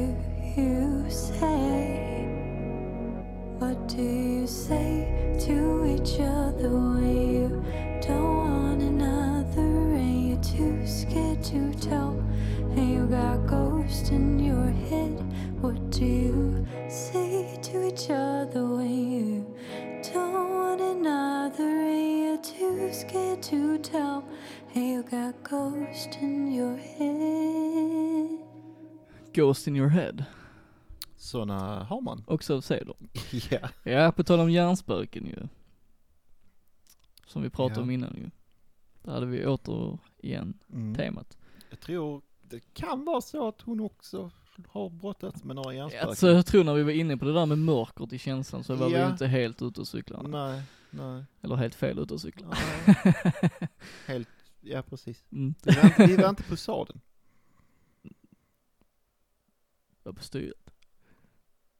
[SPEAKER 3] you say? What do you say to each other when you don't want another and you're too scared to tell? And you got ghosts in your head. What do you say to each other when you don't want another and you're too scared to tell? And you got ghosts in your head.
[SPEAKER 2] Ghost in your head.
[SPEAKER 1] Sådana har man.
[SPEAKER 2] Också av Ceder.
[SPEAKER 1] ja.
[SPEAKER 2] Ja, på tal om hjärnspöken ju. Som vi pratade om innan ju. Där hade vi återigen
[SPEAKER 1] Mm.
[SPEAKER 2] temat.
[SPEAKER 1] Jag tror det kan vara så att hon också har brottats med några hjärnspöken.
[SPEAKER 2] Alltså jag tror när vi var inne på det där med mörkret i känslan så var vi
[SPEAKER 1] Ja.
[SPEAKER 2] ju inte helt ute och cyklar.
[SPEAKER 1] Nej, nej.
[SPEAKER 2] Eller helt fel ute och cyklar.
[SPEAKER 1] nej. Helt, ja precis.
[SPEAKER 2] Mm.
[SPEAKER 1] Vi var inte, vi var inte på sadeln.
[SPEAKER 2] Jag på styret.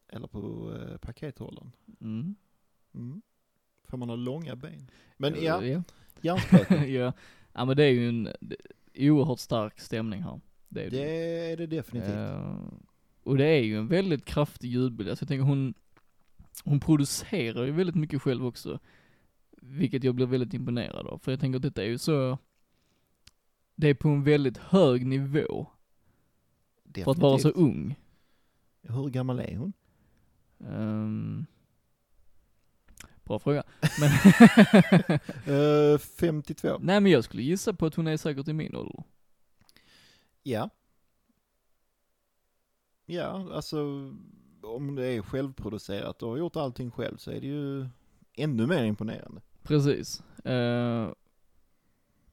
[SPEAKER 1] Eller på eh, pakethållaren.
[SPEAKER 2] Mm.
[SPEAKER 1] Mm. För man har långa ben. Men
[SPEAKER 2] Eh,
[SPEAKER 1] ja,
[SPEAKER 2] ja.
[SPEAKER 1] hjärnspöken.
[SPEAKER 2] ja. Ja men det är ju en det- oerhört stark stämning här. Det är det. ju.
[SPEAKER 1] det är det definitivt.
[SPEAKER 2] Eh, och det är ju en väldigt kraftig ljudbild. Alltså jag tänker hon, hon producerar ju väldigt mycket själv också. Vilket jag blir väldigt imponerad av. För jag tänker att detta är ju så, det är på en väldigt hög nivå
[SPEAKER 1] definitivt.
[SPEAKER 2] för att vara så ung.
[SPEAKER 1] Hur gammal är hon?
[SPEAKER 2] Ehm, bra fråga. Men
[SPEAKER 1] Eh, 52.
[SPEAKER 2] Nej men jag skulle gissa på att hon är säkert i min ålder.
[SPEAKER 1] Ja. Ja, alltså om det är självproducerat och har gjort allting själv så är det ju ännu mer imponerande.
[SPEAKER 2] Precis. Eh,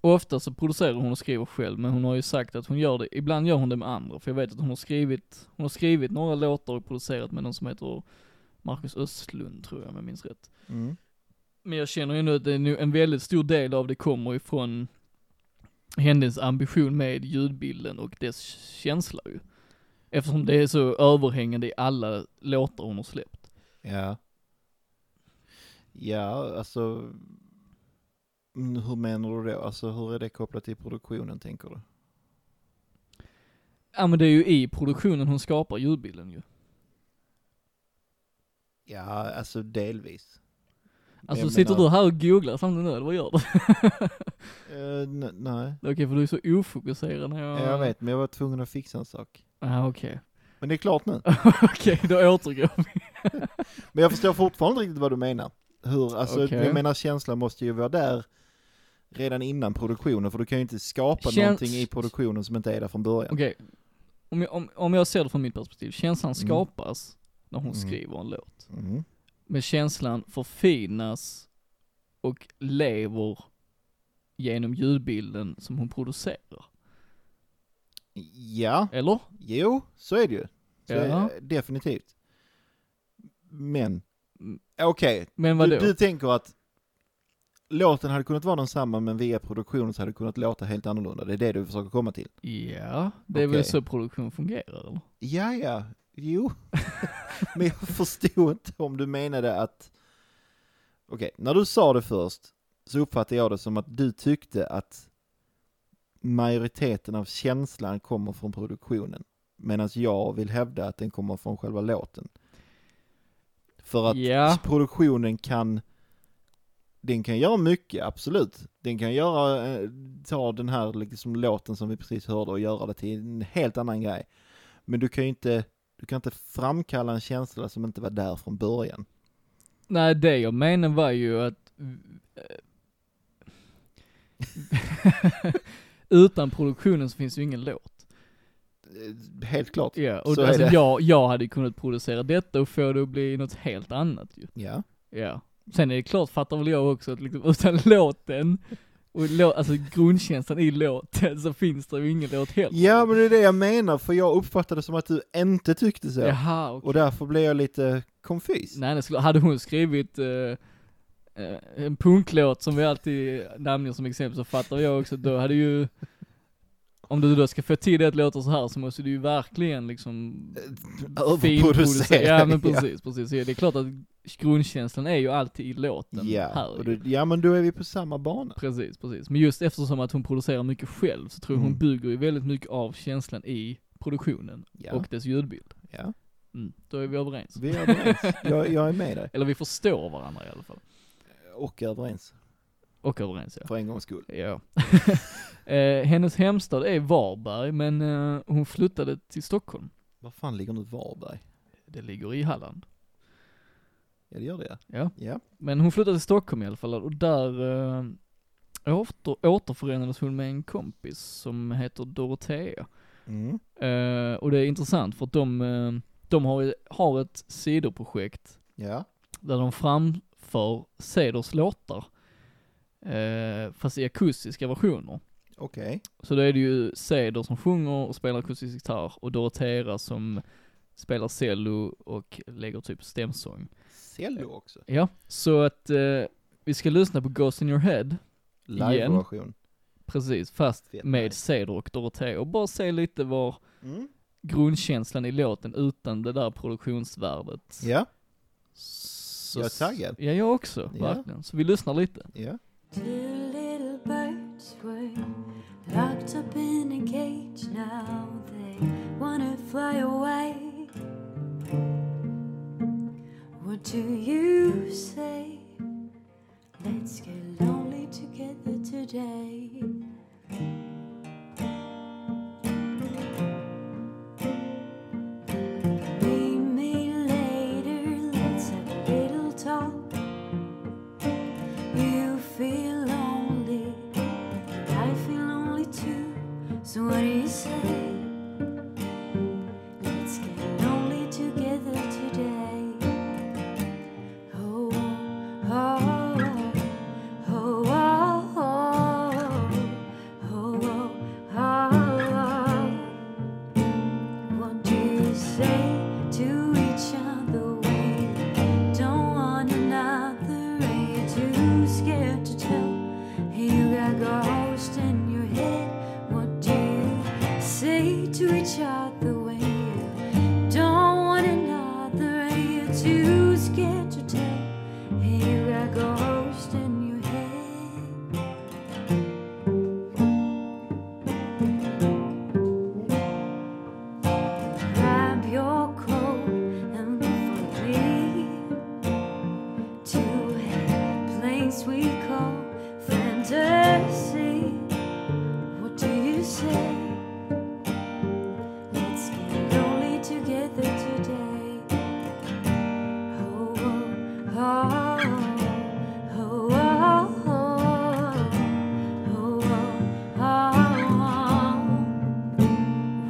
[SPEAKER 2] ofta så producerar hon och skriver själv, men hon har ju sagt att hon gör det, ibland gör hon det med andra, för jag vet att hon har skrivit, hon har skrivit några låtar och producerat med någon som heter Marcus Östlund tror jag om jag minns rätt.
[SPEAKER 1] Mm.
[SPEAKER 2] Men jag känner ju nu att det är nu en väldigt stor del av det kommer ifrån hennes ambition med ljudbilden och dess känsla ju. Eftersom det är så överhängande i alla låtar hon har släppt.
[SPEAKER 1] Ja. Ja, alltså mm, hur menar du då? Alltså hur är det kopplat till produktionen tänker du?
[SPEAKER 2] Ja men det är ju i produktionen hon skapar ljudbilden ju.
[SPEAKER 1] Ja, alltså delvis.
[SPEAKER 2] Alltså
[SPEAKER 1] Jag
[SPEAKER 2] sitter
[SPEAKER 1] menar-
[SPEAKER 2] du här och googlar samtidigt nu eller vad gör du?
[SPEAKER 1] Eh, n- nej,
[SPEAKER 2] Okej för du är så ofokuserad när jag...
[SPEAKER 1] jag vet, men jag var tvungen att fixa en sak.
[SPEAKER 2] Ah, okej.
[SPEAKER 1] Men det är klart nu.
[SPEAKER 2] okej, då återgår vi.
[SPEAKER 1] Men jag förstår fortfarande inte riktigt vad du menar. Hur, alltså,
[SPEAKER 2] Okej.
[SPEAKER 1] jag menar känslan måste ju vara där redan innan produktionen, för du kan ju inte skapa
[SPEAKER 2] Käns-
[SPEAKER 1] någonting i produktionen som inte är där från början.
[SPEAKER 2] Okej. Om, jag- om, om jag ser det från mitt perspektiv, känslan
[SPEAKER 1] Mm.
[SPEAKER 2] skapas när hon
[SPEAKER 1] Mm.
[SPEAKER 2] skriver en låt.
[SPEAKER 1] Mm.
[SPEAKER 2] Men känslan förfinas och lever genom ljudbilden som hon producerar.
[SPEAKER 1] Ja,
[SPEAKER 2] Eller?
[SPEAKER 1] jo, så är det ju. Så är,
[SPEAKER 2] Ja.
[SPEAKER 1] Definitivt. Men,
[SPEAKER 2] Mm.
[SPEAKER 1] okej,
[SPEAKER 2] Men vadå?
[SPEAKER 1] du, du tänker att låten hade kunnat vara densamma, men via produktionen så hade det kunnat låta helt annorlunda. Det är det du försöker komma till.
[SPEAKER 2] Ja, det är väl
[SPEAKER 1] Okej.
[SPEAKER 2] så produktion fungerar eller?
[SPEAKER 1] Ja, ja, jo. Men jag förstod inte om du menade att... Okej, när du sa det först så uppfattade jag det som att du tyckte att majoriteten av känslan kommer från produktionen. Medan jag vill hävda att den kommer från själva låten. För att
[SPEAKER 2] Ja.
[SPEAKER 1] produktionen kan, den kan göra mycket, absolut. Den kan göra, eh, ta den här liksom låten som vi precis hörde och göra det till en helt annan grej. Men du kan ju inte, du kan inte framkalla en känsla som inte var där från början.
[SPEAKER 2] Nej, det jag menade var ju att eh, utan produktionen så finns ju ingen låt.
[SPEAKER 1] Eh, Helt klart.
[SPEAKER 2] Ja, och
[SPEAKER 1] Så är
[SPEAKER 2] alltså,
[SPEAKER 1] det.
[SPEAKER 2] jag, jag hade kunnat producera detta och få det att bli något helt annat ju.
[SPEAKER 1] Ja.
[SPEAKER 2] Ja. Sen är det klart, fattar väl jag också, att liksom utan låten, och lå, alltså grundkänslan i låten, så finns det ju ingen låt heller.
[SPEAKER 1] Ja, men det är det jag menar, för jag uppfattade som att du inte tyckte så.
[SPEAKER 2] Jaha, okej.
[SPEAKER 1] Och därför blev jag lite confused.
[SPEAKER 2] Nej, det skulle, hade hon skrivit eh, eh, en punklåt som vi alltid namnger som exempel så fattar jag också, då hade ju om du då ska få till det att låta så här så måste du ju verkligen liksom finproducera. Ja men precis, precis. Ja, det är klart att grundkänslan är ju alltid i låten
[SPEAKER 1] Ja,
[SPEAKER 2] här.
[SPEAKER 1] och
[SPEAKER 2] ju.
[SPEAKER 1] du, ja, men då är vi på samma bana.
[SPEAKER 2] Precis, precis. Men just eftersom att hon producerar mycket själv så tror jag hon
[SPEAKER 1] Mm.
[SPEAKER 2] bygger ju väldigt mycket av känslan i produktionen
[SPEAKER 1] Ja,
[SPEAKER 2] och dess ljudbild.
[SPEAKER 1] ja.
[SPEAKER 2] Mm. Då är vi överens.
[SPEAKER 1] vi är överens. jag, jag är med dig.
[SPEAKER 2] Eller vi förstår varandra i alla fall.
[SPEAKER 1] Och överens,
[SPEAKER 2] Och överens ja.
[SPEAKER 1] för en gångs skull.
[SPEAKER 2] Ja. eh, hennes hemstad är Varberg, men eh, hon flyttade till Stockholm.
[SPEAKER 1] Var fan ligger nu Varberg?
[SPEAKER 2] Det ligger i Halland.
[SPEAKER 1] Ja, det gör det
[SPEAKER 2] Ja.
[SPEAKER 1] ja.
[SPEAKER 2] Men hon flyttade till Stockholm i alla fall och där eh, åter, återförenades hon med en kompis som heter Dorotea.
[SPEAKER 1] Mm.
[SPEAKER 2] Eh, och det är intressant för att de, eh, de har, ju- har ett sidoprojekt
[SPEAKER 1] Ja.
[SPEAKER 2] där de framför Ceders låtar. Eh, fast i akustiska versioner.
[SPEAKER 1] Okej.
[SPEAKER 2] Så då är det ju Ceder som sjunger och spelar akustisk gitarr och Dorotea som spelar cello och lägger typ stämsång.
[SPEAKER 1] Cello också.
[SPEAKER 2] Ja, så att eh, vi ska lyssna på Ghost in your head,
[SPEAKER 1] Live-version.
[SPEAKER 2] precis, fast
[SPEAKER 1] Fett
[SPEAKER 2] med
[SPEAKER 1] nice.
[SPEAKER 2] Ceder och Dorotea och bara se lite var
[SPEAKER 1] Mm.
[SPEAKER 2] grundkänslan i låten utan det där produktionsvärdet.
[SPEAKER 1] Ja,
[SPEAKER 2] Så,
[SPEAKER 1] Jag är taggad.
[SPEAKER 2] Ja, jag också,
[SPEAKER 1] Ja.
[SPEAKER 2] verkligen. Så vi lyssnar lite.
[SPEAKER 1] ja.
[SPEAKER 3] Two little birds were locked up in a cage. Now they wanna fly away. What do you say? Let's get lonely together today. Meet me later. Let's have a little talk. You feel lonely, I feel lonely too. So what do you say? Let's get lonely together today. Oh, oh, oh, oh, oh, oh, oh, oh, oh. What do you say to each other when don't want another and you're too scared to tell you got ghosts in your head what do you say to each other when you don't want another and you're too scared to tell you got ghosts in your head Grab your coat and follow me to a place we call fantasy. What do you say? Let's get lonely together today. Oh, oh, oh, oh, oh, oh, oh, oh, oh.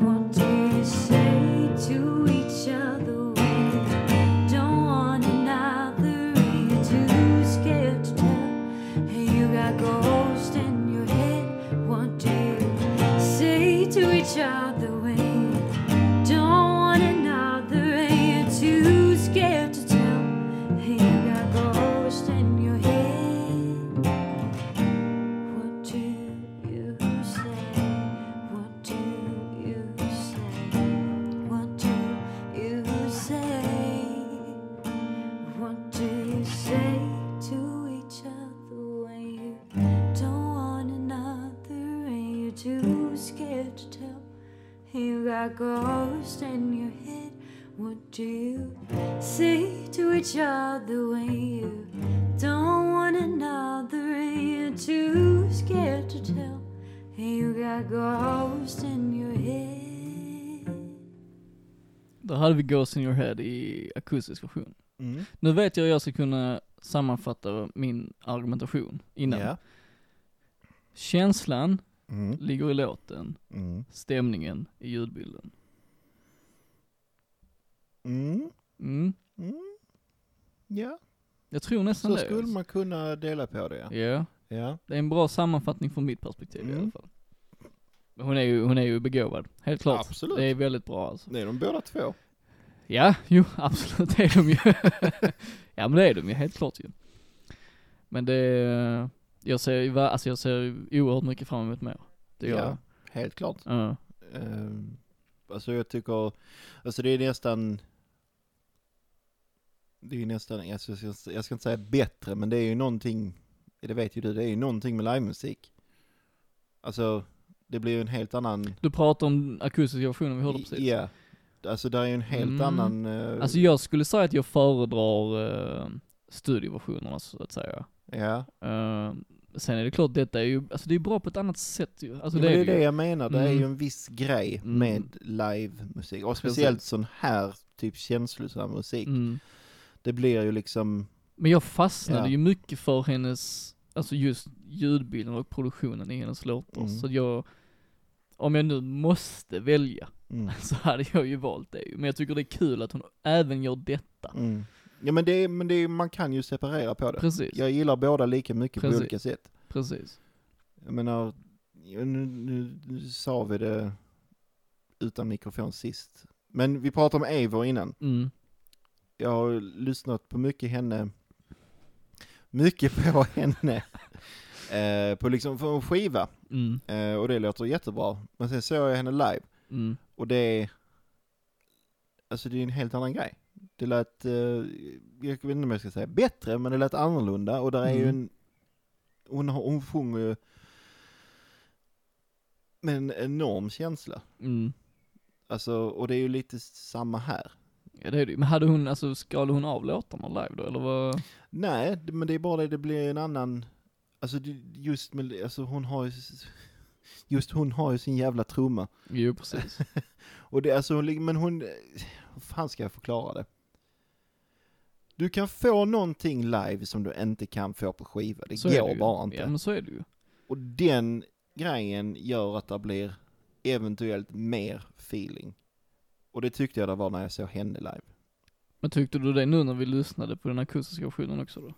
[SPEAKER 3] What do you say to each other when you don't want another? and You're too scared to tell. And you got ghosts in your head. What do you say to each other when you don't want another? And you're too scared to tell. And you got ghosts in your head. What do you say? What do you say? What do you say? What do you say to each other when you don't want another and you're too scared to tell? You got ghosts in your head. What do you say to each other when you don't want another and you're too scared to tell? You got ghosts in your head.
[SPEAKER 2] Där hade vi Ghost in your head i akustisk version.
[SPEAKER 1] Mm.
[SPEAKER 2] Nu vet jag hur jag ska kunna sammanfatta min argumentation innan.
[SPEAKER 1] Ja.
[SPEAKER 2] Känslan
[SPEAKER 1] Mm.
[SPEAKER 2] ligger i låten,
[SPEAKER 1] Mm.
[SPEAKER 2] stämningen i ljudbilden.
[SPEAKER 1] Mm.
[SPEAKER 2] Mm.
[SPEAKER 1] Mm. Ja,
[SPEAKER 2] Jag tror nästan
[SPEAKER 1] så
[SPEAKER 2] det.
[SPEAKER 1] skulle
[SPEAKER 2] alltså.
[SPEAKER 1] man kunna dela på det. Ja.
[SPEAKER 2] Ja,
[SPEAKER 1] ja.
[SPEAKER 2] det är en bra sammanfattning från mitt perspektiv i
[SPEAKER 1] Mm.
[SPEAKER 2] alla fall. Men hon är ju, hon är ju begåvad, helt klart.
[SPEAKER 1] Absolut.
[SPEAKER 2] Det är väldigt bra alltså.
[SPEAKER 1] Det är de båda två.
[SPEAKER 2] Ja, jo absolut det är de ju. ja men det är de ju, helt klart ju. Men det, är- jag ser, ju va- alltså jag ser ju oerhört mycket fram emot mer. Det gör jag.
[SPEAKER 1] Ja, helt klart.
[SPEAKER 2] Ja.
[SPEAKER 1] Eh, alltså jag tycker, alltså det är nästan, det är nästan, alltså jag, ska, jag ska inte säga bättre, men det är ju någonting, det vet ju du, det är ju någonting med livemusik. Alltså det blir ju en helt annan,
[SPEAKER 2] Du pratar om akustiska versionen vi hörde precis.
[SPEAKER 1] ja, alltså där är ju en helt
[SPEAKER 2] Mm.
[SPEAKER 1] annan, eh,
[SPEAKER 2] Alltså jag skulle säga att jag föredrar uh, studioversionerna så att säga.
[SPEAKER 1] ja.
[SPEAKER 2] Eh, sen är det klart, detta är ju, alltså det är bra på ett annat sätt ju. Alltså
[SPEAKER 1] ja, men
[SPEAKER 2] det är
[SPEAKER 1] det är
[SPEAKER 2] ju.
[SPEAKER 1] det jag menar, det är
[SPEAKER 2] Mm.
[SPEAKER 1] ju en viss grej
[SPEAKER 2] Mm.
[SPEAKER 1] med livemusik, och
[SPEAKER 2] Precis.
[SPEAKER 1] speciellt sån här typ känslosam musik.
[SPEAKER 2] Mm.
[SPEAKER 1] Det blir ju liksom,
[SPEAKER 2] Men jag fastnade
[SPEAKER 1] Ja.
[SPEAKER 2] ju mycket för hennes, alltså just ljudbilden och produktionen i hennes låtar.
[SPEAKER 1] Mm.
[SPEAKER 2] Så att jag, om jag nu måste välja,
[SPEAKER 1] mm.
[SPEAKER 2] så hade jag ju valt det ju. Men jag tycker det är kul att hon även gör detta.
[SPEAKER 1] Mm. Ja men, det är, men det är, man kan ju separera på det.
[SPEAKER 2] Precis,
[SPEAKER 1] Jag gillar båda lika mycket
[SPEAKER 2] Precis.
[SPEAKER 1] på olika sätt.
[SPEAKER 2] precis.
[SPEAKER 1] Jag menar, nu, nu, nu sa vi det utan mikrofon sist. Men vi pratade om Eivor innan.
[SPEAKER 2] Mm.
[SPEAKER 1] Jag har lyssnat på mycket henne, mycket på henne, eh, på liksom på en skiva.
[SPEAKER 2] Mm.
[SPEAKER 1] Eh, och det låter jättebra. Men sen såg jag henne live
[SPEAKER 2] Mm.
[SPEAKER 1] och det är, alltså det är en helt annan grej. Det lät, eh, jag vet inte om jag ska säga bättre, men det lät annorlunda och där är ju
[SPEAKER 2] Mm.
[SPEAKER 1] en, hon, har- hon sjunger ju med en enorm känsla.
[SPEAKER 2] Mm.
[SPEAKER 1] Alltså, och det är ju lite samma här.
[SPEAKER 2] Ja det är det ju. Men hade hon, alltså skalade hon av låtarna live då eller vad?
[SPEAKER 1] Nej, det- men det är bara det, det blir en annan, alltså det- just med, alltså hon har ju, s- just hon har ju sin jävla trumma.
[SPEAKER 2] Jo precis.
[SPEAKER 1] Och det, alltså, hon ligger- men hon, hur fan ska jag förklara det? Du kan få någonting live som du inte kan få på skiva, det
[SPEAKER 2] Så är
[SPEAKER 1] går
[SPEAKER 2] ju.
[SPEAKER 1] bara inte.
[SPEAKER 2] Ja men så är det ju.
[SPEAKER 1] Och den grejen gör att det blir eventuellt mer feeling. Och det tyckte jag det var när jag såg henne live.
[SPEAKER 2] Men tyckte du det nu när vi lyssnade på den akustiska versionen också då?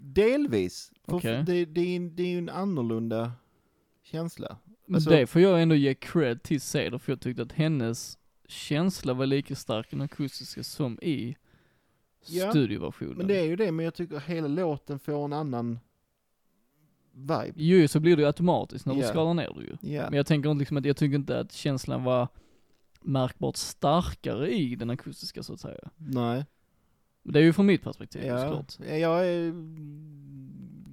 [SPEAKER 1] Delvis, för
[SPEAKER 2] Okej.
[SPEAKER 1] det, det, är, en- det är ju en annorlunda känsla.
[SPEAKER 2] Men
[SPEAKER 1] Alltså-
[SPEAKER 2] det får jag ändå ge cred till Ceder, för jag tyckte att hennes känsla var lika stark i den akustiska som i
[SPEAKER 1] Ja,
[SPEAKER 2] studioversionen.
[SPEAKER 1] Men det är ju det, men jag tycker hela låten får en annan vibe.
[SPEAKER 2] Jo, så blir det ju automatiskt när du
[SPEAKER 1] Ja.
[SPEAKER 2] skalar ner det ju.
[SPEAKER 1] Ja.
[SPEAKER 2] Men jag tänker liksom att jag tycker inte att känslan var märkbart starkare i den akustiska så att säga.
[SPEAKER 1] Nej.
[SPEAKER 2] Men det är ju från mitt perspektiv såklart.
[SPEAKER 1] ja, jag är,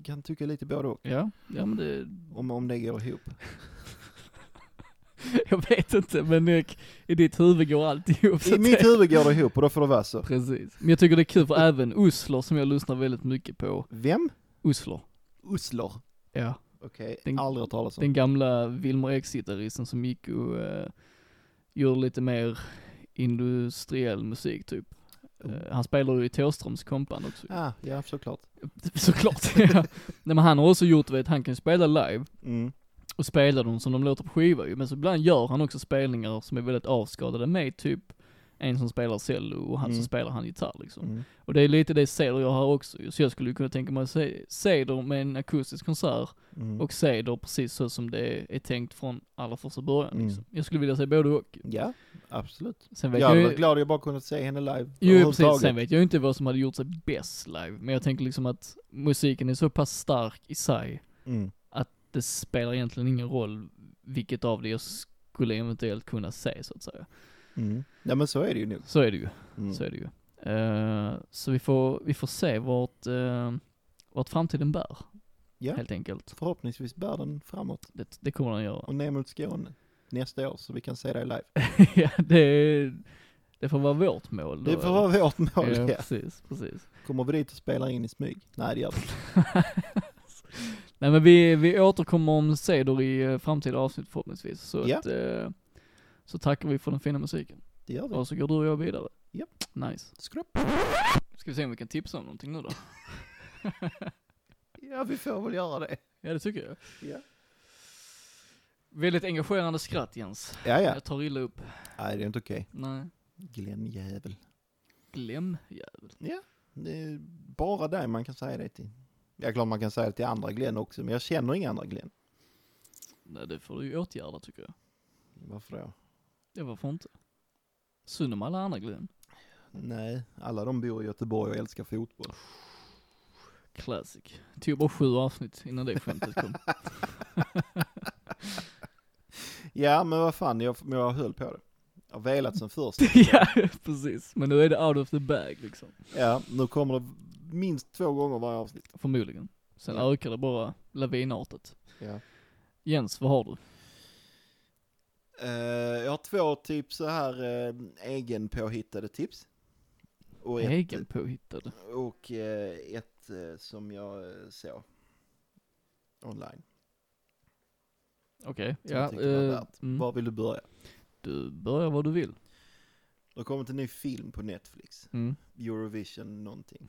[SPEAKER 1] kan tycka lite både och,
[SPEAKER 2] Ja, ja men det,
[SPEAKER 1] om, om det går ihop.
[SPEAKER 2] jag vet inte men eh, i ditt huvud går allt ihop. så
[SPEAKER 1] I
[SPEAKER 2] att
[SPEAKER 1] mitt
[SPEAKER 2] det-
[SPEAKER 1] huvud går det ihop och då får det vara så.
[SPEAKER 2] Precis. Men jag tycker det är kul för även Usslor som jag lyssnar väldigt mycket på,
[SPEAKER 1] Vem?
[SPEAKER 2] Usslor.
[SPEAKER 1] Usslor.
[SPEAKER 2] Ja.
[SPEAKER 1] Okej,
[SPEAKER 2] Den-
[SPEAKER 1] aldrig hört talas om.
[SPEAKER 2] Den gamla Wilmer X-gitarristen som gick och eh, gjorde lite mer industriell musik typ. Eh, han spelar ju i Thåströms kompband också.
[SPEAKER 1] Ah, Oh. ja, såklart.
[SPEAKER 2] Såklart. ja. Nej men han har också gjort, vet, han kan ju spela live
[SPEAKER 1] Mm.
[SPEAKER 2] och spela dem som de låter på skiva ju. Men så ibland gör han också spelningar som är väldigt avskalade med typ en som spelar cello och han
[SPEAKER 1] Mm.
[SPEAKER 2] som spelar han gitarr liksom.
[SPEAKER 1] Mm.
[SPEAKER 2] Och det är lite det Ceder jag har också ju. Så jag skulle ju kunna tänka mig att se Ceder med en akustisk konsert
[SPEAKER 1] Mm.
[SPEAKER 2] och se då precis så som det är tänkt från allra första början
[SPEAKER 1] Mm.
[SPEAKER 2] liksom. Jag skulle vilja se både och.
[SPEAKER 1] Ja, absolut.
[SPEAKER 2] Sen vet
[SPEAKER 1] Jag hade
[SPEAKER 2] jag
[SPEAKER 1] varit
[SPEAKER 2] ju,
[SPEAKER 1] glad om jag bara kunnat se henne live.
[SPEAKER 2] jo, precis,
[SPEAKER 1] överhuvudtaget.
[SPEAKER 2] sen vet jag ju inte vad som hade gjort sig bäst live, men jag tänker liksom att musiken är så pass stark i sig,
[SPEAKER 1] Mm.
[SPEAKER 2] det spelar egentligen ingen roll vilket av det jag skulle eventuellt kunna se så att säga.
[SPEAKER 1] Mm. Ja, men så är det ju nog.
[SPEAKER 2] Så är det ju,
[SPEAKER 1] Mm.
[SPEAKER 2] så är det ju. Eh, så vi får, vi får se vart, eh, vart framtiden bär,
[SPEAKER 1] Ja.
[SPEAKER 2] helt enkelt.
[SPEAKER 1] Förhoppningsvis bär den framåt
[SPEAKER 2] Det, det kommer den göra.
[SPEAKER 1] och ner mot Skåne nästa år så vi kan se dig live.
[SPEAKER 2] ja, det, det får vara vårt mål. då,
[SPEAKER 1] Det får
[SPEAKER 2] eller?
[SPEAKER 1] vara vårt mål.
[SPEAKER 2] Ja,
[SPEAKER 1] Ja.
[SPEAKER 2] precis, precis.
[SPEAKER 1] Kommer vi dit och spelar in i smyg? Nej, det gör vi inte.
[SPEAKER 2] Nej men vi, vi återkommer om Ceder i eh, framtida avsnitt förhoppningsvis. Så,
[SPEAKER 1] Ja.
[SPEAKER 2] att, eh, så tackar vi för den fina musiken.
[SPEAKER 1] Det gör vi.
[SPEAKER 2] Och så går du och jag vidare.
[SPEAKER 1] Japp.
[SPEAKER 2] Nice.
[SPEAKER 1] Skrupp.
[SPEAKER 2] Ska vi se om vi kan tipsa om någonting nu då?
[SPEAKER 1] Ja, vi får väl göra det.
[SPEAKER 2] ja, det tycker jag.
[SPEAKER 1] Ja.
[SPEAKER 2] Väldigt engagerande skratt Jens.
[SPEAKER 1] Ja, ja.
[SPEAKER 2] Jag tar illa upp.
[SPEAKER 1] Nej, det är inte okej.
[SPEAKER 2] Nej.
[SPEAKER 1] Glenn jävel.
[SPEAKER 2] Glöm jävel.
[SPEAKER 1] Det är bara dig man kan säga det till. Ja, klart man kan säga det till andra Glenn också, men jag känner inga andra Glenn.
[SPEAKER 2] Nej, det får du ju åtgärda tycker jag.
[SPEAKER 1] Varför då?
[SPEAKER 2] Ja, varför inte? Synd om alla andra Glenn.
[SPEAKER 1] Nej, alla de bor i Göteborg och älskar fotboll.
[SPEAKER 2] Classic. Det tog bara sju avsnitt innan det skämtet kom.
[SPEAKER 1] Ja, men vad fan, jag, men jag höll på det. Jag har velat sen först.
[SPEAKER 2] ja, precis. Men nu är det out of the bag liksom.
[SPEAKER 1] Ja, nu kommer det minst två gånger varje avsnitt.
[SPEAKER 2] Förmodligen. Sen
[SPEAKER 1] Ja.
[SPEAKER 2] ökar det bara lavinartat.
[SPEAKER 1] Ja.
[SPEAKER 2] Jens, vad har du?
[SPEAKER 1] Eh, jag har två typ så här eh, egenpåhittade tips. Och ett,
[SPEAKER 2] Egen påhittade.
[SPEAKER 1] och, eh, ett eh, som jag eh, såg online.
[SPEAKER 2] Okej,
[SPEAKER 1] Som jag
[SPEAKER 2] ja.
[SPEAKER 1] tycker var
[SPEAKER 2] eh,
[SPEAKER 1] värt.
[SPEAKER 2] mm.
[SPEAKER 1] Var vill du börja?
[SPEAKER 2] Du börjar var du vill.
[SPEAKER 1] Det har kommit en ny film på Netflix.
[SPEAKER 2] Mm.
[SPEAKER 1] Eurovision någonting.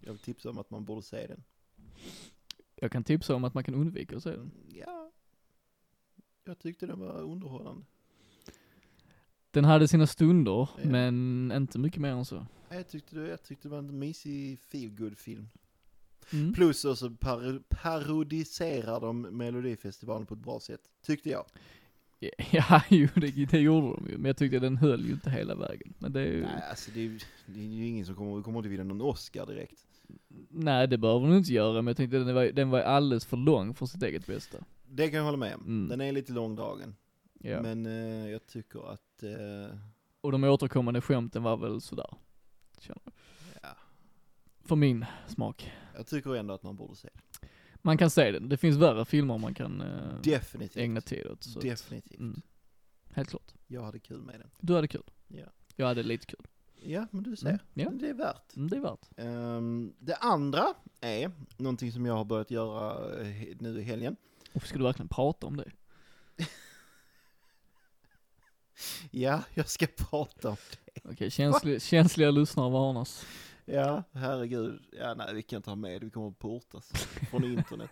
[SPEAKER 1] Jag vill tipsa om att man borde se den.
[SPEAKER 2] jag kan tipsa om att man kan undvika att se den.
[SPEAKER 1] Mm, Ja. Jag tyckte den var underhållande.
[SPEAKER 2] Den hade sina stunder,
[SPEAKER 1] Ja.
[SPEAKER 2] men inte mycket mer än så.
[SPEAKER 1] Jag tyckte, det- jag tyckte det var en mysig feel film
[SPEAKER 2] Mm.
[SPEAKER 1] Plus också paro- parodiserar de Melodifestivalen på ett bra sätt, tyckte jag.
[SPEAKER 2] Ja, jo, det, det gjorde de ju. Men jag tyckte den höll ju inte hela vägen. Men det är ju,
[SPEAKER 1] Nej, alltså det är, ju- det är ju ingen som kommer, vi kommer inte vinna någon Oscar direkt.
[SPEAKER 2] nej, det behöver den inte göra. Men jag tänkte den var, den var alldeles för lång för sitt eget bästa.
[SPEAKER 1] Det kan jag hålla med om.
[SPEAKER 2] Mm.
[SPEAKER 1] Den är lite långdragen.
[SPEAKER 2] Ja.
[SPEAKER 1] Men eh, jag tycker att, eh,
[SPEAKER 2] Och de återkommande skämten var väl sådär. känner jag.
[SPEAKER 1] ja,
[SPEAKER 2] För min smak.
[SPEAKER 1] jag tycker ändå att man borde se den.
[SPEAKER 2] Man kan se den. Det finns värre filmer man kan eh,
[SPEAKER 1] Definitivt.
[SPEAKER 2] ägna tid åt. Så att-
[SPEAKER 1] Definitivt.
[SPEAKER 2] Mm. Helt klart.
[SPEAKER 1] Jag hade kul med den.
[SPEAKER 2] Du hade kul.
[SPEAKER 1] Ja.
[SPEAKER 2] Jag hade lite kul.
[SPEAKER 1] Ja, men du ser.
[SPEAKER 2] Mm. Ja,
[SPEAKER 1] Det är värt.
[SPEAKER 2] mm, det är värt.
[SPEAKER 1] Ehm, det andra är någonting som jag har börjat göra eh, he- nu i helgen.
[SPEAKER 2] Och ska du verkligen prata om det?
[SPEAKER 1] Ja, jag ska prata om
[SPEAKER 2] Okej, känsliga, känsliga lyssnare varnas.
[SPEAKER 1] Ja, herregud. Ja, nej, vi kan inte ha med det. Vi kommer att portas från internet.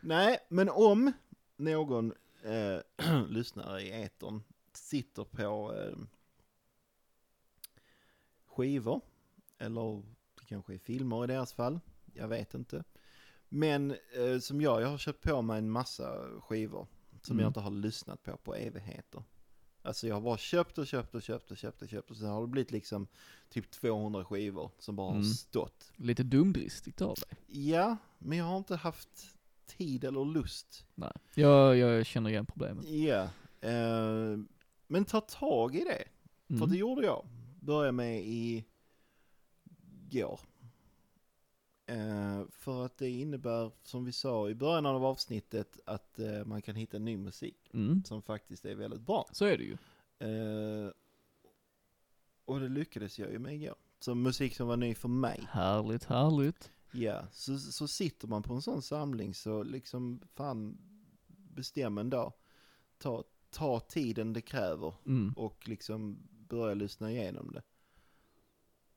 [SPEAKER 1] Nej, men om någon eh, lyssnare i etern sitter på eh, skivor, eller det kanske är filmer i deras fall, jag vet inte. Men eh, som jag, jag har köpt på mig en massa skivor som
[SPEAKER 2] Mm.
[SPEAKER 1] jag inte har lyssnat på på evigheter. Alltså jag har bara köpt och köpt och köpt och köpt och köpt och sen har det blivit liksom typ 200 skivor som bara
[SPEAKER 2] Mm.
[SPEAKER 1] har stått.
[SPEAKER 2] Lite dumdristigt av dig.
[SPEAKER 1] Ja, men jag har inte haft tid eller lust.
[SPEAKER 2] Nej, jag, jag känner igen problemet.
[SPEAKER 1] Ja, eh, men ta tag i det. För det
[SPEAKER 2] Mm.
[SPEAKER 1] gjorde jag. Började med i går. Eh, för att det innebär, som vi sa i början av avsnittet, att eh, man kan hitta ny musik
[SPEAKER 2] Mm.
[SPEAKER 1] som faktiskt är väldigt bra.
[SPEAKER 2] Så är det ju.
[SPEAKER 1] Eh, och det lyckades jag ju med igår. Så musik som var ny för mig.
[SPEAKER 2] Härligt, härligt.
[SPEAKER 1] Ja, så, så sitter man på en sån samling så liksom fan bestäm en dag. Ta, ta tiden det kräver
[SPEAKER 2] Mm.
[SPEAKER 1] och liksom börja lyssna igenom det.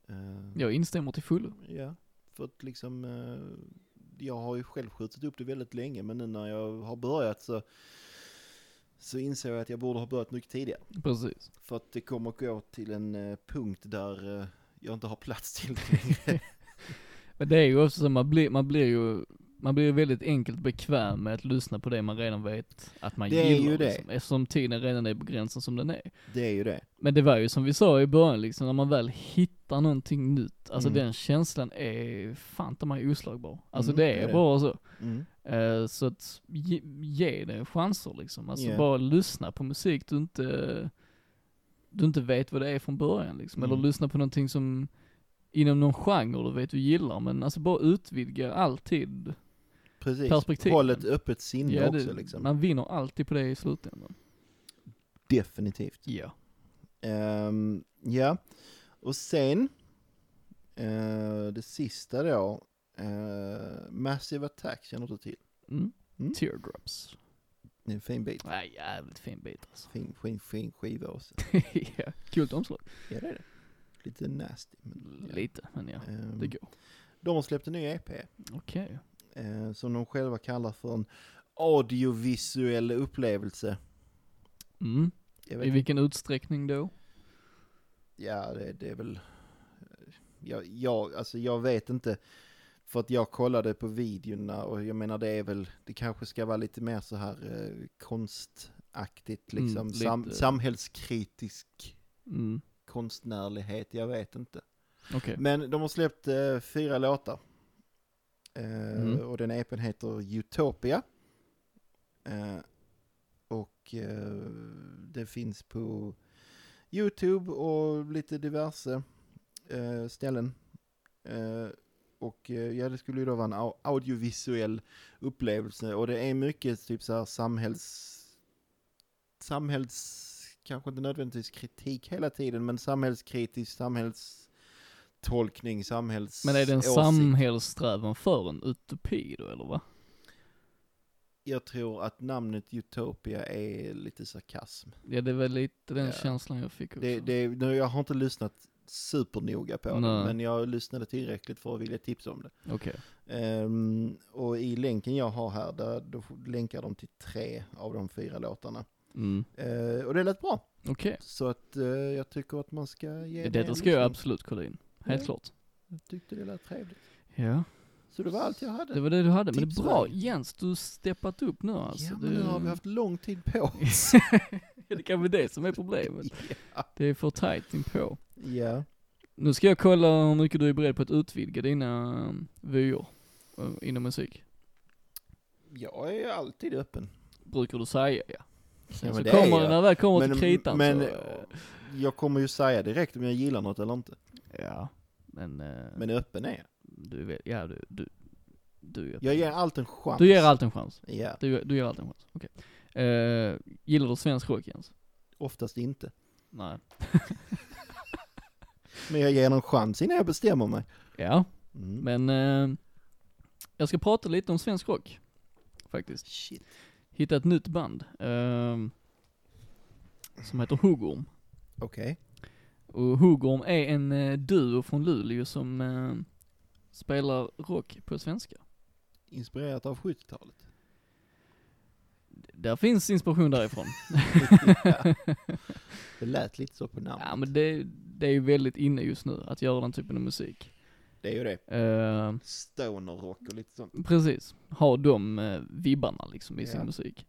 [SPEAKER 1] Eh,
[SPEAKER 2] Jag instämmer till fullo.
[SPEAKER 1] ja, för att liksom eh, jag har ju själv skjutit upp det väldigt länge men nu när jag har börjat så så insåg jag att jag borde ha börjat mycket tidigare.
[SPEAKER 2] Precis.
[SPEAKER 1] För att det kommer att gå till en eh, punkt där eh, jag inte har plats till det längre.
[SPEAKER 2] Men det är ju också så, man blir, man blir ju man blir ju väldigt enkelt bekväm med att lyssna på det man redan vet att man
[SPEAKER 1] Det är
[SPEAKER 2] gillar.
[SPEAKER 1] ju det.
[SPEAKER 2] Liksom, eftersom tiden redan är på gränsen som den är.
[SPEAKER 1] Det är ju det.
[SPEAKER 2] Men det var ju som vi sa i början liksom, när man väl hittar någonting nytt, alltså
[SPEAKER 1] Mm.
[SPEAKER 2] den känslan är fan ta mig oslagbar. Alltså
[SPEAKER 1] Mm,
[SPEAKER 2] det
[SPEAKER 1] det
[SPEAKER 2] är
[SPEAKER 1] är det.
[SPEAKER 2] bara så.
[SPEAKER 1] Mm.
[SPEAKER 2] Eh, så att ge, ge det chanser liksom. Alltså
[SPEAKER 1] Ja.
[SPEAKER 2] bara lyssna på musik du inte, du inte vet vad det är från början liksom.
[SPEAKER 1] Mm.
[SPEAKER 2] Eller lyssna på någonting som, inom någon genre du vet du gillar, men alltså bara utvidga alltid.
[SPEAKER 1] Precis,
[SPEAKER 2] Perspektiven.
[SPEAKER 1] håll ett öppet sinne
[SPEAKER 2] Ja, det,
[SPEAKER 1] också liksom.
[SPEAKER 2] Man vinner alltid på det i slutändan.
[SPEAKER 1] Definitivt.
[SPEAKER 2] Ja.
[SPEAKER 1] Ehm, ja, och sen eh, det sista då, eh, Massive Attack känner du till?
[SPEAKER 2] Mm.
[SPEAKER 1] Mm.
[SPEAKER 2] Teardrops.
[SPEAKER 1] Det är en fin bit.
[SPEAKER 2] Nej, jävligt fin bit alltså.
[SPEAKER 1] Fin, fin, fin skiva också.
[SPEAKER 2] ja, kul omslag.
[SPEAKER 1] Ja det är det. Lite nasty men... ja.
[SPEAKER 2] Lite, men ja.
[SPEAKER 1] Ehm,
[SPEAKER 2] Det går.
[SPEAKER 1] de har släppt en ny EP.
[SPEAKER 2] Okej.
[SPEAKER 1] eh, som de själva kallar för en audiovisuell upplevelse.
[SPEAKER 2] Mm.
[SPEAKER 1] Jag vet
[SPEAKER 2] I vilken utsträckning då?
[SPEAKER 1] Ja, det, det är väl... Jag, jag, alltså jag vet inte. För att jag kollade på videorna och jag menar det är väl, det kanske ska vara lite mer så här eh, konstaktigt
[SPEAKER 2] Mm,
[SPEAKER 1] liksom.
[SPEAKER 2] lite.
[SPEAKER 1] Sam, samhällskritisk
[SPEAKER 2] Mm.
[SPEAKER 1] konstnärlighet, jag vet inte.
[SPEAKER 2] Okej.
[SPEAKER 1] Men de har släppt eh, fyra låtar. Eh,
[SPEAKER 2] Mm.
[SPEAKER 1] Och den EPn heter Utopia. Eh, och eh, det finns på YouTube och lite diverse eh, ställen. Eh, och eh, ja, det skulle ju då vara en au- audiovisuell upplevelse och det är mycket typ så här samhälls... Samhälls... Kanske inte nödvändigtvis kritik hela tiden, men samhällskritisk, samhällstolkning, samhälls...
[SPEAKER 2] Men är det en
[SPEAKER 1] åsikt.
[SPEAKER 2] samhällssträvan för en utopi då, eller va?
[SPEAKER 1] Jag tror att namnet Utopia är lite sarkasm.
[SPEAKER 2] Ja, det var lite den
[SPEAKER 1] Ja.
[SPEAKER 2] känslan jag fick också.
[SPEAKER 1] Det, det, nu, jag har inte lyssnat supernoga på det,
[SPEAKER 2] Nej.
[SPEAKER 1] men jag lyssnade tillräckligt för att vilja tipsa om det.
[SPEAKER 2] Okej.
[SPEAKER 1] Ehm, och i länken jag har här, där, då länkar de till tre av de fyra låtarna.
[SPEAKER 2] Mm.
[SPEAKER 1] Eh, och det lät bra.
[SPEAKER 2] Okej.
[SPEAKER 1] Så att eh, jag tycker att man ska ge det
[SPEAKER 2] Detta
[SPEAKER 1] en
[SPEAKER 2] ska jag
[SPEAKER 1] lyssning.
[SPEAKER 2] absolut kolla in. Helt
[SPEAKER 1] Ja.
[SPEAKER 2] klart.
[SPEAKER 1] Jag tyckte det lät trevligt.
[SPEAKER 2] Ja.
[SPEAKER 1] Så det var allt jag hade.
[SPEAKER 2] Det var det du hade, men det
[SPEAKER 1] Tips
[SPEAKER 2] är bra.
[SPEAKER 1] väl.
[SPEAKER 2] Jens, du har steppat upp nu alltså.
[SPEAKER 1] ja,
[SPEAKER 2] du...
[SPEAKER 1] men nu har vi haft lång tid på oss.
[SPEAKER 2] Ja, det kan vara det som är problemet. Det är för tajt inpå.
[SPEAKER 1] ja.
[SPEAKER 2] Nu ska jag kolla hur mycket du är beredd på att utvidga dina um, vyer uh, inom musik.
[SPEAKER 1] Jag är alltid öppen.
[SPEAKER 2] Brukar du säga ja. Sen
[SPEAKER 1] Ja,
[SPEAKER 2] så
[SPEAKER 1] men det är
[SPEAKER 2] kommer det,
[SPEAKER 1] jag.
[SPEAKER 2] när det väl kommer
[SPEAKER 1] Men-
[SPEAKER 2] till kritan
[SPEAKER 1] men-
[SPEAKER 2] så, eh,
[SPEAKER 1] Jag kommer ju säga direkt om jag gillar något eller inte.
[SPEAKER 2] Ja, men, eh,
[SPEAKER 1] Men öppen är jag.
[SPEAKER 2] du vet, ja du, du, du,
[SPEAKER 1] Jag ger allt en chans.
[SPEAKER 2] du ger allt en chans.
[SPEAKER 1] Ja,
[SPEAKER 2] Du, du ger allt en chans, okej. Eh, gillar du svensk rock Jens?
[SPEAKER 1] oftast inte.
[SPEAKER 2] Nej.
[SPEAKER 1] Men jag ger någon chans innan jag bestämmer mig.
[SPEAKER 2] Ja,
[SPEAKER 1] Mm.
[SPEAKER 2] men eh, jag ska prata lite om svensk rock, faktiskt.
[SPEAKER 1] Shit.
[SPEAKER 2] hittade ett nytt band ehm, som heter Huggorm.
[SPEAKER 1] Okej.
[SPEAKER 2] Och Huggorm är en eh, duo från Luleå som eh, spelar rock på svenska.
[SPEAKER 1] Inspirerat av 70-talet.
[SPEAKER 2] D- Där finns inspiration därifrån.
[SPEAKER 1] Det lät lite så på namnet.
[SPEAKER 2] ja men det, det är ju väldigt inne just nu att göra den typen av musik.
[SPEAKER 1] Det är ju det.
[SPEAKER 2] Eh,
[SPEAKER 1] Stoner-rock och lite sånt.
[SPEAKER 2] precis, ha de eh, vibbarna liksom i sin
[SPEAKER 1] Ja.
[SPEAKER 2] musik.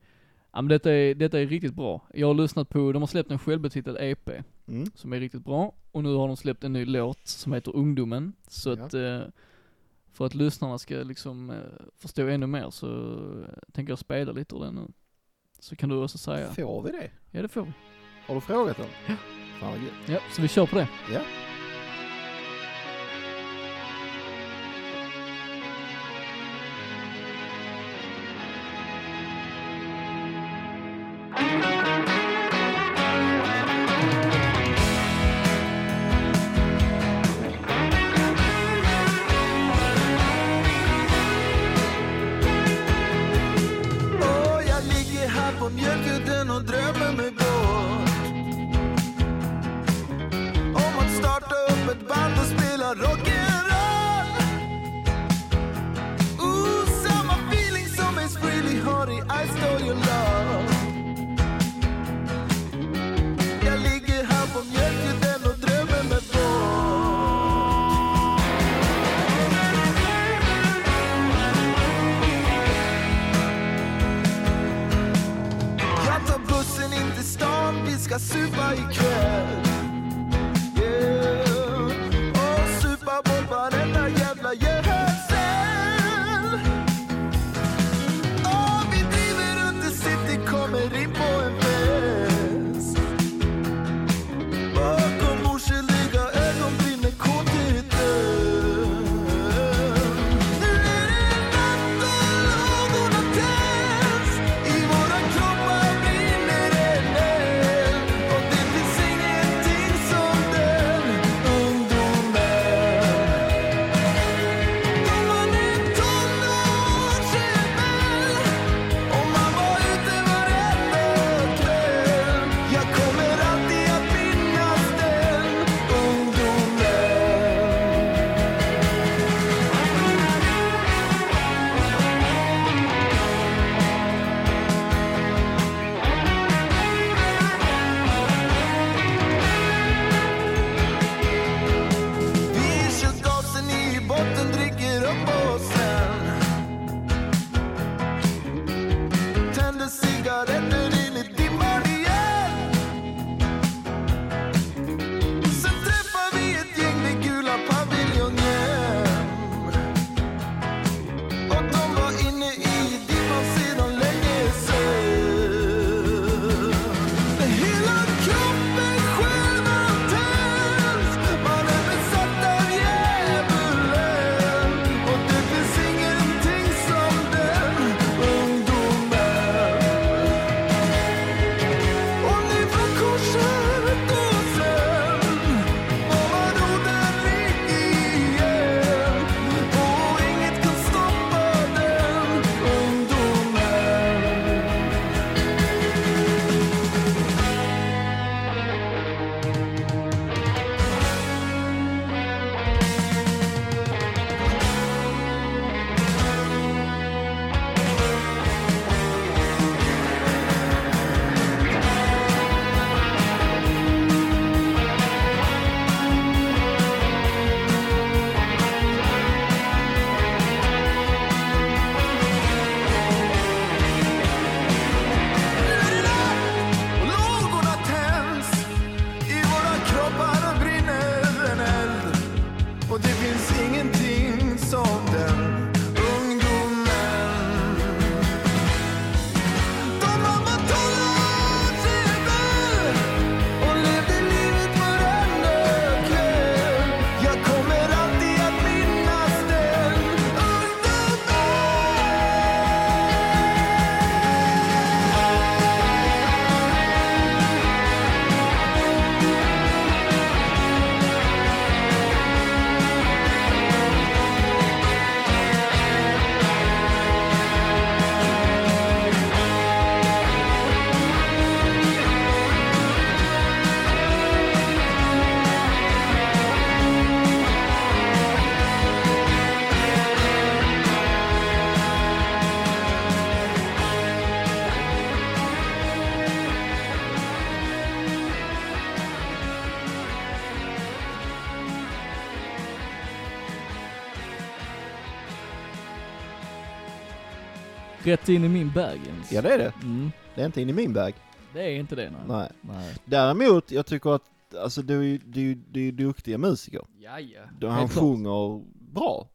[SPEAKER 2] Ja men detta är, detta är riktigt bra. Jag har lyssnat på, de har släppt en självbetitlad E EP.
[SPEAKER 1] Mm.
[SPEAKER 2] som är riktigt bra. Och nu har de släppt en ny låt som heter Ungdomen. Så
[SPEAKER 1] Ja.
[SPEAKER 2] att eh, för att lyssnarna ska liksom eh, förstå ännu mer så eh, tänker jag spela lite ur den nu. Så kan du också säga.
[SPEAKER 1] Får vi det?
[SPEAKER 2] Ja det får vi.
[SPEAKER 1] Har du frågat dem? Ja. Fan vad gött.
[SPEAKER 2] Ja, så vi kör på det.
[SPEAKER 1] Ja.
[SPEAKER 4] Åh, jag ligger här på mjölkudden och drömmer mig bort Om att starta upp ett band och spela rock'n'roll Ooh, samma feeling som Ace Frehley har i I Stole Your Love Jag ligger här på mjölkudden och drömmer mig bort Jag tar bussen in till stan, vi ska supa ikväll Yeah, och supa bort varenda jävla jävel Och vi driver runt i city, kommer in på en fest Bakom oskyldiga ögonbryn med kåtheten Nu är det natt och lågorna tänds I våra kroppar brinner en eld Och det finns finns ingenting som den ungdomen de mamma talade till väl och levde livet varenda kväll. Jag kommer alltid att minnas den
[SPEAKER 2] Rätt in i min bag Jens.
[SPEAKER 1] Ja det är det.
[SPEAKER 2] Mm.
[SPEAKER 1] Det är inte in i min bag.
[SPEAKER 2] Det är inte det nej.
[SPEAKER 1] Nej.
[SPEAKER 2] nej.
[SPEAKER 1] Däremot, jag tycker att, alltså du är ju du, du är ju duktiga musiker.
[SPEAKER 2] Ja, ja.
[SPEAKER 1] Då Han sjunger bra.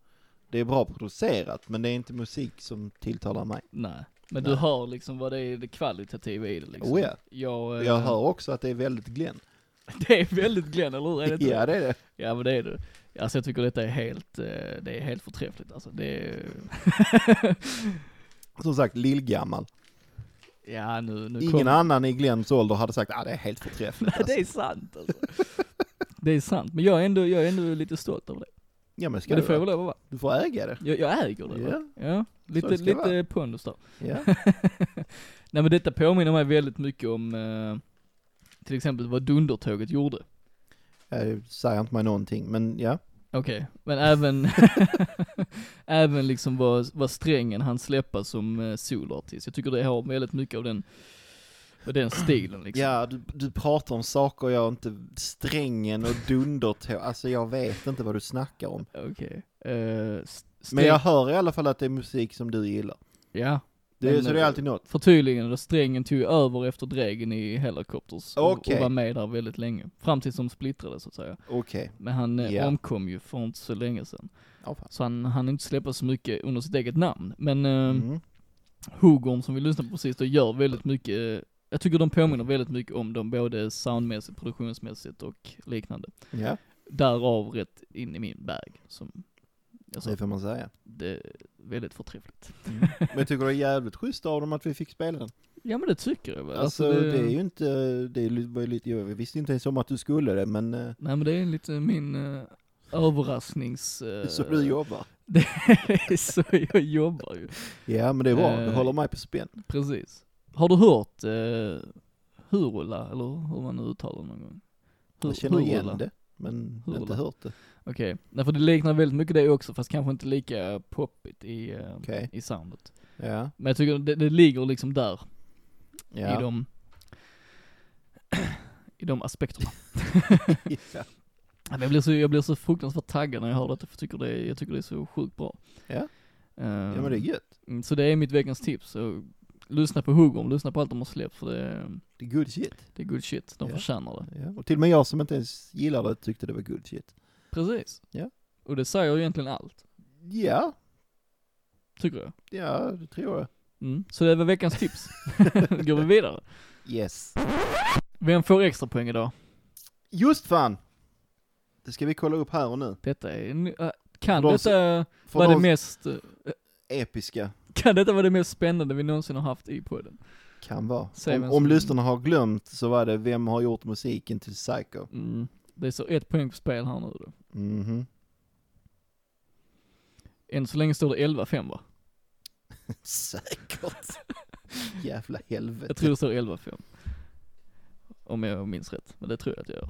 [SPEAKER 1] Det är bra producerat, men det är inte musik som tilltalar mig.
[SPEAKER 2] Nej. Men du
[SPEAKER 1] Nej.
[SPEAKER 2] hör liksom vad det är det kvalitativa i det liksom.
[SPEAKER 1] Oh, ja.
[SPEAKER 2] Jag, eh,
[SPEAKER 1] Jag hör också att det är väldigt Glenn.
[SPEAKER 2] Det är väldigt Glenn, eller hur? Är det inte
[SPEAKER 1] Ja, det är det.
[SPEAKER 2] Ja men det är det. Alltså jag tycker detta är helt, eh, det är helt förträffligt alltså. Det är,
[SPEAKER 1] Som sagt, lillgammal.
[SPEAKER 2] ja nu, nu
[SPEAKER 1] Ingen
[SPEAKER 2] kommer-
[SPEAKER 1] annan i Glenns ålder hade sagt att ah, det är helt förträffligt.
[SPEAKER 2] Nej, det
[SPEAKER 1] Alltså.
[SPEAKER 2] är sant alltså. Det är sant, men jag är ändå, jag är ändå lite stolt över det.
[SPEAKER 1] Ja, men ska
[SPEAKER 2] Men det får
[SPEAKER 1] du,
[SPEAKER 2] jag
[SPEAKER 1] väl...
[SPEAKER 2] väl lov att vara.
[SPEAKER 1] du får äga det.
[SPEAKER 2] Jag, jag äger det. va? Ja, lite,
[SPEAKER 1] det ska
[SPEAKER 2] lite
[SPEAKER 1] vara.
[SPEAKER 2] pondus där.
[SPEAKER 1] Ja.
[SPEAKER 2] Nej men detta påminner mig väldigt mycket om eh, till exempel vad Dundertåget gjorde.
[SPEAKER 1] Ja. Det säger inte mig någonting, men ja.
[SPEAKER 2] Okej, men även, även liksom vad, vad strängen han släppa som eh, solartist. Jag tycker det har väldigt mycket av den, av den stilen liksom.
[SPEAKER 1] Ja, du, du pratar om saker jag inte, strängen och dundertå, alltså jag vet inte vad du snackar om.
[SPEAKER 2] Okej. Eh, s-
[SPEAKER 1] Men
[SPEAKER 2] sträng-
[SPEAKER 1] jag hör i alla fall att det är musik som du gillar.
[SPEAKER 2] Ja.
[SPEAKER 1] Det,
[SPEAKER 2] Men,
[SPEAKER 1] så det är
[SPEAKER 2] eh,
[SPEAKER 1] alltid något.
[SPEAKER 2] Förtydligande då strängen tog ju över efter Dregen i Helicopters och,
[SPEAKER 1] Okej.
[SPEAKER 2] och var med där väldigt länge. Fram tills de splittrade så att säga.
[SPEAKER 1] Okej.
[SPEAKER 2] Men han eh,
[SPEAKER 1] Ja.
[SPEAKER 2] omkom ju för inte så länge sedan.
[SPEAKER 1] Ja, fan.
[SPEAKER 2] Så han hann inte släppa så mycket under sitt eget namn. Men eh,
[SPEAKER 1] Mm.
[SPEAKER 2] Hugorn som vi lyssnade på precis då gör väldigt mycket, eh, jag tycker de påminner väldigt mycket om dem både soundmässigt, produktionsmässigt och liknande.
[SPEAKER 1] Ja,
[SPEAKER 2] Därav rätt in i min bag som, jag sa,
[SPEAKER 1] det får man säga.
[SPEAKER 2] det är väldigt förträffligt.
[SPEAKER 1] Men jag tycker det är jävligt schysst av dem att vi fick spela den.
[SPEAKER 2] Ja men det tycker jag väl.
[SPEAKER 1] Alltså, det är ju inte, det är li- var ju lite, jag visste inte ens om att du skulle det, men eh,
[SPEAKER 2] Nej men det är lite min eh, överrasknings... eh,
[SPEAKER 1] så du jobbar.
[SPEAKER 2] Det är så jag jobbar ju.
[SPEAKER 1] Ja, men det är bra, du
[SPEAKER 2] Eh,
[SPEAKER 1] håller mig på spänn.
[SPEAKER 2] Precis. Har du hört eh, Hurula, eller hur man nu uttalar det någon gång? Hur-
[SPEAKER 1] Jag känner
[SPEAKER 2] Hurula.
[SPEAKER 1] igen det, men
[SPEAKER 2] Hurula.
[SPEAKER 1] inte hört det.
[SPEAKER 2] Okej, okay. för det liknar väldigt mycket det också fast kanske inte lika poppigt i, eh,
[SPEAKER 1] Okej,
[SPEAKER 2] i soundet.
[SPEAKER 1] ja.
[SPEAKER 2] Men jag tycker det, det ligger liksom där i
[SPEAKER 1] Ja.
[SPEAKER 2] de i de aspekterna.
[SPEAKER 1] ja.
[SPEAKER 2] Men Jag blir, så, jag blir så fruktansvärt taggad när jag hör detta för jag tycker det, är- jag tycker det är så sjukt bra.
[SPEAKER 1] Ja.
[SPEAKER 2] Eh,
[SPEAKER 1] ja, men det är gött.
[SPEAKER 2] mm, Så det är mitt veckans tips. Så lyssna på Hugom, lyssna på allt de har släppt för det,
[SPEAKER 1] Det är good shit.
[SPEAKER 2] det är good shit. De
[SPEAKER 1] Ja.
[SPEAKER 2] förtjänar det.
[SPEAKER 1] Ja. Och till och med jag som inte ens gillar det tyckte det var good shit.
[SPEAKER 2] Precis.
[SPEAKER 1] Ja.
[SPEAKER 2] Och det säger ju egentligen allt,
[SPEAKER 1] Ja,
[SPEAKER 2] tycker jag.
[SPEAKER 1] ja, det tror jag.
[SPEAKER 2] Mm. Så det var veckans tips. Går vi vidare.
[SPEAKER 1] Yes.
[SPEAKER 2] Vem får extra poäng idag?
[SPEAKER 1] Just fan! Det ska vi kolla upp här och nu.
[SPEAKER 2] Detta är, en- äh, kan
[SPEAKER 1] De som-
[SPEAKER 2] detta
[SPEAKER 1] För
[SPEAKER 2] vara det
[SPEAKER 1] de
[SPEAKER 2] mest, äh,
[SPEAKER 1] episka
[SPEAKER 2] kan detta vara det mest spännande vi någonsin har haft i podden?
[SPEAKER 1] kan vara.
[SPEAKER 2] Säg
[SPEAKER 1] om
[SPEAKER 2] vem
[SPEAKER 1] om
[SPEAKER 2] som-
[SPEAKER 1] lyssnarna har glömt så var det Vem har gjort musiken till Psycho?
[SPEAKER 2] Mm. Det är så ett poäng på spel här nu då.
[SPEAKER 1] Mhm.
[SPEAKER 2] Än så länge står det 11-5 va?
[SPEAKER 1] Säkert. Jävla helvete.
[SPEAKER 2] Jag tror det står 11-5. Om jag minns rätt, men det tror jag att jag gör.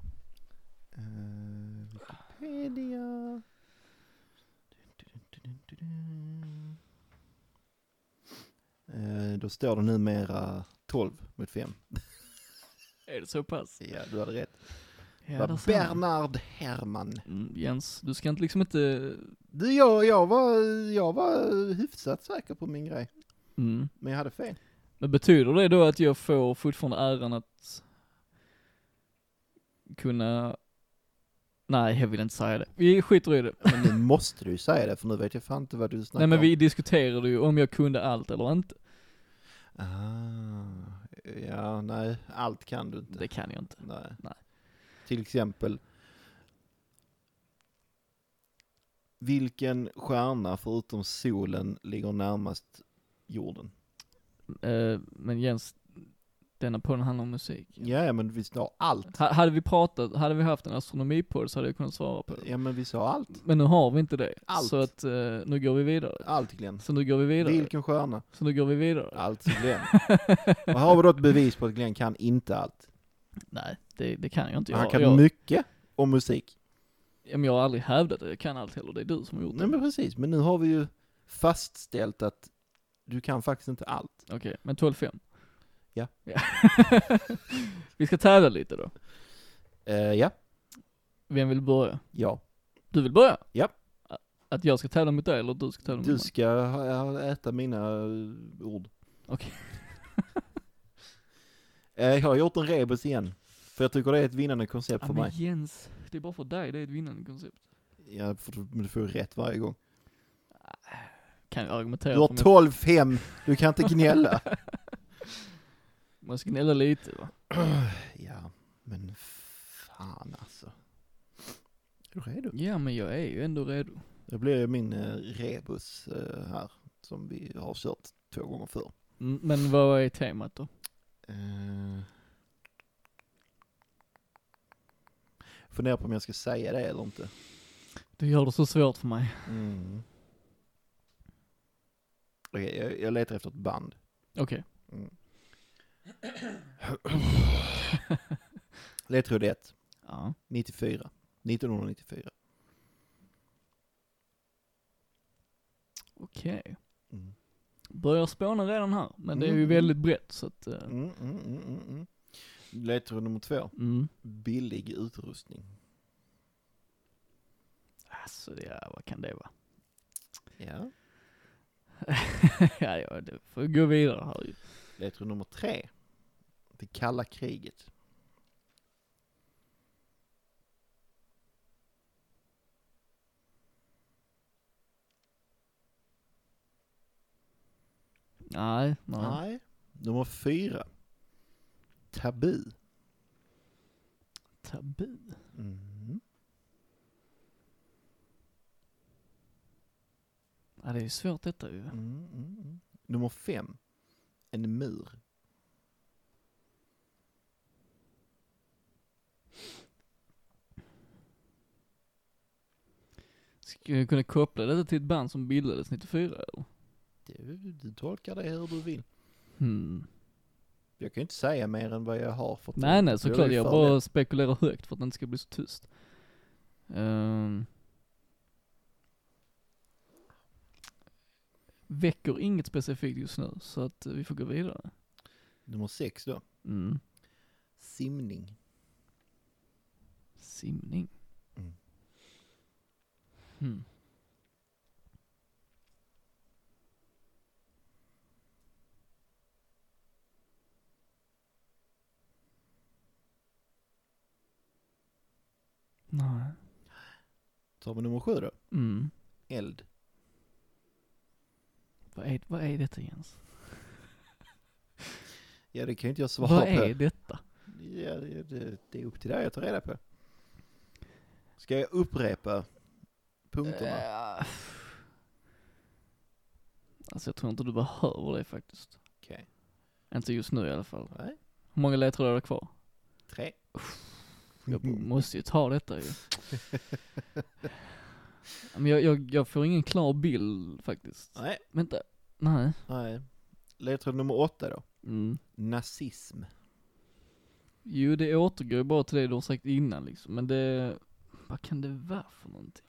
[SPEAKER 1] Eh, Wikipedia. Eh, Då står det numera 12 mot 5.
[SPEAKER 2] Är det så pass?
[SPEAKER 1] Ja, du hade rätt.
[SPEAKER 2] Ja,
[SPEAKER 1] Det
[SPEAKER 2] där
[SPEAKER 1] var
[SPEAKER 2] ser man.
[SPEAKER 1] Bernard Herrmann.
[SPEAKER 2] Mm, Jens, du ska inte liksom inte,
[SPEAKER 1] Du, jag, jag, var, jag var hyfsat säker på min grej,
[SPEAKER 2] mm.
[SPEAKER 1] men jag hade fel.
[SPEAKER 2] Men betyder det då att jag får fortfarande äran att kunna Nej, jag vill inte säga det. Vi skiter i det.
[SPEAKER 1] Men nu måste du ju säga det, för nu vet jag fan inte vad du snackar
[SPEAKER 2] Nej men
[SPEAKER 1] om.
[SPEAKER 2] vi diskuterade ju om jag kunde allt eller inte.
[SPEAKER 1] Ah, ja, nej, allt kan du inte.
[SPEAKER 2] Det kan jag inte.
[SPEAKER 1] Nej.
[SPEAKER 2] Nej.
[SPEAKER 1] Till exempel, vilken stjärna förutom solen ligger närmast jorden?
[SPEAKER 2] Eh, men Jens, denna podden handlar om musik.
[SPEAKER 1] Ja, ja men vi sa allt.
[SPEAKER 2] Ha- Hade vi pratat, hade vi haft en astronomipodd så hade jag kunnat svara på det.
[SPEAKER 1] Ja, men vi sa allt.
[SPEAKER 2] Men nu har vi inte det.
[SPEAKER 1] Allt.
[SPEAKER 2] Så att eh, nu går vi vidare.
[SPEAKER 1] Allt Glenn.
[SPEAKER 2] Så nu går vi vidare.
[SPEAKER 1] Vilken stjärna?
[SPEAKER 2] Så nu går vi vidare.
[SPEAKER 1] Allt Glenn. Och här har vi då ett bevis på att Glenn kan inte allt.
[SPEAKER 2] Nej, det, det kan jag inte. Jag,
[SPEAKER 1] Han kan
[SPEAKER 2] jag,
[SPEAKER 1] mycket om musik.
[SPEAKER 2] ja, men jag har aldrig hävdat det. Jag kan allt heller. Det är du som har gjort
[SPEAKER 1] Nej
[SPEAKER 2] det.
[SPEAKER 1] men precis, men nu har vi ju fastställt att du kan faktiskt inte allt.
[SPEAKER 2] Okej, men 12-5.
[SPEAKER 1] Ja.
[SPEAKER 2] vi ska tävla lite då.
[SPEAKER 1] Eh, ja,
[SPEAKER 2] Vem vill börja?
[SPEAKER 1] ja.
[SPEAKER 2] Du vill börja?
[SPEAKER 1] Ja.
[SPEAKER 2] Att jag ska tävla mot dig eller att du ska tävla mot
[SPEAKER 1] Du
[SPEAKER 2] mig?
[SPEAKER 1] ska ha- ha- äta mina eh, ord.
[SPEAKER 2] Okej.
[SPEAKER 1] Eh, jag har gjort en rebus igen. För jag tycker det är ett vinnande koncept
[SPEAKER 2] Ja,
[SPEAKER 1] för
[SPEAKER 2] men
[SPEAKER 1] mig.
[SPEAKER 2] Jens, det är bara för dig. Det är ett vinnande koncept.
[SPEAKER 1] Ja, för, du- men du får ju rätt varje gång.
[SPEAKER 2] Kan jag argumentera
[SPEAKER 1] Du har
[SPEAKER 2] för
[SPEAKER 1] 12-5, du kan inte gnälla.
[SPEAKER 2] min... Man ska gnälla lite va?
[SPEAKER 1] ja, men fan alltså. Är du redo?
[SPEAKER 2] Ja men jag är ju ändå redo.
[SPEAKER 1] Det blir ju min eh, rebus eh, här, som vi har kört två gånger förr.
[SPEAKER 2] Mm, Men vad är temat då?
[SPEAKER 1] Eh. Funderar på om jag ska säga det eller inte.
[SPEAKER 2] Du gör det så svårt för mig.
[SPEAKER 1] Mm. Okej, jag, jag letar efter ett band.
[SPEAKER 2] Okej.
[SPEAKER 1] Ledtråd 1,
[SPEAKER 2] Ja.
[SPEAKER 1] 94. 1994.
[SPEAKER 2] Okej.
[SPEAKER 1] Mm.
[SPEAKER 2] Börjar spåna redan här. Men det är ju
[SPEAKER 1] Mm.
[SPEAKER 2] väldigt brett så att... eh,
[SPEAKER 1] Mm, mm, mm, mm, mm. Ledtråd nummer två,
[SPEAKER 2] Mm.
[SPEAKER 1] billig utrustning.
[SPEAKER 2] Alltså ja, vad kan det vara?
[SPEAKER 1] Ja.
[SPEAKER 2] ja, ja, det får vi gå vidare här ju.
[SPEAKER 1] Ledtråd nummer tre, det kalla kriget.
[SPEAKER 2] Nej, nej.
[SPEAKER 1] Nej. Nummer fyra, tabu.
[SPEAKER 2] Tabu.
[SPEAKER 1] Mm.
[SPEAKER 2] Ja, det är ju svårt detta ju.
[SPEAKER 1] Mm, mm, mm. Nummer fem, en mur.
[SPEAKER 2] Skulle jag kunna koppla detta till ett band som bildades 94 eller?
[SPEAKER 1] Du, du tolkar det hur du vill.
[SPEAKER 2] Hmm.
[SPEAKER 1] Jag kan ju inte säga mer än vad jag har fått.
[SPEAKER 2] Nej nej
[SPEAKER 1] Det är
[SPEAKER 2] såklart,
[SPEAKER 1] ju
[SPEAKER 2] jag
[SPEAKER 1] för
[SPEAKER 2] bara
[SPEAKER 1] lätt.
[SPEAKER 2] spekulerar högt för att det inte ska bli så tyst. Um, väcker inget specifikt just nu, så att eh, vi får gå vidare.
[SPEAKER 1] Nummer sex då.
[SPEAKER 2] Mm.
[SPEAKER 1] Simning.
[SPEAKER 2] Simning.
[SPEAKER 1] Mm.
[SPEAKER 2] Hmm. Nej.
[SPEAKER 1] Tar vi nummer sju då.
[SPEAKER 2] Mm.
[SPEAKER 1] Eld.
[SPEAKER 2] Vad är, vad är detta Jens?
[SPEAKER 1] Ja det kan ju inte jag svara
[SPEAKER 2] Vad
[SPEAKER 1] på.
[SPEAKER 2] är detta?
[SPEAKER 1] Ja, det, det, det är upp till dig att ta reda på. Ska jag upprepa punkterna?
[SPEAKER 2] Eh, Alltså jag tror inte du behöver det faktiskt.
[SPEAKER 1] Okej.
[SPEAKER 2] Inte just nu i alla fall.
[SPEAKER 1] Nej.
[SPEAKER 2] Hur många ledtrådar är det kvar?
[SPEAKER 1] Tre.
[SPEAKER 2] Jag
[SPEAKER 1] Mm.
[SPEAKER 2] måste ju ta detta ju. Men jag, jag, jag får ingen klar bild faktiskt.
[SPEAKER 1] Nej.
[SPEAKER 2] Vänta, nej.
[SPEAKER 1] Nej. Ledtråd nummer åtta då.
[SPEAKER 2] Mm.
[SPEAKER 1] Nazism.
[SPEAKER 2] Jo det återgår ju bara till det du har sagt innan liksom, men det, vad kan det vara för någonting?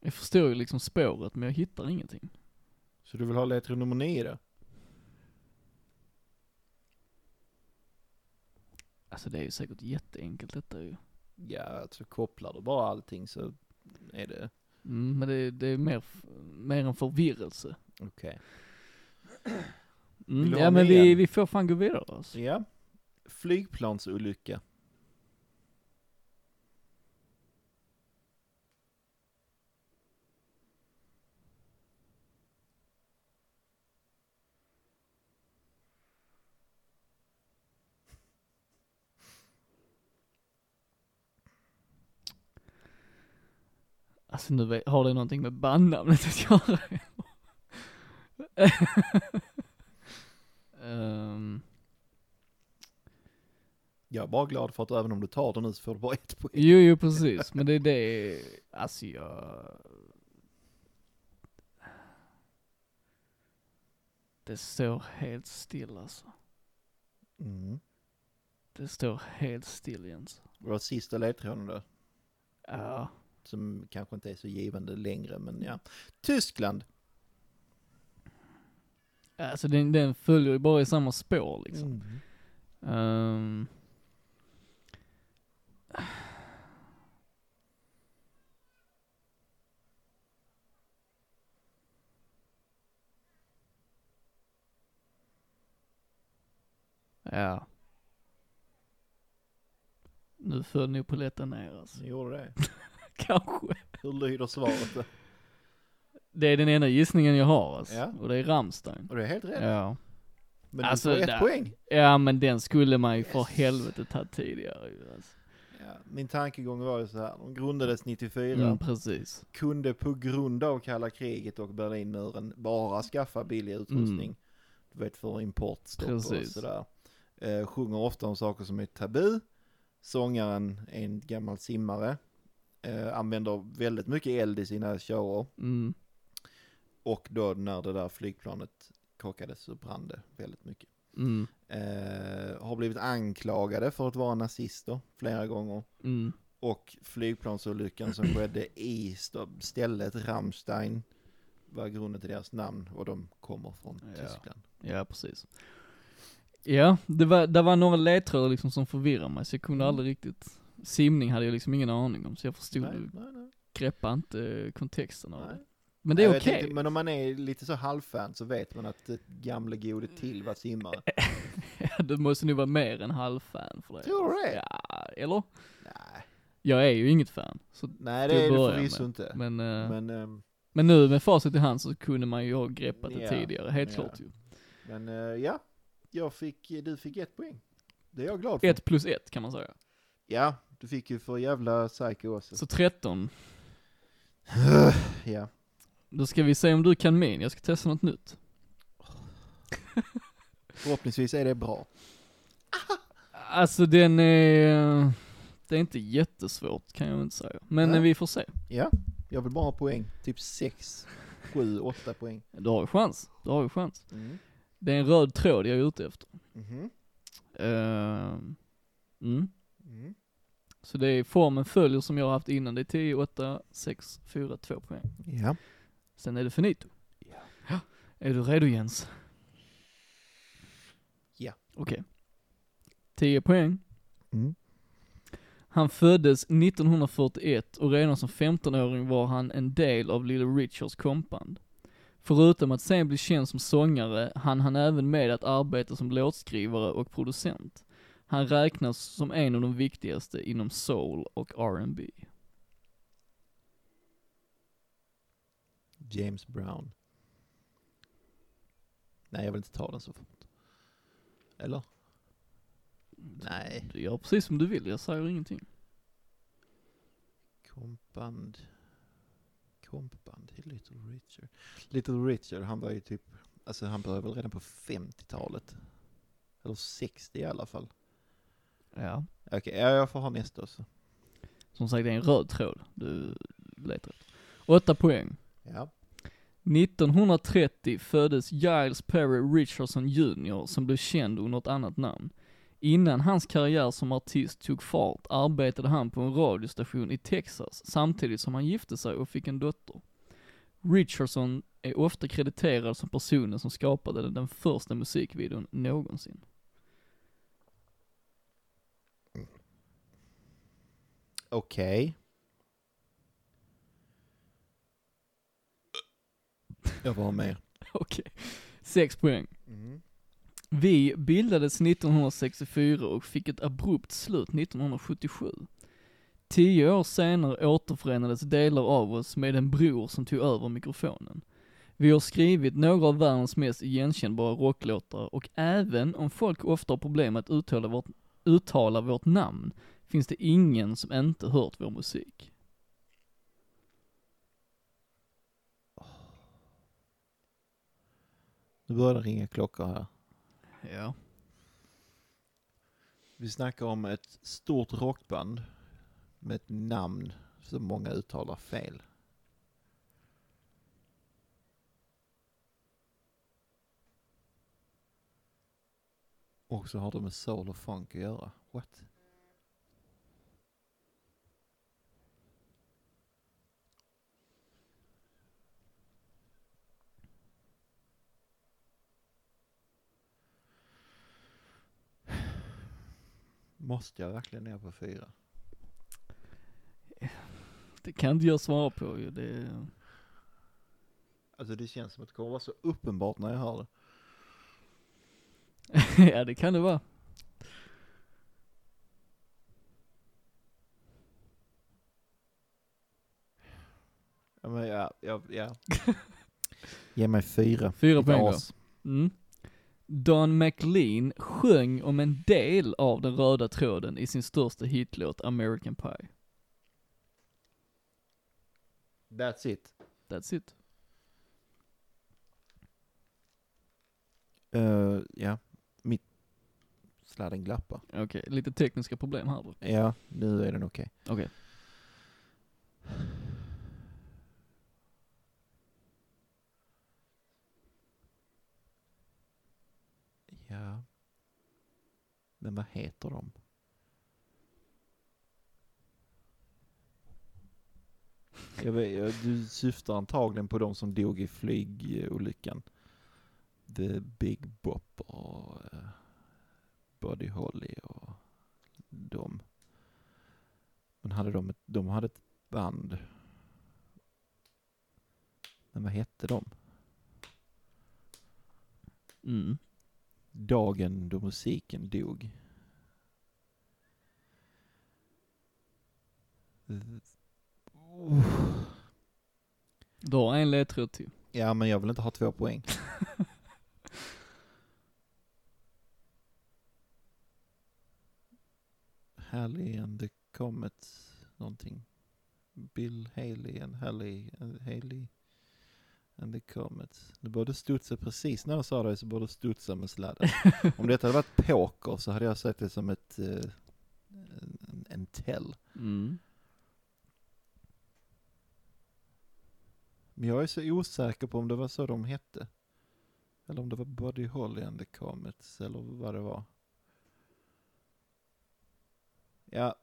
[SPEAKER 2] Jag förstår ju liksom spåret men jag hittar ingenting.
[SPEAKER 1] Så du vill ha ledtråd nummer nio då?
[SPEAKER 2] Alltså det är ju säkert jätteenkelt detta ju.
[SPEAKER 1] Ja, alltså kopplar du bara allting så är det...
[SPEAKER 2] Mm, men det, det är mer, f- mer en förvirrelse.
[SPEAKER 1] Okej. Vill
[SPEAKER 2] Mm,
[SPEAKER 1] du ha
[SPEAKER 2] ja men
[SPEAKER 1] med
[SPEAKER 2] vi,
[SPEAKER 1] en?
[SPEAKER 2] vi får fan gå vidare alltså.
[SPEAKER 1] Ja. Flygplansolycka.
[SPEAKER 2] Alltså nu vet, har det någonting med bandnamnet att göra? Ehm,
[SPEAKER 1] Jag är bara glad för att även om du tar den nu så får du bara ett poäng.
[SPEAKER 2] jo, jo precis, men det är det, alltså jag... Det står helt still alltså.
[SPEAKER 1] Mm.
[SPEAKER 2] Det står helt still Jens.
[SPEAKER 1] Det var sista ledtråden då.
[SPEAKER 2] Ja.
[SPEAKER 1] Som kanske inte är så givande längre, men ja. Tyskland.
[SPEAKER 2] Alltså den, den följer ju bara i samma spår liksom.
[SPEAKER 1] Mm.
[SPEAKER 2] Ehm. Ja. Nu föll nog polletten ner alltså.
[SPEAKER 1] Så gjorde det.
[SPEAKER 2] Kanske.
[SPEAKER 1] Hur lyder svaret då?
[SPEAKER 2] Det är den enda gissningen jag har alltså.
[SPEAKER 1] Ja.
[SPEAKER 2] Och det är Rammstein.
[SPEAKER 1] Och du är helt rätt.
[SPEAKER 2] Ja.
[SPEAKER 1] Men
[SPEAKER 2] Alltså,
[SPEAKER 1] du får ett
[SPEAKER 2] där-
[SPEAKER 1] poäng.
[SPEAKER 2] Ja men den skulle man ju för
[SPEAKER 1] Yes.
[SPEAKER 2] helvete tagit tidigare ju alltså.
[SPEAKER 1] Ja, min tankegång var ju så här, de grundades 94,
[SPEAKER 2] Mm, precis.
[SPEAKER 1] kunde på grund av kalla kriget och Berlinmuren bara skaffa billig utrustning.
[SPEAKER 2] Mm.
[SPEAKER 1] Du vet för importstopp och
[SPEAKER 2] Precis.
[SPEAKER 1] sådär. Eh, sjunger ofta om saker som är tabu. Sångaren är en gammal simmare. Eh, använder väldigt mycket eld i sina shower.
[SPEAKER 2] Mm.
[SPEAKER 1] Och då när det där flygplanet krockades så brann det väldigt mycket.
[SPEAKER 2] Mm.
[SPEAKER 1] Eh, har blivit anklagade för att vara nazister flera gånger.
[SPEAKER 2] Mm.
[SPEAKER 1] Och flygplansolyckan som skedde i st- stället Rammstein var grunden till deras namn och de kommer från
[SPEAKER 2] Ja.
[SPEAKER 1] Tyskland.
[SPEAKER 2] Ja, precis. Ja, det var, det var några ledtrådar liksom som förvirrade mig, så jag kunde
[SPEAKER 1] Mm.
[SPEAKER 2] aldrig riktigt, simning hade jag liksom ingen aning om, så jag förstod,
[SPEAKER 1] Nej, nej, nej,
[SPEAKER 2] greppade inte kontexten av
[SPEAKER 1] nej.
[SPEAKER 2] det. Men det är
[SPEAKER 1] Nej, jag
[SPEAKER 2] okej.
[SPEAKER 1] tänkte, Men om man är lite så halvfan så vet man att det gamle gode till var simmare.
[SPEAKER 2] Eh, Ja, du måste nog vara mer än halvfan för det.
[SPEAKER 1] Tror du det?
[SPEAKER 2] Ja, eller?
[SPEAKER 1] Nej,
[SPEAKER 2] Jag är ju inget fan, så,
[SPEAKER 1] nej
[SPEAKER 2] Till
[SPEAKER 1] det är
[SPEAKER 2] att
[SPEAKER 1] det
[SPEAKER 2] börja
[SPEAKER 1] förvisso
[SPEAKER 2] med.
[SPEAKER 1] inte.
[SPEAKER 2] men, eh, men,
[SPEAKER 1] Men, ehm,
[SPEAKER 2] nu med facit i hand så kunde man ju ha greppat det
[SPEAKER 1] Ja,
[SPEAKER 2] tidigare, helt
[SPEAKER 1] ja.
[SPEAKER 2] klart ju.
[SPEAKER 1] men eh, ja, jag fick, du fick ett poäng. Det är jag glad för.
[SPEAKER 2] Ett plus ett kan man säga.
[SPEAKER 1] Ja, du fick ju för jävla psycho också.
[SPEAKER 2] Så 13.
[SPEAKER 1] Ja.
[SPEAKER 2] Då ska vi se om du kan min, jag ska testa något nytt.
[SPEAKER 1] Förhoppningsvis är det bra.
[SPEAKER 2] Alltså den är, det är inte jättesvårt kan jag inte säga. Men eh,
[SPEAKER 1] Nej.
[SPEAKER 2] vi får se.
[SPEAKER 1] Ja, jag vill bara ha poäng. Typ 6, 7, 8 poäng.
[SPEAKER 2] Du har ju chans, du har ju chans.
[SPEAKER 1] Mm.
[SPEAKER 2] Det är en röd tråd jag är ute efter.
[SPEAKER 1] Mhm.
[SPEAKER 2] Ehm, mm.
[SPEAKER 1] Mm.
[SPEAKER 2] Så det är formen följer som jag har haft innan, det är 10, 8, 6, 4, 2 poäng.
[SPEAKER 1] Ja.
[SPEAKER 2] Sen är det finito.
[SPEAKER 1] Ja.
[SPEAKER 2] Ja. Är du redo Jens?
[SPEAKER 1] Ja.
[SPEAKER 2] Okej. 10 poäng.
[SPEAKER 1] Mm.
[SPEAKER 2] Han föddes 1941 och redan som 15-åring var han en del av Little Richards kompband. Förutom att sen bli känd som sångare hann han även med att arbeta som låtskrivare och producent. Han räknas som en av de viktigaste inom soul och R&B.
[SPEAKER 1] James Brown. Nej, jag vill inte ta den så fort. Eller? Nej.
[SPEAKER 2] Du gör precis som du vill, jag säger ingenting.
[SPEAKER 1] Kompband. Kompband i Little Richard. Little Richard, han var ju typ, alltså han började väl redan på 50-talet. Eller 60 i alla fall.
[SPEAKER 2] Ja.
[SPEAKER 1] Okej, ja, jag får ha nästa också.
[SPEAKER 2] Som sagt, det är en röd tråd du letar efter. Åtta poäng.
[SPEAKER 1] Ja.
[SPEAKER 2] 1930 föddes Giles Perry Richardson Jr som blev känd under ett annat namn. Innan hans karriär som artist tog fart arbetade han på en radiostation i Texas samtidigt som han gifte sig och fick en dotter. Richardson är ofta krediterad som personen som skapade den första musikvideon någonsin.
[SPEAKER 1] Okej. Jag var med.
[SPEAKER 2] Okej. Sex poäng.
[SPEAKER 1] Mm.
[SPEAKER 2] Vi bildades 1964 och fick ett abrupt slut 1977. Tio år senare återförenades delar av oss med en bror som tog över mikrofonen. Vi har skrivit några av världens mest igenkännbara rocklåtar och även om folk ofta har problem att uttala vårt, uttala vårt namn finns det ingen som inte hört vår musik.
[SPEAKER 1] Nu börjar det ringa klockor här.
[SPEAKER 2] Ja.
[SPEAKER 1] Vi snackar om ett stort rockband med ett namn som många uttalar fel. Och så har det med soul och funk att göra. What? Måste jag verkligen ner på fyra?
[SPEAKER 2] Det kan inte jag svara på ju, det...
[SPEAKER 1] Alltså det känns som att det kommer vara så uppenbart när jag hör det.
[SPEAKER 2] ja det kan det vara.
[SPEAKER 1] Ja, men ja, ja, ja. Ge mig fyra.
[SPEAKER 2] Fyra
[SPEAKER 1] Ett
[SPEAKER 2] poäng då.
[SPEAKER 1] as.
[SPEAKER 2] Mm. Don McLean sjöng om en del av den röda tråden i sin största hitlåt American Pie.
[SPEAKER 1] That's it.
[SPEAKER 2] That's it.
[SPEAKER 1] Eh, ja, mitt sladden glappar.
[SPEAKER 2] Okej, lite tekniska problem här då.
[SPEAKER 1] Ja, nu är den okej.
[SPEAKER 2] Okej.
[SPEAKER 1] Ja. Men vad heter de? Jag vet, jag, du syftar antagligen på de som dog i flygolyckan. The Big Bopper och eh, Buddy Holly och de. Men hade de, ett, de hade ett band. Men vad hette de?
[SPEAKER 2] Mm.
[SPEAKER 1] dagen då musiken dog.
[SPEAKER 2] Du har en ledtråd till.
[SPEAKER 1] Ja, men jag vill inte ha två poäng. Haley and the Comets någonting. Bill Haley and Haley and Haley and the Comets. Du borde studsa precis när jag sa det så borde du studsa med sladden. Om detta hade varit poker så hade jag sett det som ett eh, en, en tell.
[SPEAKER 2] Mm.
[SPEAKER 1] Men jag är så osäker på om det var så de hette. Eller om det var Buddy Holly and the Comets eller vad det var. Ja,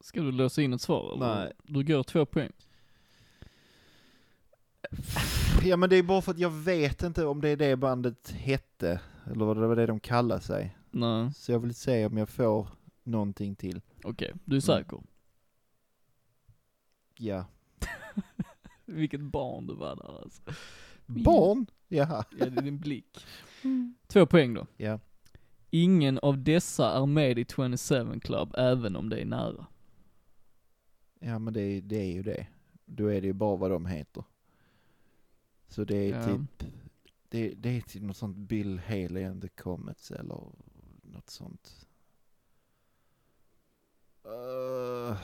[SPEAKER 2] Ska du låsa in ett svar eller?
[SPEAKER 1] Nej.
[SPEAKER 2] Du går två poäng.
[SPEAKER 1] ja men det är bara för att jag vet inte om det är det bandet hette. Eller vad det var det de kallar sig.
[SPEAKER 2] Nej,
[SPEAKER 1] Så jag vill se om jag får någonting till.
[SPEAKER 2] okej. Du är säker?
[SPEAKER 1] Ja.
[SPEAKER 2] Vilket barn du var där alltså.
[SPEAKER 1] Barn? Ja.
[SPEAKER 2] Ja, det är din blick. Två poäng då.
[SPEAKER 1] Ja.
[SPEAKER 2] Ingen av dessa är med i 27 Club även om det är nära.
[SPEAKER 1] Ja men det, är- det är ju det. Då är det ju bara vad de heter. Så det är
[SPEAKER 2] Ja.
[SPEAKER 1] typ Det, det är typ något sånt Bill Haley and the Comets eller något sånt. Eh.
[SPEAKER 2] Uh.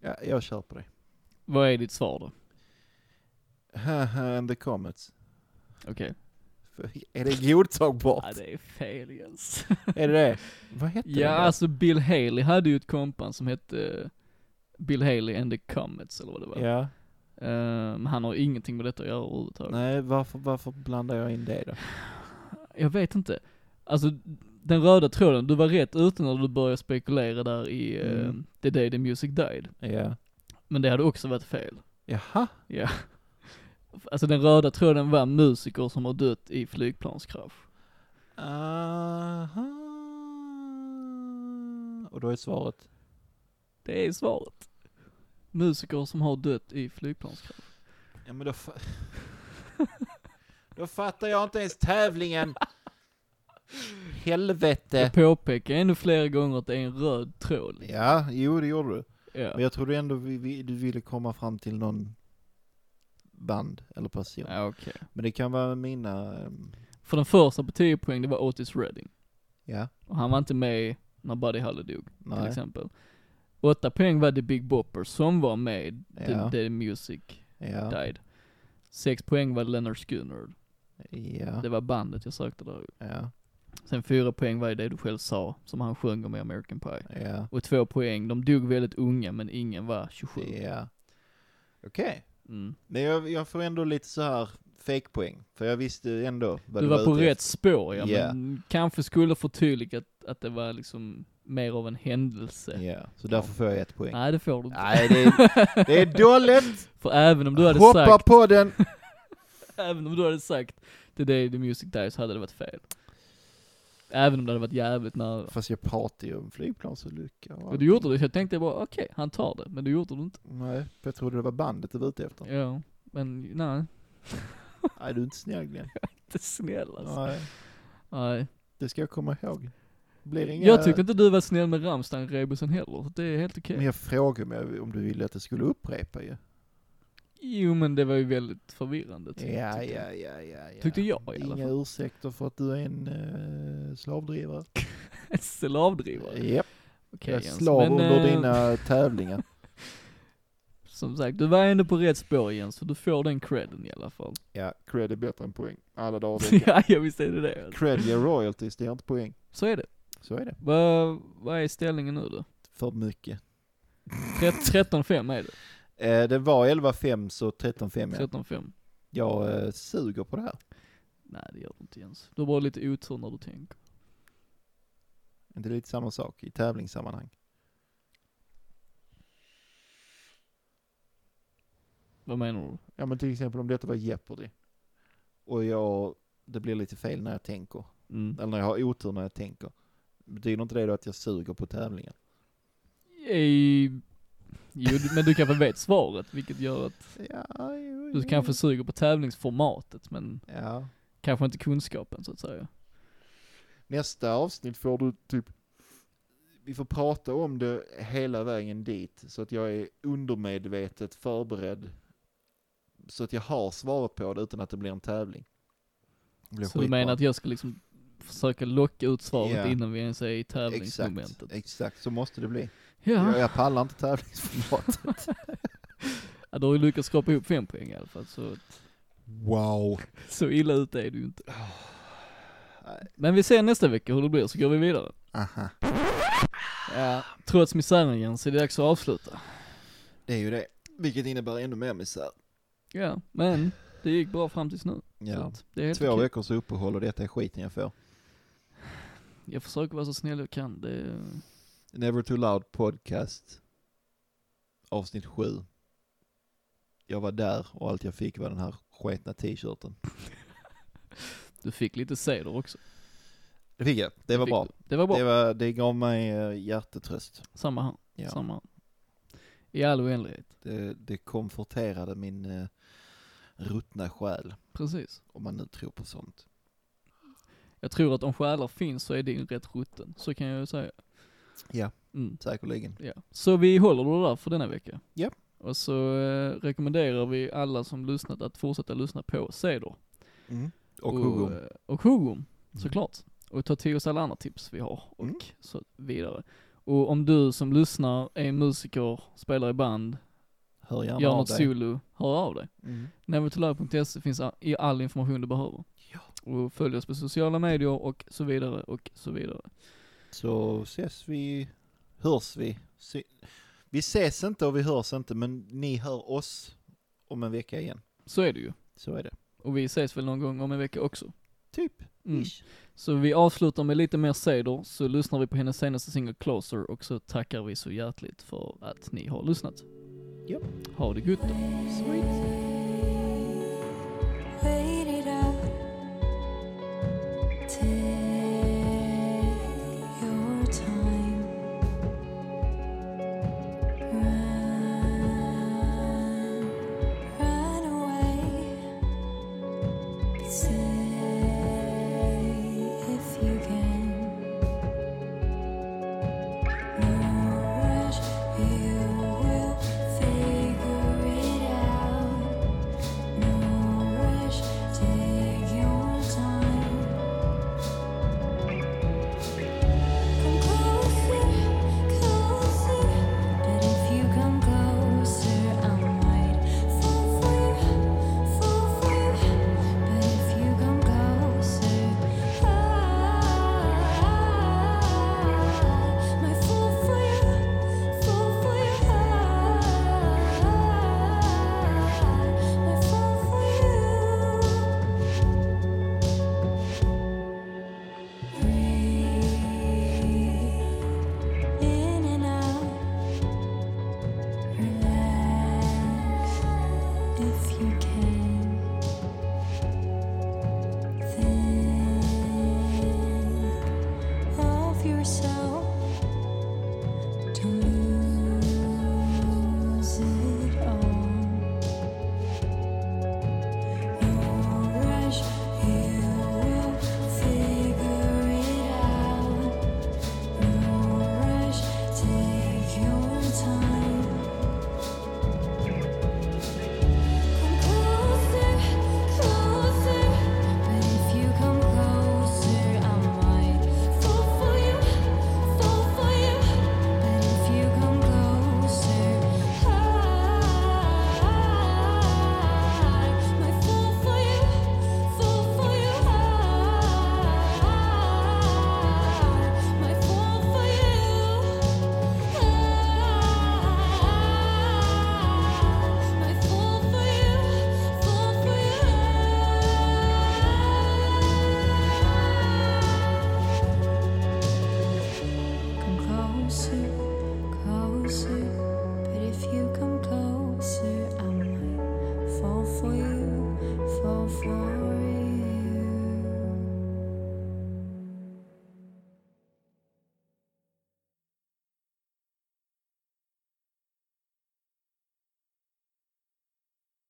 [SPEAKER 1] Ja, jag kör på det.
[SPEAKER 2] Vad är ditt svar då?
[SPEAKER 1] and the Comets.
[SPEAKER 2] Okej.
[SPEAKER 1] För- Är det godtagbart?
[SPEAKER 2] Ja, det är fel Jens.
[SPEAKER 1] Är det det? Vad heter
[SPEAKER 2] ja,
[SPEAKER 1] det?
[SPEAKER 2] alltså Bill Haley hade ju ett kompan som hette eh, Bill Haley and the Comets eller vad det var.
[SPEAKER 1] Ja.
[SPEAKER 2] Ehm, han har ingenting med detta att göra överhuvudtaget.
[SPEAKER 1] Nej, varför, varför blandar jag in det då?
[SPEAKER 2] Jag vet inte. Alltså, den röda tråden, du var rätt ute när du började spekulera där i eh,
[SPEAKER 1] Mm.
[SPEAKER 2] The Day the Music Died.
[SPEAKER 1] Ja.
[SPEAKER 2] Men det hade också varit fel.
[SPEAKER 1] Jaha.
[SPEAKER 2] Ja. Alltså den röda tråden var musiker som har dött i flygplanskrasch.
[SPEAKER 1] Aha. Och då är svaret?
[SPEAKER 2] Det är svaret. Musiker som har dött i flygplanskrasch.
[SPEAKER 1] Ja men då, fa- Då fattar jag inte ens tävlingen. Helvete.
[SPEAKER 2] Jag påpekar ännu fler gånger att det är en röd tråd.
[SPEAKER 1] Ja, jo det gjorde du. Men
[SPEAKER 2] Ja.
[SPEAKER 1] jag trodde ändå vi, vi, du ville komma fram till någon band eller person.
[SPEAKER 2] Ja, okej.
[SPEAKER 1] Men det kan vara mina, ehm,
[SPEAKER 2] För den första på 10 poäng, det var Otis Redding.
[SPEAKER 1] ja,
[SPEAKER 2] Och han var inte med när Buddy Holly dog, till
[SPEAKER 1] nej,
[SPEAKER 2] exempel. 8 poäng var The Big Bopper som var med, The,
[SPEAKER 1] Ja.
[SPEAKER 2] The Music
[SPEAKER 1] ja,
[SPEAKER 2] Died. 6 poäng var Leonard Skinner.
[SPEAKER 1] ja,
[SPEAKER 2] Det var bandet jag sökte där.
[SPEAKER 1] ja,
[SPEAKER 2] Sen 4 poäng var ju det du själv sa, som han sjöng om i American Pie.
[SPEAKER 1] ja,
[SPEAKER 2] Och 2 poäng, de dog väldigt unga men ingen var 27.
[SPEAKER 1] ja. Okej.
[SPEAKER 2] Mm.
[SPEAKER 1] Men jag, jag får ändå lite så här fake-poäng. För jag visste ändå vad
[SPEAKER 2] Du
[SPEAKER 1] det
[SPEAKER 2] var på
[SPEAKER 1] ute efter.
[SPEAKER 2] rätt spår ja,
[SPEAKER 1] Ja.
[SPEAKER 2] men kanske skulle förtydliga att, att det var liksom mer av en händelse.
[SPEAKER 1] Ja, så därför får jag ett poäng.
[SPEAKER 2] Nej det får du inte.
[SPEAKER 1] Nej, det är, det är dåligt!
[SPEAKER 2] För även om du hade
[SPEAKER 1] Hoppa
[SPEAKER 2] sagt,
[SPEAKER 1] på den!
[SPEAKER 2] även om du hade sagt The Day The Music Dies hade det varit fel. Även om det hade varit jävligt nära.
[SPEAKER 1] Fast jag pratar ju om flygplansolycka och
[SPEAKER 2] Och du gjorde det, så jag tänkte bara okej, han tar det. Men du gjorde det inte.
[SPEAKER 1] Nej, för jag trodde det var bandet du var ute efter.
[SPEAKER 2] Ja, men nej.
[SPEAKER 1] Nej, du är inte snäll Glenn.
[SPEAKER 2] Inte snäll alltså.
[SPEAKER 1] Nej,
[SPEAKER 2] Nej.
[SPEAKER 1] det ska jag komma ihåg. Blir det inga...
[SPEAKER 2] Jag tyckte inte du var snäll med Rammstein-rebusen heller, så det är helt okej.
[SPEAKER 1] Men jag frågade om, jag, om du ville att jag skulle upprepa ju.
[SPEAKER 2] Jo men det var ju väldigt förvirrande. ty-
[SPEAKER 1] Ja,
[SPEAKER 2] tyckte jag.
[SPEAKER 1] ja, ja, ja, ja.
[SPEAKER 2] Tyckte jag i alla
[SPEAKER 1] Inga
[SPEAKER 2] fall.
[SPEAKER 1] ursäkter för att du är en eh, slavdrivare.
[SPEAKER 2] Slavdrivare.
[SPEAKER 1] Japp,
[SPEAKER 2] Okej
[SPEAKER 1] jag är
[SPEAKER 2] Jens,
[SPEAKER 1] slav
[SPEAKER 2] men,
[SPEAKER 1] under
[SPEAKER 2] eh,
[SPEAKER 1] dina tävlingar.
[SPEAKER 2] Som sagt, du var ändå på rätt spår Jens, så du får den credden i alla fall.
[SPEAKER 1] Ja, cred är bättre än poäng. Alla dagar i veckan.
[SPEAKER 2] ja, jag visste det det. alltså.
[SPEAKER 1] Cred ger royalties, det ger inte poäng.
[SPEAKER 2] Så är det.
[SPEAKER 1] Så är det.
[SPEAKER 2] Vad vad är ställningen nu då?
[SPEAKER 1] För mycket.
[SPEAKER 2] Tret- 13-5 är det.
[SPEAKER 1] Eh, det var 11.5 så 13.5 ja.
[SPEAKER 2] 13-5.
[SPEAKER 1] Jag eh, suger på det här.
[SPEAKER 2] Nej det gör du inte Jens. Du har bara lite otur när du tänker.
[SPEAKER 1] Inte lite samma sak i tävlingssammanhang.
[SPEAKER 2] Vad menar du?
[SPEAKER 1] Ja men till exempel om detta var Jeopardy. Och jag, det blir lite fel när jag tänker.
[SPEAKER 2] Mm.
[SPEAKER 1] Eller när jag har otur när jag tänker. Betyder inte det då att jag suger på tävlingen?
[SPEAKER 2] Eh, Jo, du- men du kanske vet svaret, vilket gör att
[SPEAKER 1] Ja, jo,
[SPEAKER 2] du kanske suger på tävlingsformatet, men
[SPEAKER 1] Ja.
[SPEAKER 2] kanske inte kunskapen så att säga.
[SPEAKER 1] Nästa avsnitt får du typ, vi får prata om det hela vägen dit så att jag är undermedvetet förberedd. Så att jag har svaret på det utan att det blir en tävling. Det blir
[SPEAKER 2] Så du menar att jag ska liksom försöka locka ut svaret
[SPEAKER 1] Ja.
[SPEAKER 2] innan vi ens är i
[SPEAKER 1] Exakt,
[SPEAKER 2] tävlingsmomentet?
[SPEAKER 1] exakt, så måste det bli.
[SPEAKER 2] Ja.
[SPEAKER 1] Jag, jag pallar inte tävlingsformat.
[SPEAKER 2] ja, du har ju lyckats skrapa ihop fem poäng i alla fall, så,
[SPEAKER 1] Wow.
[SPEAKER 2] så illa ute är du ju inte. Men vi ser nästa vecka hur det blir, så går vi vidare.
[SPEAKER 1] Aha.
[SPEAKER 2] Ja. Trots misären Jens, är det dags att avsluta.
[SPEAKER 1] Det är ju det. Vilket innebär ännu mer misär.
[SPEAKER 2] Ja, men det gick bra fram tills nu. Så
[SPEAKER 1] Ja.
[SPEAKER 2] att det är helt
[SPEAKER 1] Två
[SPEAKER 2] okej.
[SPEAKER 1] veckors uppehåll och detta är skiten jag får.
[SPEAKER 2] Jag försöker vara så snäll jag kan. Det är...
[SPEAKER 1] Never Too Loud Podcast. Avsnitt sju. Jag var där och allt jag fick var den här sketna t-shirten.
[SPEAKER 2] Du fick lite ceder också.
[SPEAKER 1] Det fick jag. Det var
[SPEAKER 2] Fick
[SPEAKER 1] bra.
[SPEAKER 2] du. Det var bra.
[SPEAKER 1] Det, var, det gav mig eh, hjärtetröst.
[SPEAKER 2] Samma här.
[SPEAKER 1] Ja.
[SPEAKER 2] Samma här. I all oändlighet.
[SPEAKER 1] Det, det komforterade min eh, ruttna själ.
[SPEAKER 2] Precis.
[SPEAKER 1] Om man nu tror på sånt.
[SPEAKER 2] Jag tror att om själar finns så är din rätt rutten. Så kan jag ju säga.
[SPEAKER 1] Ja.
[SPEAKER 2] Mm.
[SPEAKER 1] Säkerligen.
[SPEAKER 2] Ja. Så vi håller det där för denna vecka.
[SPEAKER 1] Ja.
[SPEAKER 2] Och så eh, rekommenderar vi alla som lyssnat att fortsätta lyssna på Ceder.
[SPEAKER 1] Mm. Och Hugo.
[SPEAKER 2] eh, Och Hugum, såklart. Och ta till oss alla andra tips vi har och
[SPEAKER 1] Mm.
[SPEAKER 2] så vidare. Och om du som lyssnar är musiker, spelar i band,
[SPEAKER 1] Hör gärna
[SPEAKER 2] gör
[SPEAKER 1] av
[SPEAKER 2] något
[SPEAKER 1] dig.
[SPEAKER 2] solo, hör av dig.
[SPEAKER 1] Mm.
[SPEAKER 2] Nevertolive.se finns a- i all information du behöver. Och följ oss på sociala medier och så vidare och så vidare.
[SPEAKER 1] Så ses vi, hörs vi. Se- Vi ses inte och vi hörs inte, men ni hör oss om en vecka igen.
[SPEAKER 2] Så är det ju.
[SPEAKER 1] Så är det.
[SPEAKER 2] Och vi ses väl någon gång om en vecka också.
[SPEAKER 1] Typ.
[SPEAKER 2] Mm.
[SPEAKER 1] Ish.
[SPEAKER 2] Så vi avslutar med lite mer Ceder, så lyssnar vi på hennes senaste singel Closer och så tackar vi så hjärtligt för att ni har lyssnat.
[SPEAKER 1] Japp.
[SPEAKER 2] Ha det gött då.
[SPEAKER 3] Wait it out Take your time Run Run away Be safe yourself.